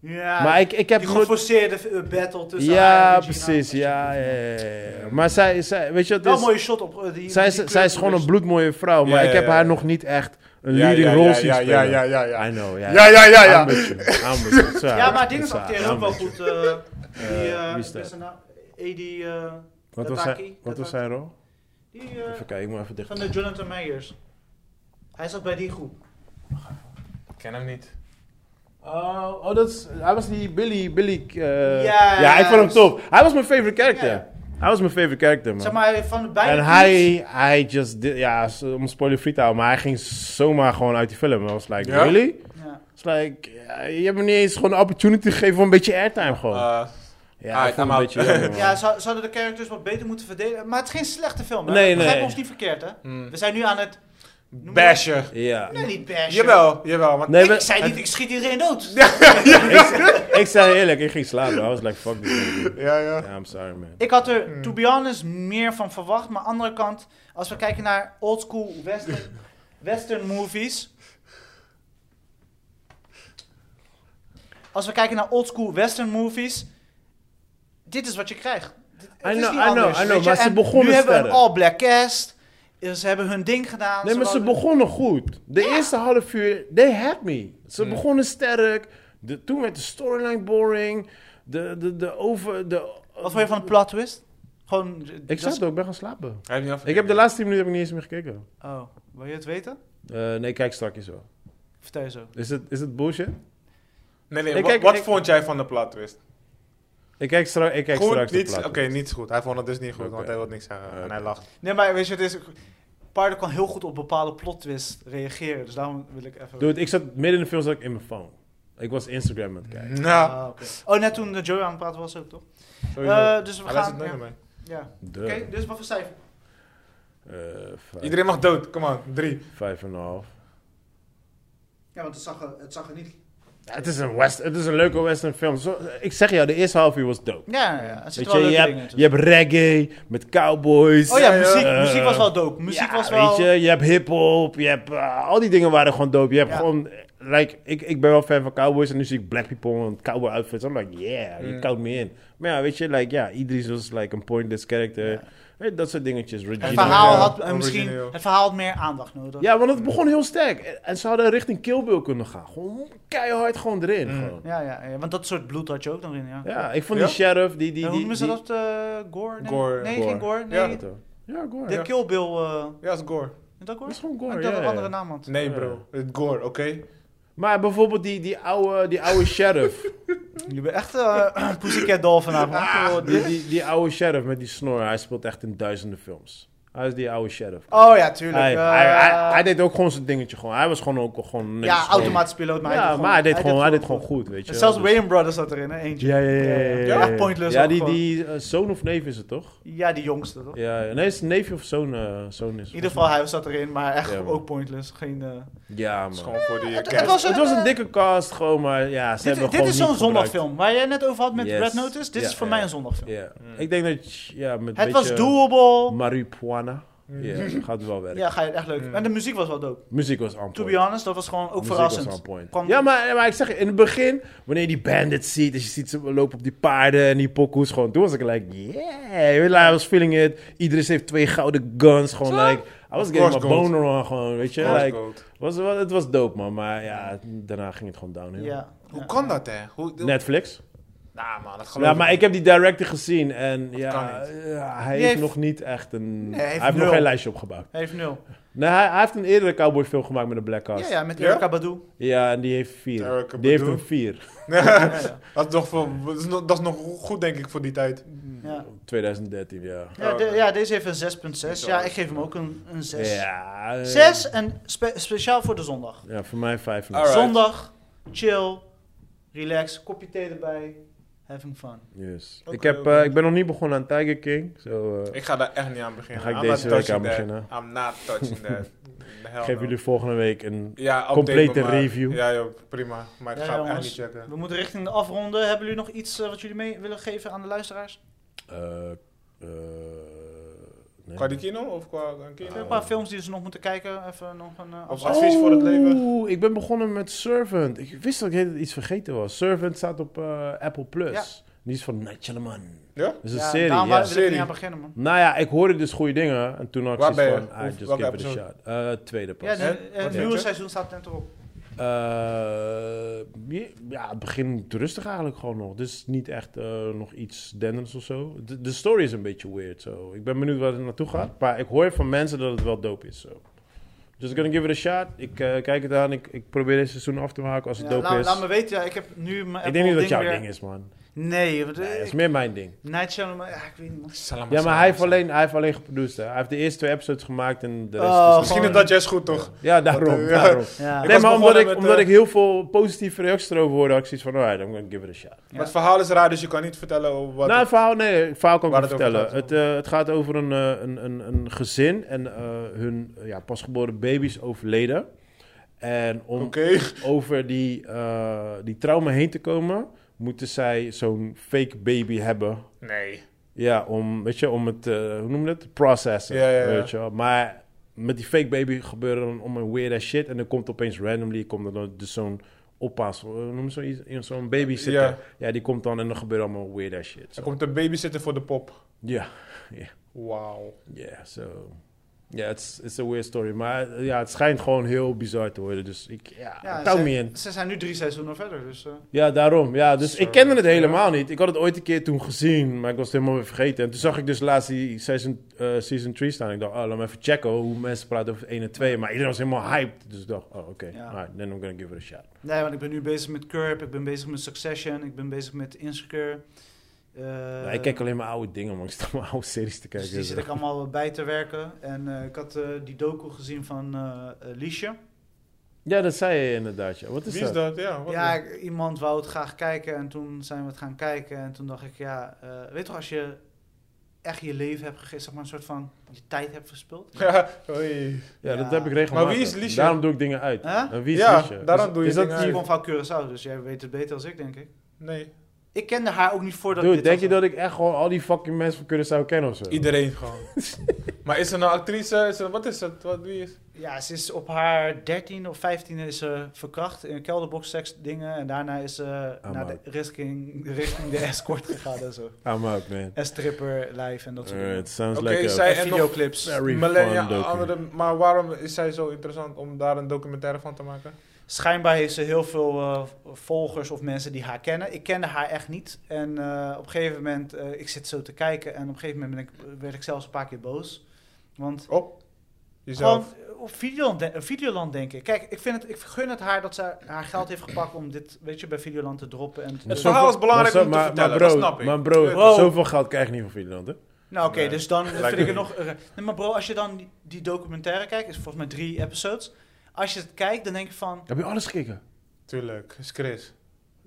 [SPEAKER 2] Ja,
[SPEAKER 1] maar ik, ik heb
[SPEAKER 2] die
[SPEAKER 1] goed...
[SPEAKER 2] geforceerde eh, battle tussen haar
[SPEAKER 1] Ja,
[SPEAKER 2] en Regina.
[SPEAKER 1] precies. Ja, ja, ja, ja, ja. Maar zij, zij, weet je wat
[SPEAKER 2] Wel
[SPEAKER 1] het
[SPEAKER 2] een
[SPEAKER 1] is?
[SPEAKER 2] mooie shot op eh, die.
[SPEAKER 1] Zij
[SPEAKER 2] die dus.
[SPEAKER 1] is,
[SPEAKER 2] kleur
[SPEAKER 1] zij is gewoon een bloedmooie vrouw, maar
[SPEAKER 3] Ja,
[SPEAKER 1] ik heb
[SPEAKER 3] ja, ja.
[SPEAKER 1] haar nog niet echt een
[SPEAKER 3] Ja,
[SPEAKER 1] leading
[SPEAKER 3] ja,
[SPEAKER 1] role
[SPEAKER 3] ja,
[SPEAKER 1] zien
[SPEAKER 3] ja,
[SPEAKER 1] spelen.
[SPEAKER 3] ja, ja, ja, ja.
[SPEAKER 1] I know, ja.
[SPEAKER 3] Ja, ja, ja, ja.
[SPEAKER 1] I'm with you. I'm with you. Sorry.
[SPEAKER 2] Ja, maar dingen
[SPEAKER 1] Sorry,
[SPEAKER 2] acteren ook
[SPEAKER 1] I'm
[SPEAKER 2] wel
[SPEAKER 1] with you.
[SPEAKER 2] goed. eh, Die,
[SPEAKER 1] Eh,
[SPEAKER 2] eh,
[SPEAKER 1] wie is dat?
[SPEAKER 2] wie is zijn naam? Eh, die, eh,
[SPEAKER 1] Wat
[SPEAKER 2] Dat
[SPEAKER 1] was,
[SPEAKER 2] Taki,
[SPEAKER 1] zijn, wat
[SPEAKER 2] dat
[SPEAKER 1] was
[SPEAKER 2] Taki.
[SPEAKER 1] zijn rol?
[SPEAKER 2] die eh,
[SPEAKER 1] Even kijken, ik moet even dicht.
[SPEAKER 2] van de Jonathan Meyers. Hij zat bij die groep.
[SPEAKER 3] Ik ken hem niet.
[SPEAKER 1] Oh, oh, dat is, hij was die Billy, Billy... eh,
[SPEAKER 2] Ja,
[SPEAKER 1] ja, ik vond hem
[SPEAKER 2] s-
[SPEAKER 1] top. Hij was mijn favorite character.
[SPEAKER 2] Ja.
[SPEAKER 1] Hij was mijn favorite character, man.
[SPEAKER 2] Zeg maar, van beide
[SPEAKER 1] en hij, hij just did, ja, s- om spoiler free te houden, maar hij ging zomaar gewoon uit die film. I was like,
[SPEAKER 3] Ja?
[SPEAKER 1] really?
[SPEAKER 2] teams- Ja.
[SPEAKER 1] It's like, ja, je hebt me niet eens gewoon een opportunity gegeven voor een beetje airtime gewoon.
[SPEAKER 3] Eh,
[SPEAKER 1] ja, ik vond
[SPEAKER 3] ah,
[SPEAKER 1] het
[SPEAKER 3] I'm
[SPEAKER 1] een
[SPEAKER 3] out.
[SPEAKER 1] beetje jammer, man.
[SPEAKER 2] Ja, zou- zouden de characters wat beter moeten verdelen? Maar het is geen slechte film, hè?
[SPEAKER 1] Nee,
[SPEAKER 2] Begrijp
[SPEAKER 1] nee.
[SPEAKER 2] ons niet verkeerd, hè?
[SPEAKER 1] Mm.
[SPEAKER 3] hmm.
[SPEAKER 2] We zijn nu aan het... noem maar-
[SPEAKER 3] Basher.
[SPEAKER 1] Ja.
[SPEAKER 2] Nee, niet bashen.
[SPEAKER 3] Jawel, jawel. Maar
[SPEAKER 1] Nee,
[SPEAKER 2] ik
[SPEAKER 1] we-
[SPEAKER 2] zei
[SPEAKER 1] het-
[SPEAKER 2] niet, ik schiet iedereen dood.
[SPEAKER 1] ik, ik zei eerlijk, ik ging slapen. I was like, fuck this movie.
[SPEAKER 3] Ja, ja.
[SPEAKER 1] Ja, I'm sorry, man.
[SPEAKER 2] Ik had
[SPEAKER 1] Hmm.
[SPEAKER 2] er, to be honest, meer van verwacht. Maar aan de andere kant, als we kijken naar oldschool western, western movies... Als we kijken naar oldschool western movies... Dit is wat je krijgt. Dit- Het
[SPEAKER 1] I
[SPEAKER 2] is
[SPEAKER 1] know,
[SPEAKER 2] niet
[SPEAKER 1] I know,
[SPEAKER 2] anders,
[SPEAKER 1] I know,
[SPEAKER 2] weet je?
[SPEAKER 1] maar ze
[SPEAKER 2] En
[SPEAKER 1] begonnen
[SPEAKER 2] nu hebben we een
[SPEAKER 1] sterk.
[SPEAKER 2] all-black cast. Ze hebben hun ding gedaan.
[SPEAKER 1] Nee, maar ze
[SPEAKER 2] wouden-
[SPEAKER 1] begonnen goed. De eerste half uur, they had me. Ze begonnen sterk. De, toen werd de storyline boring. De, de, de over... De,
[SPEAKER 2] Wat vond je van de plot twist? Gewoon...
[SPEAKER 1] Ik zat ook, ik ben gaan slapen.
[SPEAKER 3] Hij heeft niet afgekeken.
[SPEAKER 1] Ik heb de laatste 10 minuten heb ik niet eens meer gekeken.
[SPEAKER 2] Oh, wil je het weten?
[SPEAKER 1] Eh, nee, kijk straks wel.
[SPEAKER 2] Vertel je zo.
[SPEAKER 1] Is het, is het bullshit?
[SPEAKER 3] Nee, nee.
[SPEAKER 1] Ik
[SPEAKER 3] wat
[SPEAKER 1] kijk-
[SPEAKER 3] wat
[SPEAKER 1] ik-
[SPEAKER 3] vond jij van de plot twist?
[SPEAKER 1] Ik kijk, stra ik kijk
[SPEAKER 3] Goed,
[SPEAKER 1] straks de
[SPEAKER 3] niet...
[SPEAKER 1] plaat.
[SPEAKER 3] Oké, niet goed. Hij vond het dus niet goed, want
[SPEAKER 1] Oké.
[SPEAKER 3] hij wil niks zeggen. En
[SPEAKER 1] Oké.
[SPEAKER 3] hij lacht.
[SPEAKER 2] Nee, maar weet je, het is... Paarden kan heel goed op bepaalde plot twist reageren. Dus daarom wil ik even...
[SPEAKER 1] Dude, ik zat midden in de film zat ik in mijn phone. Ik was Instagram aan het kijken.
[SPEAKER 3] Nou,
[SPEAKER 2] Ah, oké. Oh, net toen de Joey aan het praten was ook, toch?
[SPEAKER 3] sowieso.
[SPEAKER 2] Eh, dus we
[SPEAKER 3] Hij
[SPEAKER 2] gaan...
[SPEAKER 3] luistert
[SPEAKER 2] Ja,
[SPEAKER 3] nooit naar mij.
[SPEAKER 2] ja.
[SPEAKER 1] Duh.
[SPEAKER 2] Oké, dus wat voor cijfer?
[SPEAKER 1] Eh, vijf,
[SPEAKER 3] Iedereen mag dood. Kom aan. Drie.
[SPEAKER 1] vijf en een half.
[SPEAKER 2] Ja, want het zag er, het zag er niet...
[SPEAKER 1] Ja, het, is een west, het is een leuke western film. Zo, ik zeg jou, de eerste half uur was dope.
[SPEAKER 2] Ja, ja, ja. Er
[SPEAKER 1] Weet
[SPEAKER 2] zitten
[SPEAKER 1] je,
[SPEAKER 2] wel
[SPEAKER 1] je
[SPEAKER 2] leuke
[SPEAKER 1] hebt,
[SPEAKER 2] dingen
[SPEAKER 1] je hebt reggae met cowboys.
[SPEAKER 2] Oh ja,
[SPEAKER 3] Ja, ja.
[SPEAKER 2] muziek,
[SPEAKER 1] Eh,
[SPEAKER 2] muziek was wel dope. Muziek
[SPEAKER 1] Ja,
[SPEAKER 2] was wel...
[SPEAKER 1] Weet je, je hebt hip-hop, je hebt. eh, al die dingen waren gewoon dope. Je hebt
[SPEAKER 2] Ja.
[SPEAKER 1] gewoon. Like, ik, ik ben wel fan van cowboys en nu zie ik black people en cowboy outfits. I'm like, yeah, je
[SPEAKER 3] Mm.
[SPEAKER 1] koudt me in. Maar ja, weet je, like, ja, Idris was like een pointless character. Weet je, dat soort dingetjes. Regina.
[SPEAKER 2] Het verhaal
[SPEAKER 3] Ja,
[SPEAKER 2] had eh, misschien...
[SPEAKER 3] origineel.
[SPEAKER 2] Het verhaal had meer aandacht nodig.
[SPEAKER 1] Ja, want het begon heel sterk. En- En ze hadden richting Kill Bill kunnen gaan. Gewoon keihard gewoon erin.
[SPEAKER 3] Mm.
[SPEAKER 1] Gewoon.
[SPEAKER 2] Ja, ja, ja, want dat soort bloed had je ook nog in, ja.
[SPEAKER 1] Ja, ik vond
[SPEAKER 3] Ja?
[SPEAKER 1] die sheriff, die... die,
[SPEAKER 2] En
[SPEAKER 1] die
[SPEAKER 2] hoe noemen ze
[SPEAKER 1] die-
[SPEAKER 2] dat? eh, gore? Nee,
[SPEAKER 3] Gore,
[SPEAKER 2] nee
[SPEAKER 1] gore.
[SPEAKER 2] geen gore.
[SPEAKER 3] Ja.
[SPEAKER 2] Nee,
[SPEAKER 1] Ja, toch? Ja, gore.
[SPEAKER 2] de
[SPEAKER 1] Ja.
[SPEAKER 2] Kill Bill... eh,
[SPEAKER 3] Ja, is gore.
[SPEAKER 2] is dat gore?
[SPEAKER 1] Dat is gewoon
[SPEAKER 2] Ik
[SPEAKER 1] gore,
[SPEAKER 2] dacht dat
[SPEAKER 1] ja,
[SPEAKER 2] een andere
[SPEAKER 1] ja.
[SPEAKER 2] naam had.
[SPEAKER 3] Nee, bro. Het gore, oké?
[SPEAKER 1] Maar bijvoorbeeld die, die, oude, die oude sheriff.
[SPEAKER 2] Je bent echt eh Pussycat Doll vanavond. Oh,
[SPEAKER 1] die, die, die oude sheriff met die snor. Hij speelt echt in duizenden films. Hij is die oude sheriff.
[SPEAKER 2] Oh ja, tuurlijk.
[SPEAKER 1] Hij,
[SPEAKER 2] eh,
[SPEAKER 1] hij, hij, hij deed ook gewoon zijn dingetje gewoon. Hij was gewoon ook gewoon... netjes
[SPEAKER 2] ja,
[SPEAKER 1] gewoon-
[SPEAKER 2] automatisch piloot, maar
[SPEAKER 1] ja,
[SPEAKER 2] hij deed
[SPEAKER 1] maar hij deed, gewoon, hij deed
[SPEAKER 2] goed.
[SPEAKER 1] gewoon goed, weet je.
[SPEAKER 2] En zelfs
[SPEAKER 1] Dus-
[SPEAKER 2] William Brothers zat erin, hè? Eentje.
[SPEAKER 1] Ja, ja, ja. ja, ja, ja.
[SPEAKER 2] Echt pointless
[SPEAKER 1] Ja,
[SPEAKER 2] ook
[SPEAKER 1] die,
[SPEAKER 2] gewoon.
[SPEAKER 1] die eh, zoon of neef is het toch?
[SPEAKER 2] Ja, die jongste, toch?
[SPEAKER 1] Ja, ja. nee, het is neefje of zoon, eh, zoon is
[SPEAKER 2] In ieder geval, hij zat erin, maar echt
[SPEAKER 1] Ja, man.
[SPEAKER 2] ook pointless. Geen, eh,
[SPEAKER 1] Ja,
[SPEAKER 3] Dat is
[SPEAKER 1] man.
[SPEAKER 3] gewoon voor die eh,
[SPEAKER 2] het
[SPEAKER 3] cast.
[SPEAKER 2] was,
[SPEAKER 1] Het was een dikke cast gewoon, maar ja, ze
[SPEAKER 2] dit
[SPEAKER 1] hebben
[SPEAKER 2] dit
[SPEAKER 1] gewoon
[SPEAKER 2] is zo'n
[SPEAKER 1] niet gebruikt.
[SPEAKER 2] zondagfilm waar jij net over had met
[SPEAKER 1] Yes.
[SPEAKER 2] Red Notice. Dit
[SPEAKER 1] Ja,
[SPEAKER 2] is voor
[SPEAKER 1] ja.
[SPEAKER 2] mij een zondagfilm.
[SPEAKER 1] Ja. Ik denk dat, je- ja, met
[SPEAKER 2] Het
[SPEAKER 1] een
[SPEAKER 2] was
[SPEAKER 1] beetje
[SPEAKER 2] doable.
[SPEAKER 1] marihuana. Ja, gaat wel werken.
[SPEAKER 2] Ja, ga je het echt leuk. En de muziek was wel dope.
[SPEAKER 1] Muziek was on
[SPEAKER 2] To
[SPEAKER 1] point.
[SPEAKER 2] be honest, dat was gewoon ook
[SPEAKER 1] Muziek
[SPEAKER 2] verrassend.
[SPEAKER 1] was on point.
[SPEAKER 2] Kwam-
[SPEAKER 1] Ja, maar, maar ik zeg je, in het begin, wanneer je die bandits ziet, als je ziet ze lopen op die paarden en die pokoes, gewoon, toen was ik like, yeah, I was feeling it. Iedereen heeft twee gouden guns, gewoon, like, I was getting
[SPEAKER 3] course
[SPEAKER 1] my
[SPEAKER 3] gold.
[SPEAKER 1] boner on, gewoon, weet je,
[SPEAKER 3] Gore is
[SPEAKER 1] like,
[SPEAKER 3] gold.
[SPEAKER 1] was, was, het was dope, man, maar ja, daarna ging het gewoon downhill.
[SPEAKER 2] Ja.
[SPEAKER 3] Hoe
[SPEAKER 2] Ja.
[SPEAKER 3] kan dat, hè? Hoe,
[SPEAKER 1] Netflix?
[SPEAKER 3] Nou, man, dat geloof
[SPEAKER 1] Ja, maar ik heb die director gezien en ja,
[SPEAKER 3] kan
[SPEAKER 1] ja, hij
[SPEAKER 2] Die
[SPEAKER 1] heeft
[SPEAKER 2] heeft-
[SPEAKER 1] nog niet echt een...
[SPEAKER 2] Nee, hij heeft
[SPEAKER 1] hij heeft nog
[SPEAKER 2] nul.
[SPEAKER 1] geen lijstje opgebouwd.
[SPEAKER 2] Hij heeft nul.
[SPEAKER 1] Nee, hij, hij heeft een eerdere cowboy film gemaakt met een black cast.
[SPEAKER 2] Ja, ja, met
[SPEAKER 3] Ja?
[SPEAKER 2] Erika Badu.
[SPEAKER 1] Ja, en die heeft vier.
[SPEAKER 3] Erika
[SPEAKER 1] die heeft
[SPEAKER 3] Badu.
[SPEAKER 1] een vier.
[SPEAKER 2] Ja, ja.
[SPEAKER 3] Dat is, nog voor, dat, is nog, dat is nog goed, denk ik, voor die tijd.
[SPEAKER 2] Ja.
[SPEAKER 1] 2013, ja.
[SPEAKER 2] Ja, de- ja, deze heeft een 6.6.
[SPEAKER 3] Zo.
[SPEAKER 2] Ja, ik geef hem ook een, een 6.
[SPEAKER 1] Ja. eh,
[SPEAKER 2] 6 en spe- speciaal voor de zondag.
[SPEAKER 1] Ja, voor mij vijf. en een
[SPEAKER 3] Alright.
[SPEAKER 2] Zondag, chill, relax, kopje thee erbij, having fun.
[SPEAKER 1] half. Yes.
[SPEAKER 3] Oké,
[SPEAKER 1] ik, heb,
[SPEAKER 3] oké.
[SPEAKER 1] eh, ik ben nog niet begonnen aan Tiger King. zo eh,
[SPEAKER 3] Ik ga daar echt niet aan beginnen.
[SPEAKER 1] Dan ga ik
[SPEAKER 3] I'm not
[SPEAKER 1] deze week
[SPEAKER 3] touching
[SPEAKER 1] aan
[SPEAKER 3] that.
[SPEAKER 1] beginnen.
[SPEAKER 3] I'm not touching that. The hell
[SPEAKER 1] geef
[SPEAKER 3] no.
[SPEAKER 1] jullie volgende week een...
[SPEAKER 3] ja, update
[SPEAKER 1] complete
[SPEAKER 3] me maar.
[SPEAKER 1] review.
[SPEAKER 3] Ja, joh, prima. Maar ik
[SPEAKER 2] Ja,
[SPEAKER 3] ga hem echt
[SPEAKER 2] jongens.
[SPEAKER 3] niet checken.
[SPEAKER 2] We moeten richting de afronde. Hebben jullie nog iets eh, wat jullie mee willen geven aan de luisteraars?
[SPEAKER 1] eh, eh, Nee.
[SPEAKER 3] Qua de kino of qua een kino?
[SPEAKER 2] Een paar films die ze nog moeten kijken. Even nog een eh,
[SPEAKER 3] Of
[SPEAKER 2] afspraak.
[SPEAKER 3] advies voor het leven.
[SPEAKER 1] Oeh, ik ben begonnen met Servant. Ik wist dat ik helemaal iets vergeten was. Servant staat op eh, Apple Plus. Die is van Night Shyamalan.
[SPEAKER 3] Ja?
[SPEAKER 1] Dat is een
[SPEAKER 2] Ja,
[SPEAKER 1] serie,
[SPEAKER 2] Daarom
[SPEAKER 1] ja.
[SPEAKER 2] wil ik er
[SPEAKER 3] Serie.
[SPEAKER 2] niet aan beginnen, man.
[SPEAKER 1] Nou ja, ik hoorde dus goede dingen. En toen had ik
[SPEAKER 3] Waar
[SPEAKER 1] zoiets
[SPEAKER 3] ben je?
[SPEAKER 1] van, ah,
[SPEAKER 3] Of
[SPEAKER 1] just
[SPEAKER 3] welke
[SPEAKER 1] give it a
[SPEAKER 3] episode?
[SPEAKER 1] shot. Eh, tweede
[SPEAKER 2] Ja,
[SPEAKER 1] pas.
[SPEAKER 2] de-
[SPEAKER 3] Hè?
[SPEAKER 2] eh, het
[SPEAKER 1] Wat
[SPEAKER 2] nieuwe
[SPEAKER 3] weet je?
[SPEAKER 2] seizoen staat net erop.
[SPEAKER 1] Eh, je- ja, het begint rustig eigenlijk gewoon nog. Dus niet echt eh, nog iets denders of zo. De, de story is een beetje weird. zo. Ik ben benieuwd waar het naartoe gaat. Maar ik hoor van mensen dat het wel dope is. zo. Dus ik gonna give it a shot. Ik eh, kijk het aan. Ik, ik probeer dit seizoen af te maken als het
[SPEAKER 2] Ja,
[SPEAKER 1] dope
[SPEAKER 2] laat,
[SPEAKER 1] is.
[SPEAKER 2] laat me weten, ja, ik heb nu mijn
[SPEAKER 1] ik denk niet dat
[SPEAKER 2] Apple
[SPEAKER 1] jouw
[SPEAKER 2] weer-
[SPEAKER 1] ding is, man.
[SPEAKER 2] Nee, want,
[SPEAKER 1] Nee,
[SPEAKER 2] eh,
[SPEAKER 1] dat is
[SPEAKER 2] ik-
[SPEAKER 1] meer mijn ding.
[SPEAKER 2] Night Shyamalan, ja, ik weet niet, man.
[SPEAKER 3] Salam
[SPEAKER 1] Ja, maar
[SPEAKER 3] salam,
[SPEAKER 1] hij heeft
[SPEAKER 3] salam.
[SPEAKER 1] alleen, hij heeft alleen geproduceerd. Hè. Hij heeft de eerste twee episodes gemaakt en de rest
[SPEAKER 2] Oh,
[SPEAKER 1] is...
[SPEAKER 3] Misschien is dat juist goed, toch?
[SPEAKER 1] Ja, daarom.
[SPEAKER 3] Ja.
[SPEAKER 1] daarom.
[SPEAKER 2] Ja.
[SPEAKER 3] Ik
[SPEAKER 1] Nee,
[SPEAKER 3] was
[SPEAKER 1] maar omdat
[SPEAKER 3] begonnen
[SPEAKER 1] ik,
[SPEAKER 3] met,
[SPEAKER 1] omdat
[SPEAKER 3] eh,
[SPEAKER 1] ik heel veel positieve reacties erover hoorde, had ik zoiets van, alright, I'm gonna give it a shot.
[SPEAKER 3] Maar het verhaal is raar, dus je kan niet vertellen over wat...
[SPEAKER 1] nou, het verhaal, nee, het verhaal kan ik
[SPEAKER 3] Waar
[SPEAKER 1] niet
[SPEAKER 3] het over
[SPEAKER 1] vertellen.
[SPEAKER 3] gaat,
[SPEAKER 1] het, eh, het gaat over een, eh, een, een, een gezin en eh, hun eh, ja, pasgeboren baby's overleden. En om
[SPEAKER 3] Oké.
[SPEAKER 1] over die, eh, die trauma heen te komen, moeten zij zo'n fake baby hebben.
[SPEAKER 3] Nee.
[SPEAKER 1] Ja, om, weet je, om het, eh, hoe noem je het? Processen,
[SPEAKER 3] Ja, ja, ja.
[SPEAKER 1] weet je wel. Maar met die fake baby gebeuren dan om een weird ass shit. En dan komt opeens randomly, komt er dan dus zo'n oppas, hoe noem je zoiets? in zo'n baby zitten. Ja.
[SPEAKER 3] Ja.
[SPEAKER 1] die komt dan en dan gebeurt allemaal weird ass shit.
[SPEAKER 3] Er
[SPEAKER 1] zo.
[SPEAKER 3] komt een babysitter voor de pop.
[SPEAKER 1] Ja,
[SPEAKER 3] Wauw.
[SPEAKER 1] ja, zo. Ja, it's it's a weird story. Maar eh, ja, het schijnt gewoon heel bizar te worden. Dus ik, ja,
[SPEAKER 2] Ja,
[SPEAKER 1] ik touw
[SPEAKER 2] ze-
[SPEAKER 1] me in.
[SPEAKER 2] Ze zijn nu drie seizoenen verder, dus... eh,
[SPEAKER 1] Ja, daarom. Ja, dus
[SPEAKER 3] Zo,
[SPEAKER 1] ik kende het
[SPEAKER 3] ja.
[SPEAKER 1] helemaal niet. Ik had het ooit een keer toen gezien, maar ik was het helemaal weer vergeten. En toen zag ik dus laatst die season, eh, season 3 staan. Ik dacht, oh, laat me even checken hoe mensen praten over 1 en 2. Maar iedereen was helemaal hyped. Dus ik dacht, oh, oké.
[SPEAKER 2] Ja. Eh,
[SPEAKER 1] Alright, then I'm gonna give it a shot.
[SPEAKER 2] Nee, want ik ben nu bezig met Curb, ik ben bezig met Succession, ik ben bezig met Insecure. Eh,
[SPEAKER 1] Nou, ik kijk alleen maar oude dingen, man. Ik sta maar oude series te kijken.
[SPEAKER 2] Dus die zit ik allemaal bij te werken. En eh, ik had eh, die docu gezien van eh eh, Liesje.
[SPEAKER 1] Ja, dat zei je inderdaad. Ja. Wat is
[SPEAKER 3] Wie
[SPEAKER 1] dat?
[SPEAKER 3] is dat? Ja, wat
[SPEAKER 2] Ja,
[SPEAKER 3] is-
[SPEAKER 2] ik- iemand wou het graag kijken en toen zijn we het gaan kijken. En toen dacht ik, ja, eh, weet toch als je echt je leven hebt gegeven, zeg maar een soort van je tijd hebt verspild.
[SPEAKER 3] Ja, oei.
[SPEAKER 1] Ja, dat
[SPEAKER 2] Ja.
[SPEAKER 1] heb ik regelmatig.
[SPEAKER 3] Maar wie is Liesje?
[SPEAKER 1] Daarom doe ik dingen uit.
[SPEAKER 2] Huh?
[SPEAKER 1] En wie is
[SPEAKER 3] Ja,
[SPEAKER 1] Liesje?
[SPEAKER 3] daarom
[SPEAKER 1] Is-
[SPEAKER 3] doe je
[SPEAKER 1] is dat
[SPEAKER 3] dingen
[SPEAKER 2] Ze
[SPEAKER 1] die-
[SPEAKER 3] uit.
[SPEAKER 2] komt van Curaçao, dus jij weet het beter als ik, denk ik.
[SPEAKER 3] Nee.
[SPEAKER 2] Ik kende haar ook niet voordat
[SPEAKER 1] Dude,
[SPEAKER 2] dit
[SPEAKER 1] denk je
[SPEAKER 2] was.
[SPEAKER 1] dat ik echt gewoon al die fucking mensen van Curaçao ken of zo?
[SPEAKER 3] Iedereen gewoon. maar is er een actrice? Is er, wat is het? Wat, wie is?
[SPEAKER 2] Ja, ze is op haar 13 of 15 is ze verkracht in kelderbox seks dingen. En daarna is ze
[SPEAKER 1] Ah,
[SPEAKER 2] naar
[SPEAKER 1] man.
[SPEAKER 2] de richting, richting de escort gegaan en zo.
[SPEAKER 1] I'm out, man.
[SPEAKER 2] En stripper live en dat soort dingen.
[SPEAKER 1] Alright, sounds
[SPEAKER 3] Oké,
[SPEAKER 1] like a
[SPEAKER 3] zij-
[SPEAKER 2] En
[SPEAKER 3] en nog-
[SPEAKER 2] videoclips.
[SPEAKER 1] very fun
[SPEAKER 3] Millennia,
[SPEAKER 1] docu.
[SPEAKER 3] andere, maar waarom is zij zo interessant om daar een documentaire van te maken?
[SPEAKER 2] Schijnbaar heeft ze heel veel eh, volgers of mensen die haar kennen. Ik kende haar echt niet. En eh, op een gegeven moment, eh, ik zit zo te kijken en op een gegeven moment ben ik, werd ik zelfs een paar keer boos. Want
[SPEAKER 3] Op Oh. jezelf.
[SPEAKER 2] Gewoon op Videoland, de- Videoland denken. Kijk, ik, vind het, ik gun het haar dat ze haar geld heeft gepakt om dit, weet je, bij Videoland te droppen. En te-
[SPEAKER 3] Het verhaal is belangrijk
[SPEAKER 1] maar, zo-
[SPEAKER 3] om te
[SPEAKER 1] maar,
[SPEAKER 3] vertellen,
[SPEAKER 1] maar bro,
[SPEAKER 3] dat snap ik.
[SPEAKER 1] Maar bro,
[SPEAKER 2] Wow.
[SPEAKER 1] zoveel geld krijg je niet van Finland, hè?
[SPEAKER 2] nou, oké,
[SPEAKER 3] Nee.
[SPEAKER 2] dus dan
[SPEAKER 3] Lijkt
[SPEAKER 2] vind
[SPEAKER 3] me
[SPEAKER 2] ik het nog... eh, nee, maar bro, als je dan die, die documentaire kijkt, is volgens mij drie episodes. Als je het kijkt, dan denk je van...
[SPEAKER 1] Heb je alles gekeken?
[SPEAKER 3] Tuurlijk, is Chris.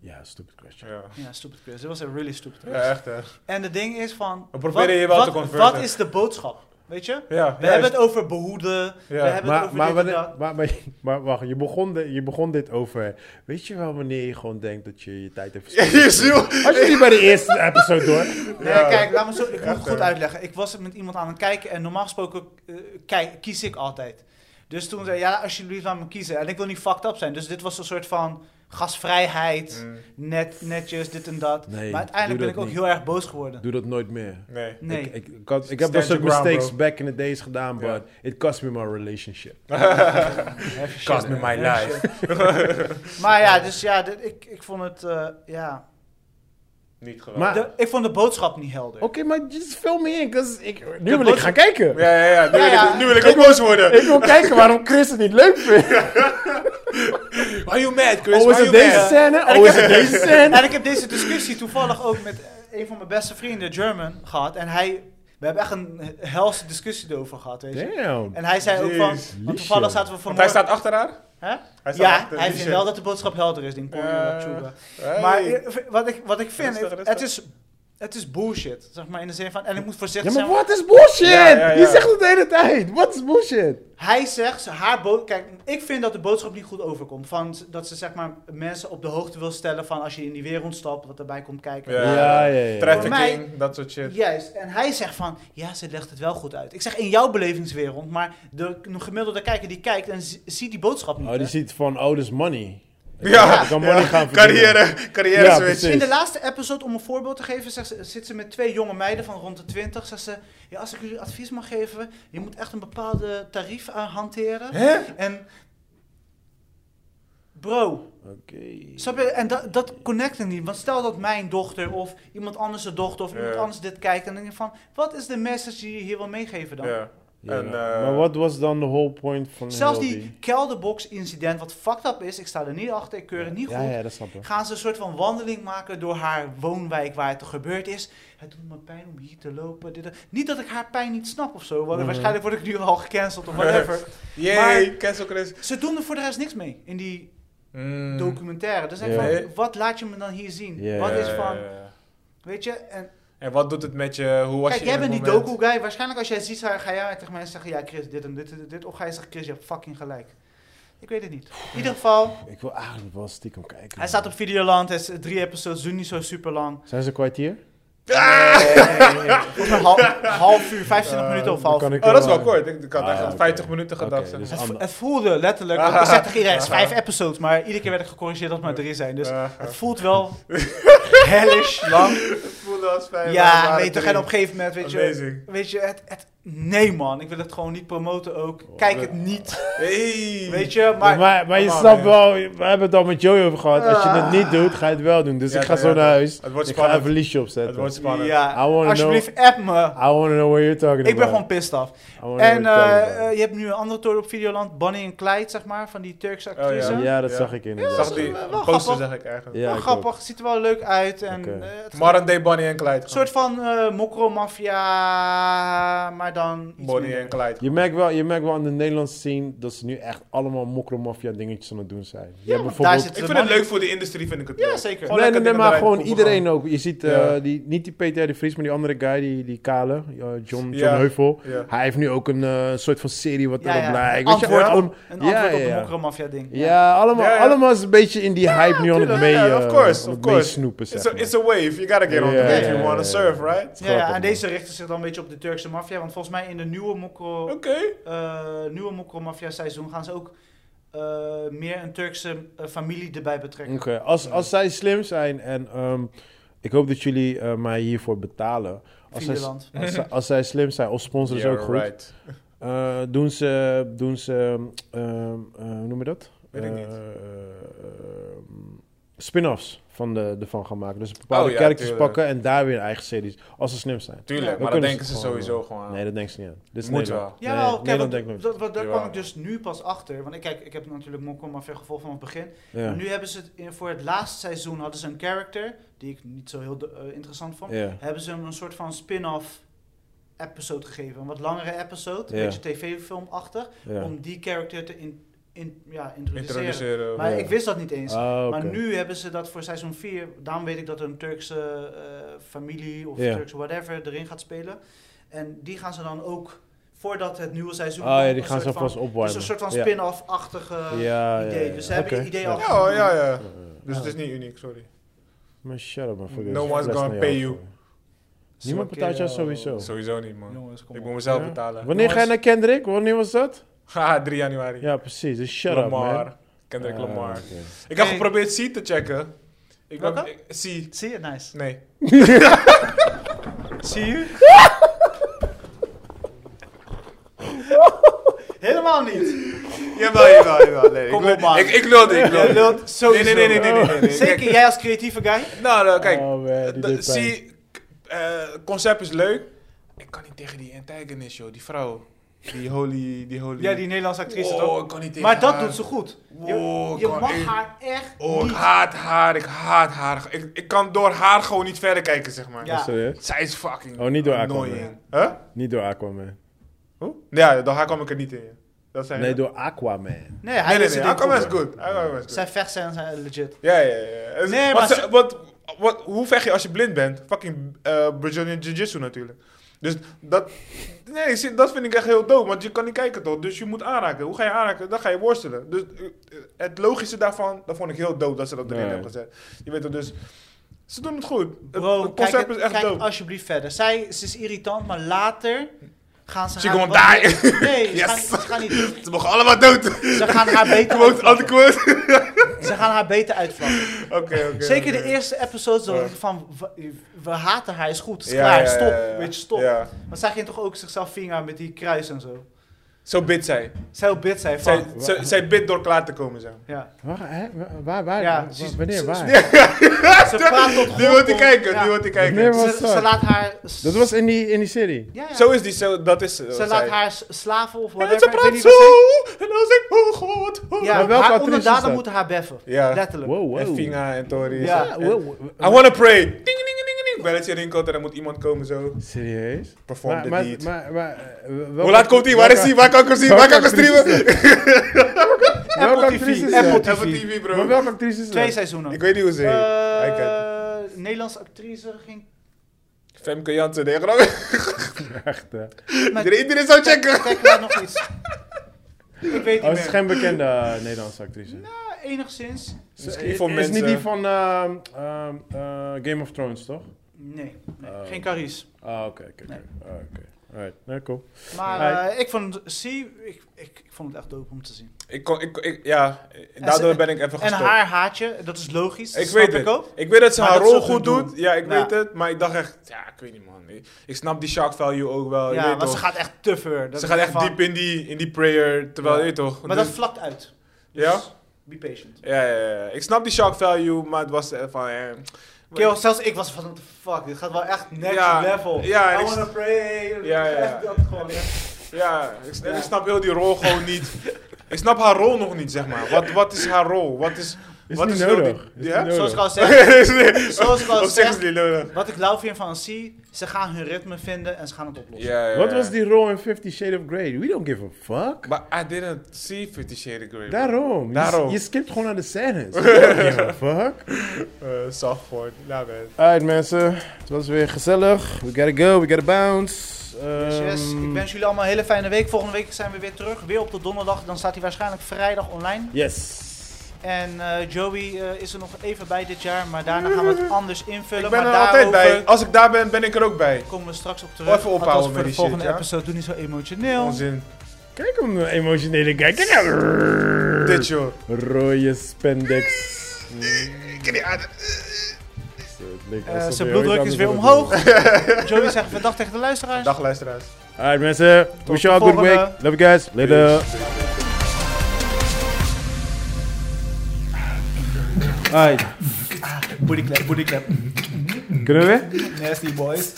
[SPEAKER 1] Ja, stupid question.
[SPEAKER 3] Ja,
[SPEAKER 2] Ja, stupid Chris. Dit was een really stupid Chris.
[SPEAKER 3] ja echt hè.
[SPEAKER 2] En het ding is van...
[SPEAKER 3] We proberen je wel
[SPEAKER 2] wat,
[SPEAKER 3] te converten.
[SPEAKER 2] Wat is de boodschap? Weet je? We
[SPEAKER 3] Ja,
[SPEAKER 2] hebben het over behoeden.
[SPEAKER 3] Ja.
[SPEAKER 2] We hebben het
[SPEAKER 1] Maar,
[SPEAKER 2] over dit
[SPEAKER 1] maar,
[SPEAKER 2] en
[SPEAKER 1] wanneer-
[SPEAKER 2] dat.
[SPEAKER 1] maar, maar, maar wacht, je begon, de- je begon dit over. Weet je wel wanneer je gewoon denkt dat je je tijd hebt verspild?
[SPEAKER 3] Je ziel.
[SPEAKER 1] Als je niet bij de eerste episode door.
[SPEAKER 2] Nee,
[SPEAKER 3] Ja.
[SPEAKER 2] kijk, laat me zo, ik moet het
[SPEAKER 3] Echt,
[SPEAKER 2] goed
[SPEAKER 3] hè?
[SPEAKER 2] uitleggen. Ik was het met iemand aan het kijken en normaal gesproken eh, kijk, kies ik altijd. Dus toen zei ja, alsjeblieft laat me kiezen. En ik wil niet fucked up zijn. Dus dit was een soort van gasvrijheid,
[SPEAKER 3] Mm,
[SPEAKER 2] net, netjes, dit en dat.
[SPEAKER 1] Nee,
[SPEAKER 2] maar uiteindelijk
[SPEAKER 1] doe
[SPEAKER 2] ben ik ook
[SPEAKER 1] dat niet.
[SPEAKER 2] heel erg boos geworden.
[SPEAKER 1] Doe dat nooit meer.
[SPEAKER 3] Nee.
[SPEAKER 2] Nee.
[SPEAKER 1] Ik, ik, ik, had- ik heb
[SPEAKER 3] Stand
[SPEAKER 1] dat soort
[SPEAKER 3] your ground,
[SPEAKER 1] mistakes
[SPEAKER 3] bro.
[SPEAKER 1] back in the days gedaan, but
[SPEAKER 3] Ja.
[SPEAKER 1] it cost me my relationship.
[SPEAKER 3] Cost me my life.
[SPEAKER 2] maar ja, dus ja, dit- ik, ik vond het, eh, ja...
[SPEAKER 3] Niet
[SPEAKER 1] Maar- Oh,
[SPEAKER 3] geloofd.
[SPEAKER 2] De- ik vond de boodschap niet helder.
[SPEAKER 1] Oké, maar just fill me in, 'cause ik, nu wil ik
[SPEAKER 2] boodschap-
[SPEAKER 1] gaan kijken.
[SPEAKER 3] Ja, ja, ja. Nu,
[SPEAKER 2] Ja,
[SPEAKER 3] wil
[SPEAKER 2] ja.
[SPEAKER 3] Ik, nu wil ik ook boos worden.
[SPEAKER 1] Ik wil kijken waarom Chris het niet leuk vindt.
[SPEAKER 3] Why you mad, Chris?
[SPEAKER 1] Oh,
[SPEAKER 3] Why
[SPEAKER 1] is het
[SPEAKER 3] you
[SPEAKER 1] deze
[SPEAKER 3] mad?
[SPEAKER 1] scène?
[SPEAKER 2] En
[SPEAKER 1] Oh,
[SPEAKER 2] ik
[SPEAKER 1] is het
[SPEAKER 2] heb-
[SPEAKER 1] deze scène?
[SPEAKER 2] En ik heb deze discussie toevallig ook met eh, een van mijn beste vrienden, German, gehad. En hij... We hebben echt een helse discussie erover gehad, weet je.
[SPEAKER 1] Damn.
[SPEAKER 2] En hij zei ook van,
[SPEAKER 3] Jeez,
[SPEAKER 2] want
[SPEAKER 1] liefje.
[SPEAKER 2] toevallig zaten we
[SPEAKER 3] Want hij
[SPEAKER 2] vanmorgen...
[SPEAKER 3] staat achter haar?
[SPEAKER 2] Hè?
[SPEAKER 3] Hij staat
[SPEAKER 2] ja,
[SPEAKER 3] achter
[SPEAKER 2] hij
[SPEAKER 3] die
[SPEAKER 2] vindt
[SPEAKER 3] shit.
[SPEAKER 2] wel dat de boodschap helder is, denk ik.
[SPEAKER 3] Eh,
[SPEAKER 2] Pong, Chuga.
[SPEAKER 3] Hey.
[SPEAKER 2] Maar eh, wat ik, wat ik vind,
[SPEAKER 3] Rustig,
[SPEAKER 2] het-
[SPEAKER 3] rustig.
[SPEAKER 2] het is het is bullshit, zeg maar, in de zin van... En ik moet
[SPEAKER 1] Ja,
[SPEAKER 2] voorzichtig
[SPEAKER 1] maar
[SPEAKER 2] zijn.
[SPEAKER 1] wat is bullshit?
[SPEAKER 3] Ja, ja, ja.
[SPEAKER 1] Je zegt het de hele tijd. Wat is bullshit?
[SPEAKER 2] Hij zegt, ze- haar boodschap... Kijk, ik vind dat de boodschap niet goed overkomt. Van, z- dat ze, zeg maar, mensen op de hoogte wil stellen van... als je in die wereld stapt, wat erbij komt kijken.
[SPEAKER 3] Ja,
[SPEAKER 1] Ja, ja, ja.
[SPEAKER 3] Trafficking,
[SPEAKER 2] Voor
[SPEAKER 3] dat soort shit.
[SPEAKER 2] Juist, en hij zegt van, ja, ze legt het wel goed uit. Ik zeg, in jouw belevingswereld, maar de gemiddelde kijker die kijkt en z- ziet die boodschap niet.
[SPEAKER 1] Oh, die
[SPEAKER 2] hè?
[SPEAKER 1] ziet van, oh, dat is money. Ik
[SPEAKER 3] Ja.
[SPEAKER 1] kan- ik kan money gaan verdienen.
[SPEAKER 3] Carrière, carrière
[SPEAKER 1] Ja,
[SPEAKER 3] switch.
[SPEAKER 1] precies.
[SPEAKER 2] In de laatste episode, om een voorbeeld te geven, zegt ze, zit ze met twee jonge meiden van rond de 20. Zegt ze, ja, als ik jullie advies mag geven, je moet echt een bepaalde tarief aan hanteren.
[SPEAKER 3] Hè?
[SPEAKER 2] En, bro,
[SPEAKER 1] Oké.
[SPEAKER 2] snap je? En dat, dat connecten niet. Want stel dat mijn dochter of iemand anders de dochter of iemand
[SPEAKER 3] Ja.
[SPEAKER 2] anders dit kijkt. En dan denk je van, wat is de message die je hier wil meegeven dan?
[SPEAKER 3] Ja.
[SPEAKER 1] Ja.
[SPEAKER 3] En, eh,
[SPEAKER 1] maar wat was dan de whole point van
[SPEAKER 2] Zelfs
[SPEAKER 1] heel
[SPEAKER 2] die kelderbox-incident, wat fucked up is, ik sta er niet achter, ik keur het niet goed.
[SPEAKER 1] Ja, ja, dat snap ik.
[SPEAKER 2] Gaan ze een soort van wandeling maken door haar woonwijk waar het gebeurd is. Het doet me pijn om hier te lopen. dit, dat. Niet dat ik haar pijn niet snap of zo, want
[SPEAKER 1] Mhm.
[SPEAKER 2] waarschijnlijk word ik nu al gecanceld of whatever.
[SPEAKER 3] Yay,
[SPEAKER 2] Maar-
[SPEAKER 3] cancel Chris.
[SPEAKER 2] ze doen er voor de rest niks mee in die
[SPEAKER 3] Mm.
[SPEAKER 2] documentaire. Dus denk ik
[SPEAKER 1] Ja.
[SPEAKER 2] van, wat laat je me dan hier zien?
[SPEAKER 1] Ja,
[SPEAKER 2] Wat
[SPEAKER 1] ja,
[SPEAKER 2] is
[SPEAKER 3] Eh,
[SPEAKER 2] van, weet je? En,
[SPEAKER 3] En wat doet het met je? Hoe was
[SPEAKER 2] kijk,
[SPEAKER 3] je
[SPEAKER 2] jij
[SPEAKER 3] in het
[SPEAKER 2] bent die
[SPEAKER 3] moment?
[SPEAKER 2] docu-guy. Waarschijnlijk als jij ziet, ga ga jij tegen mij zeggen, ja Chris, dit en dit, en dit, dit. Of ga je zeggen, Chris, je hebt fucking gelijk. Ik weet het niet. In ieder geval...
[SPEAKER 1] Ik wil eigenlijk wel stiekem kijken.
[SPEAKER 2] Hij staat op Videoland, hij is drie episodes, doen niet zo super lang.
[SPEAKER 1] Zijn ze kwartier?
[SPEAKER 2] Volgens mij half, half uur, 25 minuten of half
[SPEAKER 1] Dan kan
[SPEAKER 2] uur.
[SPEAKER 1] ik
[SPEAKER 3] Oh, dat is wel
[SPEAKER 1] eh,
[SPEAKER 3] kort. Ik, ik had
[SPEAKER 1] Ah,
[SPEAKER 3] echt aan
[SPEAKER 1] oké.
[SPEAKER 3] 50 minuten gedacht.
[SPEAKER 1] Oké, dus
[SPEAKER 2] Het, vo-
[SPEAKER 1] ander-
[SPEAKER 2] het voelde letterlijk, ik zeg tegen iedereen, het is vijf episodes, maar iedere keer werd ik gecorrigeerd dat het maar drie zijn. Dus
[SPEAKER 3] Ah.
[SPEAKER 2] het voelt wel hellish lang.
[SPEAKER 3] Het voelde als vijf. maar
[SPEAKER 2] Ja,
[SPEAKER 3] waren
[SPEAKER 2] weet je, toch,
[SPEAKER 3] drie.
[SPEAKER 2] en op een gegeven moment, weet je,
[SPEAKER 3] Amazing.
[SPEAKER 2] weet je het, het, nee man, ik wil het gewoon niet promoten
[SPEAKER 1] Oh,
[SPEAKER 2] ook. Kijk het niet,
[SPEAKER 3] Hey.
[SPEAKER 2] weet je,
[SPEAKER 1] Maar,
[SPEAKER 2] maar...
[SPEAKER 1] maar, je
[SPEAKER 3] Come on,
[SPEAKER 1] snapt
[SPEAKER 3] man.
[SPEAKER 1] wel, we hebben het al met Joey over gehad. Als je het niet doet, ga je het wel doen. Dus
[SPEAKER 3] Ja,
[SPEAKER 1] ik ga
[SPEAKER 3] ja,
[SPEAKER 1] zo
[SPEAKER 3] ja.
[SPEAKER 1] naar huis.
[SPEAKER 3] Het wordt
[SPEAKER 1] ik ga
[SPEAKER 3] spannend.
[SPEAKER 1] even liedje
[SPEAKER 3] Het
[SPEAKER 1] opzetten.
[SPEAKER 3] wordt spannend.
[SPEAKER 2] Ja,
[SPEAKER 1] I wanna
[SPEAKER 2] alsjeblieft, app me.
[SPEAKER 1] I want to know what you're talking
[SPEAKER 2] Ik ben
[SPEAKER 1] about.
[SPEAKER 2] gewoon pissed af.
[SPEAKER 1] I wanna
[SPEAKER 2] En
[SPEAKER 1] know what you're talking
[SPEAKER 2] eh, eh, je hebt nu een andere tour op Videoland, Bonnie en Clyde, zeg maar, van die Turkse actrice.
[SPEAKER 1] about.
[SPEAKER 3] eh,
[SPEAKER 1] Oh, ja, dat
[SPEAKER 3] ja.
[SPEAKER 1] zag ik inderdaad.
[SPEAKER 3] Zag die
[SPEAKER 2] is wel
[SPEAKER 3] poster,
[SPEAKER 2] grappig.
[SPEAKER 3] zeg ik eigenlijk.
[SPEAKER 1] Ja,
[SPEAKER 2] Wel
[SPEAKER 1] ik
[SPEAKER 2] grappig, ziet er wel leuk uit. En,
[SPEAKER 1] Oké.
[SPEAKER 2] eh, het
[SPEAKER 3] Marren D. Bonnie en Clyde.
[SPEAKER 2] een soort van eh mokro-mafia, maar dan iets
[SPEAKER 3] Bonnie en
[SPEAKER 2] minder.
[SPEAKER 3] Clyde.
[SPEAKER 1] Je merkt, wel, je merkt wel aan de Nederlandse scene dat ze nu echt allemaal mokromafia dingetjes aan het doen zijn. Je
[SPEAKER 2] want
[SPEAKER 1] hebt bijvoorbeeld...
[SPEAKER 2] daar
[SPEAKER 3] Ik vind het leuk voor de industrie, vind ik het
[SPEAKER 2] Ja,
[SPEAKER 3] leuk.
[SPEAKER 2] zeker.
[SPEAKER 3] Gewoon
[SPEAKER 1] nee,
[SPEAKER 3] lekker
[SPEAKER 1] nee, nee,
[SPEAKER 3] dingen
[SPEAKER 1] maar
[SPEAKER 3] draaien,
[SPEAKER 1] gewoon
[SPEAKER 3] koppen
[SPEAKER 1] iedereen ook. Je ziet eh,
[SPEAKER 3] Ja.
[SPEAKER 1] die, niet die Peter R. de Vries, maar die andere guy, die, die kale, eh, John, John
[SPEAKER 3] Ja.
[SPEAKER 1] Heuvel.
[SPEAKER 3] Ja.
[SPEAKER 1] Hij heeft nu ook een eh, soort van serie wat
[SPEAKER 2] Ja,
[SPEAKER 1] erop
[SPEAKER 2] ja.
[SPEAKER 1] lijkt. Weet je,
[SPEAKER 2] Antwoord.
[SPEAKER 1] allemaal-
[SPEAKER 2] Een
[SPEAKER 1] Ja,
[SPEAKER 2] antwoord
[SPEAKER 1] ja,
[SPEAKER 2] op
[SPEAKER 1] ja.
[SPEAKER 2] de mokro-mafia ding.
[SPEAKER 1] Ja, allemaal,
[SPEAKER 3] Ja, ja.
[SPEAKER 1] allemaal is een beetje in die hype nu aan het
[SPEAKER 3] tuurlijk,
[SPEAKER 1] mee,
[SPEAKER 3] ja,
[SPEAKER 1] eh,
[SPEAKER 3] of course,
[SPEAKER 1] aan
[SPEAKER 3] of
[SPEAKER 1] het
[SPEAKER 3] course.
[SPEAKER 1] meesnoepen, zeg
[SPEAKER 3] It's a,
[SPEAKER 1] maar.
[SPEAKER 3] it's a wave. You gotta get on
[SPEAKER 1] Ja,
[SPEAKER 3] the wave if
[SPEAKER 1] ja,
[SPEAKER 3] you wanna
[SPEAKER 1] ja,
[SPEAKER 3] surf,
[SPEAKER 1] ja.
[SPEAKER 3] right?
[SPEAKER 2] Ja, ja,
[SPEAKER 1] grappig,
[SPEAKER 2] en
[SPEAKER 1] man.
[SPEAKER 2] deze richten zich dan een beetje op de Turkse maffia. Want volgens mij in de nieuwe mokro,
[SPEAKER 3] Oké.
[SPEAKER 2] eh, nieuwe mokro-maffia seizoen gaan ze ook eh, meer een Turkse eh, familie erbij
[SPEAKER 1] Oké,
[SPEAKER 2] betrekken.
[SPEAKER 1] als, als zij slim zijn en ehm, ik hoop dat jullie eh, mij hiervoor betalen. Als zij,
[SPEAKER 2] Videoland.
[SPEAKER 1] als, zij- als zij slim zijn, of sponsors
[SPEAKER 3] Yeah,
[SPEAKER 1] ook goed,
[SPEAKER 3] right.
[SPEAKER 1] eh, doen ze, doen ze ehm, ehm, eh, hoe noem je dat?
[SPEAKER 3] Weet ik niet.
[SPEAKER 1] Eh, ehm, spin-offs van de, ervan gaan maken. Dus bepaalde
[SPEAKER 3] Oh ja,
[SPEAKER 1] characters
[SPEAKER 3] tuurlijk.
[SPEAKER 1] pakken en daar weer een eigen series. Als ze slim zijn.
[SPEAKER 3] Tuurlijk,
[SPEAKER 1] Dan
[SPEAKER 3] maar dat
[SPEAKER 1] kunnen
[SPEAKER 3] denken ze
[SPEAKER 1] gewoon,
[SPEAKER 3] sowieso
[SPEAKER 1] eh,
[SPEAKER 3] gewoon aan.
[SPEAKER 1] Nee, dat denken ze niet aan. Dit is
[SPEAKER 3] Ah. Moet
[SPEAKER 1] Nederland.
[SPEAKER 3] wel.
[SPEAKER 1] Nee,
[SPEAKER 2] Jawel, kijk,
[SPEAKER 1] Nederland
[SPEAKER 2] want
[SPEAKER 1] denkt nooit.
[SPEAKER 2] dat, wat, daar
[SPEAKER 3] Jawel.
[SPEAKER 2] kwam ik dus nu pas achter. Want ik, kijk, ik heb natuurlijk Mokko maar ver gevolgd vanaf het begin.
[SPEAKER 1] Ja.
[SPEAKER 2] Maar nu hebben ze het in- voor het laatste seizoen hadden ze een character die ik niet zo heel de- eh, interessant vond.
[SPEAKER 1] Ja.
[SPEAKER 2] Hebben ze hem een soort van spin-off episode gegeven. Een wat langere episode,
[SPEAKER 1] Ja.
[SPEAKER 2] een beetje tv-filmachtig.
[SPEAKER 1] Ja.
[SPEAKER 2] Om die character te in, in, ja, introduceren.
[SPEAKER 3] eh, Introduceren.
[SPEAKER 2] Maar
[SPEAKER 1] Ja.
[SPEAKER 2] ik wist dat niet eens.
[SPEAKER 1] Ah, oké.
[SPEAKER 2] Maar nu hebben ze dat voor seizoen 4. Daarom weet ik dat er een Turkse eh, familie of
[SPEAKER 1] Ja.
[SPEAKER 2] Turkse whatever erin gaat spelen. En die gaan ze dan ook, voordat het nieuwe seizoen...
[SPEAKER 1] Ah ja,
[SPEAKER 2] komt,
[SPEAKER 1] die
[SPEAKER 2] een
[SPEAKER 1] gaan ze
[SPEAKER 2] soort
[SPEAKER 1] vast
[SPEAKER 2] van-
[SPEAKER 1] opwarmen.
[SPEAKER 2] Dus een soort van
[SPEAKER 1] Ja.
[SPEAKER 2] spin-off-achtige
[SPEAKER 1] Ja,
[SPEAKER 2] idee.
[SPEAKER 1] ja, ja.
[SPEAKER 2] Dus ze hebben
[SPEAKER 1] Oké.
[SPEAKER 2] het idee
[SPEAKER 1] Ja.
[SPEAKER 2] al.
[SPEAKER 3] Ja, hoor, ja, ja.
[SPEAKER 1] Eh,
[SPEAKER 3] Dus het is niet uniek, sorry.
[SPEAKER 1] Man, shut up, man. fuck
[SPEAKER 3] No
[SPEAKER 1] this.
[SPEAKER 3] one's
[SPEAKER 1] Les
[SPEAKER 3] gonna
[SPEAKER 1] naar
[SPEAKER 3] pay
[SPEAKER 1] jou,
[SPEAKER 3] you.
[SPEAKER 1] man. Niemand betaalt jou sowieso.
[SPEAKER 3] Sowieso niet, man.
[SPEAKER 2] Jongens, kom
[SPEAKER 3] Ik
[SPEAKER 2] op.
[SPEAKER 3] moet mezelf
[SPEAKER 1] Ja.
[SPEAKER 3] betalen.
[SPEAKER 1] Wanneer ga je naar Kendrick? Wanneer was dat?
[SPEAKER 3] Haha, 3 januari.
[SPEAKER 1] Ja, precies. Dus shut up, man.
[SPEAKER 3] Lamar. Kendrick
[SPEAKER 1] Ah,
[SPEAKER 3] Lamar.
[SPEAKER 1] oké.
[SPEAKER 3] Ik heb
[SPEAKER 2] Hey.
[SPEAKER 3] geprobeerd C te checken. Ik ben-
[SPEAKER 2] Welke?
[SPEAKER 3] ik- C.
[SPEAKER 2] Zie je? Nice.
[SPEAKER 3] Nee.
[SPEAKER 2] Zie je? Helemaal niet.
[SPEAKER 3] Jawel, jawel, jawel. Nee,
[SPEAKER 2] Kom
[SPEAKER 3] ik,
[SPEAKER 2] op, man.
[SPEAKER 3] Ik, ik lulde, ik
[SPEAKER 2] Jij
[SPEAKER 3] lulde.
[SPEAKER 2] lult
[SPEAKER 3] nee, nee, nee, nee, nee, nee, nee, nee.
[SPEAKER 2] Zeker
[SPEAKER 3] Kijk,
[SPEAKER 2] jij als creatieve guy.
[SPEAKER 3] nou, nou, kijk.
[SPEAKER 1] Oh, man, die
[SPEAKER 3] dat-
[SPEAKER 1] deed pijn.
[SPEAKER 3] zie, eh, concept is leuk. Ik kan niet tegen die antagonist, joh. Die vrouw. Die holy, die holy.
[SPEAKER 2] Ja, die Nederlandse actrice
[SPEAKER 3] oh,
[SPEAKER 2] toch?
[SPEAKER 3] ik kan niet tegen
[SPEAKER 2] Maar dat
[SPEAKER 3] haar.
[SPEAKER 2] doet ze goed. Je,
[SPEAKER 3] Wow,
[SPEAKER 2] je
[SPEAKER 3] kan
[SPEAKER 2] mag
[SPEAKER 3] ik-
[SPEAKER 2] haar echt
[SPEAKER 3] Oh, ik
[SPEAKER 2] niet.
[SPEAKER 3] haat haar, ik haat haar. Ik, ik kan door haar gewoon niet verder kijken, zeg maar.
[SPEAKER 2] Ja.
[SPEAKER 1] Serieus?
[SPEAKER 3] Zij is fucking
[SPEAKER 1] Oh, niet door haar
[SPEAKER 3] annoying. Huh?
[SPEAKER 1] Niet door Aquaman.
[SPEAKER 3] Hoe? Ja, door haar kwam ik er niet in. Dat zijn
[SPEAKER 1] Nee, door Aquaman.
[SPEAKER 2] Nee, hij
[SPEAKER 3] Nee, nee,
[SPEAKER 2] is
[SPEAKER 3] nee.
[SPEAKER 2] het
[SPEAKER 3] Haar kwam
[SPEAKER 2] goed.
[SPEAKER 3] is goed. Haar kwam is goed.
[SPEAKER 2] Zijn vechtscènes zijn legit.
[SPEAKER 3] Ja, ja, ja.
[SPEAKER 2] Nee,
[SPEAKER 3] Want
[SPEAKER 2] maar
[SPEAKER 3] ze-
[SPEAKER 2] ze-
[SPEAKER 3] want wat, hoe vecht je als je blind bent? Fucking eh, Brazilian Jiu-Jitsu natuurlijk. Dus dat, nee, zie- dat vind ik echt heel dood, want je kan niet kijken toch? Dus je moet aanraken. Hoe ga je aanraken? Dan ga je worstelen. Dus eh, eh, het logische daarvan, dat vond ik heel dood dat ze dat erin
[SPEAKER 1] Nee.
[SPEAKER 3] hebben gezet. Je weet het dus, ze doen het goed. Het-
[SPEAKER 2] Bro,
[SPEAKER 3] het
[SPEAKER 2] kijk,
[SPEAKER 3] concept
[SPEAKER 2] het-
[SPEAKER 3] is echt
[SPEAKER 2] kijk
[SPEAKER 3] dood.
[SPEAKER 2] alsjeblieft verder. Zij, ze is irritant, maar later gaan ze
[SPEAKER 3] She
[SPEAKER 2] haar...
[SPEAKER 3] gonna
[SPEAKER 2] wat-
[SPEAKER 3] die.
[SPEAKER 2] Nee, ze,
[SPEAKER 3] Yes.
[SPEAKER 2] gaan, ze gaan niet...
[SPEAKER 3] Ze mogen allemaal dood.
[SPEAKER 2] Ze gaan haar beter
[SPEAKER 3] Quote,
[SPEAKER 2] uitvlakken.
[SPEAKER 3] unquote.
[SPEAKER 2] Ze gaan haar beter uitvlakken.
[SPEAKER 3] Oké, oké.
[SPEAKER 2] Zeker de
[SPEAKER 3] oké.
[SPEAKER 2] eerste episodes dan
[SPEAKER 3] Ja.
[SPEAKER 2] dacht ik van... We, we haten haar, is goed, is
[SPEAKER 3] Ja,
[SPEAKER 2] klaar,
[SPEAKER 3] ja, ja,
[SPEAKER 2] stop,
[SPEAKER 3] ja, ja.
[SPEAKER 2] weet je, stop.
[SPEAKER 3] Ja.
[SPEAKER 2] Want zij ging toch ook zichzelf vinger met die kruis en zo.
[SPEAKER 3] Zo bidt zij.
[SPEAKER 2] Zij ook bit zei
[SPEAKER 3] Zij,
[SPEAKER 2] van...
[SPEAKER 3] zij, zij bidt door klaar te komen, zeg.
[SPEAKER 2] Ja.
[SPEAKER 1] Waar, hè? Waar, waar, waar-
[SPEAKER 2] Ja,
[SPEAKER 1] wa-
[SPEAKER 2] ze-
[SPEAKER 1] wanneer,
[SPEAKER 2] ze-
[SPEAKER 1] waar?
[SPEAKER 2] Ze praat tot
[SPEAKER 3] Nu
[SPEAKER 2] God
[SPEAKER 3] wil hij
[SPEAKER 2] om-
[SPEAKER 3] kijken,
[SPEAKER 2] ja.
[SPEAKER 3] nu wil hij kijken.
[SPEAKER 1] Nee, maar-
[SPEAKER 2] Ze, ze laat haar...
[SPEAKER 1] Dat was in die, in die serie.
[SPEAKER 2] Ja, ja.
[SPEAKER 3] Zo is die, zo, dat is eh,
[SPEAKER 2] ze
[SPEAKER 3] zij.
[SPEAKER 2] laat haar s- slaven of
[SPEAKER 3] En
[SPEAKER 2] whatever.
[SPEAKER 3] ze
[SPEAKER 2] ik
[SPEAKER 3] praat
[SPEAKER 2] weet niet
[SPEAKER 3] zo,
[SPEAKER 2] wat ze-
[SPEAKER 3] en als ik, oh god. Oh.
[SPEAKER 2] Ja,
[SPEAKER 1] Maar welke
[SPEAKER 2] haar
[SPEAKER 1] actrice is
[SPEAKER 2] onderdanen
[SPEAKER 1] dat?
[SPEAKER 2] moeten haar beffen.
[SPEAKER 3] Ja.
[SPEAKER 2] Letterlijk.
[SPEAKER 1] Wow, wow.
[SPEAKER 3] En Fina en Tori.
[SPEAKER 2] Ja.
[SPEAKER 3] En-
[SPEAKER 1] wow, wow.
[SPEAKER 3] I wanna pray. Ding, ding, ding, ding, ding. Belletje rinkelt en dan moet iemand komen zo.
[SPEAKER 1] Serieus?
[SPEAKER 3] Perform
[SPEAKER 1] maar,
[SPEAKER 3] the
[SPEAKER 1] maar,
[SPEAKER 3] deed.
[SPEAKER 1] maar, maar, eh, welke-
[SPEAKER 3] Hoe laat komt hij? Waar is hij? Waar kan ik hem zien? Waar kan ik hem
[SPEAKER 1] welke actrice
[SPEAKER 3] streamen?
[SPEAKER 1] Welke
[SPEAKER 2] Apple TV.
[SPEAKER 1] actrice is dat?
[SPEAKER 2] Apple
[SPEAKER 3] Apple
[SPEAKER 2] TV.
[SPEAKER 3] TV,
[SPEAKER 1] Maar
[SPEAKER 3] bro.
[SPEAKER 1] welke actrice is
[SPEAKER 2] Twee
[SPEAKER 1] dat?
[SPEAKER 2] seizoenen.
[SPEAKER 3] Ik weet niet hoe ze heet.
[SPEAKER 2] Eh,
[SPEAKER 3] Hij kijkt.
[SPEAKER 2] Nederlandse actrice ging
[SPEAKER 3] Femke Jansen, nee, geloof ik.
[SPEAKER 1] Echt, hè?
[SPEAKER 2] met
[SPEAKER 3] Iedereen- Iedereen zou checken.
[SPEAKER 2] Tekla nog iets. Ik weet
[SPEAKER 1] Oh,
[SPEAKER 2] niet
[SPEAKER 1] ze is
[SPEAKER 2] meer.
[SPEAKER 1] geen bekende eh, Nederlandse actrice.
[SPEAKER 2] Ja, enigszins.
[SPEAKER 1] Ze-
[SPEAKER 3] Misschien voor
[SPEAKER 1] is
[SPEAKER 3] mensen.
[SPEAKER 1] niet die van ehm, ehm, eh, Game of Thrones, toch?
[SPEAKER 2] Nee, nee,
[SPEAKER 1] Oh.
[SPEAKER 2] geen Caries.
[SPEAKER 1] Ah, oké, oké, oké. Ah, Oké, alright. Nee, cool.
[SPEAKER 2] Maar eh, ik vond het, zie, ik, ik, ik vond het echt dope om te zien.
[SPEAKER 3] Ik kon, ik, ik, ja, daardoor
[SPEAKER 2] ze-
[SPEAKER 3] ben ik even
[SPEAKER 2] En
[SPEAKER 3] gestopt.
[SPEAKER 2] haar haatje, dat is logisch. dat
[SPEAKER 3] Ik
[SPEAKER 2] snap
[SPEAKER 3] weet het.
[SPEAKER 2] Ik ook.
[SPEAKER 3] Ik weet dat ze
[SPEAKER 2] Maar
[SPEAKER 3] haar
[SPEAKER 2] dat is
[SPEAKER 3] rol
[SPEAKER 2] ook hun
[SPEAKER 3] goed doet. Ja, ik
[SPEAKER 2] Ja.
[SPEAKER 3] weet het. Maar ik dacht echt, ja, ik weet niet man. Ik, ik snap die shock value ook wel. Oh, je
[SPEAKER 2] Ja,
[SPEAKER 3] weet
[SPEAKER 2] maar
[SPEAKER 3] toch.
[SPEAKER 2] ze gaat echt tougher.
[SPEAKER 3] Ze gaat echt diep in die, in die prayer, terwijl
[SPEAKER 2] Ja.
[SPEAKER 3] je weet toch.
[SPEAKER 2] Maar
[SPEAKER 3] dus-
[SPEAKER 2] dat vlakt uit. Dus
[SPEAKER 3] Ja?
[SPEAKER 2] Be patient.
[SPEAKER 3] ja, ja, ja, ja. Ik snap die shock value, maar het was eh, van. eh,
[SPEAKER 2] Kill, zelfs ik was van, what the fuck, dit gaat wel echt next
[SPEAKER 3] Ja,
[SPEAKER 2] level.
[SPEAKER 3] ja, en
[SPEAKER 2] I
[SPEAKER 3] ik-
[SPEAKER 2] wanna pray.
[SPEAKER 3] Ja, ja, ja.
[SPEAKER 2] Echt dat gewoon. echt.
[SPEAKER 3] ja, ik, en
[SPEAKER 2] Ja.
[SPEAKER 3] ik snap heel die rol gewoon niet. ik snap haar rol nog niet, zeg maar. Wat, wat is haar rol? Wat is.
[SPEAKER 1] Is
[SPEAKER 3] wat
[SPEAKER 1] niet
[SPEAKER 3] heel
[SPEAKER 1] nodig. Is
[SPEAKER 3] Die, ja?
[SPEAKER 1] niet
[SPEAKER 2] Zoals ik al zei,
[SPEAKER 3] Is-
[SPEAKER 2] Zoals ik al
[SPEAKER 3] Op zich is
[SPEAKER 2] zeg,
[SPEAKER 3] het niet nodig.
[SPEAKER 2] wat ik lauw vind van C, ze gaan hun ritme vinden en ze gaan het oplossen.
[SPEAKER 3] Ja, ja,
[SPEAKER 1] Wat
[SPEAKER 3] ja.
[SPEAKER 1] was die rol in Fifty Shades of Grey? We don't give a fuck.
[SPEAKER 3] Maar I didn't see Fifty Shades of Grey. bro.
[SPEAKER 1] Daarom. Je-
[SPEAKER 3] Daarom.
[SPEAKER 1] Je, skipt gewoon naar de scènes. We don't give a fuck.
[SPEAKER 3] Eh, soft voor. Ja, man.
[SPEAKER 1] Alright mensen, het was weer gezellig. We gotta go, we gotta bounce.
[SPEAKER 2] Dus yes,
[SPEAKER 1] Ehm,
[SPEAKER 2] ik wens jullie allemaal een hele fijne week. Volgende week zijn we weer terug. Weer op de donderdag. Dan staat hij waarschijnlijk vrijdag online.
[SPEAKER 1] Yes.
[SPEAKER 2] En eh, Joey eh, is er nog even bij dit jaar. Maar daarna gaan we het anders invullen.
[SPEAKER 3] Mm. Ik ben
[SPEAKER 2] maar
[SPEAKER 3] er altijd bij.
[SPEAKER 2] daarover
[SPEAKER 3] Als ik daar ben, ben ik er ook bij.
[SPEAKER 2] komen we straks op terug.
[SPEAKER 3] Even ophouden
[SPEAKER 2] Althans,
[SPEAKER 3] met
[SPEAKER 2] voor de
[SPEAKER 3] die
[SPEAKER 2] volgende
[SPEAKER 3] shit, ja?
[SPEAKER 2] episode. Doe niet zo emotioneel.
[SPEAKER 3] Onzin.
[SPEAKER 1] Kijk hem eh, emotionele kijk. Kijk nou.
[SPEAKER 3] Dit joh.
[SPEAKER 1] Rode spandex.
[SPEAKER 3] Ik kan niet aan.
[SPEAKER 1] Zo, het leek
[SPEAKER 2] Eh,
[SPEAKER 1] alsof
[SPEAKER 2] zijn
[SPEAKER 1] je
[SPEAKER 2] bloeddruk
[SPEAKER 1] ooit
[SPEAKER 2] is
[SPEAKER 1] anders
[SPEAKER 2] weer
[SPEAKER 1] had
[SPEAKER 2] omhoog. Joey zegt vandaag tegen de luisteraars.
[SPEAKER 3] Dag luisteraars.
[SPEAKER 1] bedoeld. Alright mensen, wish you all a good
[SPEAKER 2] volgende.
[SPEAKER 1] week. Love you guys. Later. Alright,
[SPEAKER 2] Booty clap, booty clap.
[SPEAKER 1] kunnen we weer?
[SPEAKER 2] Nasty boys.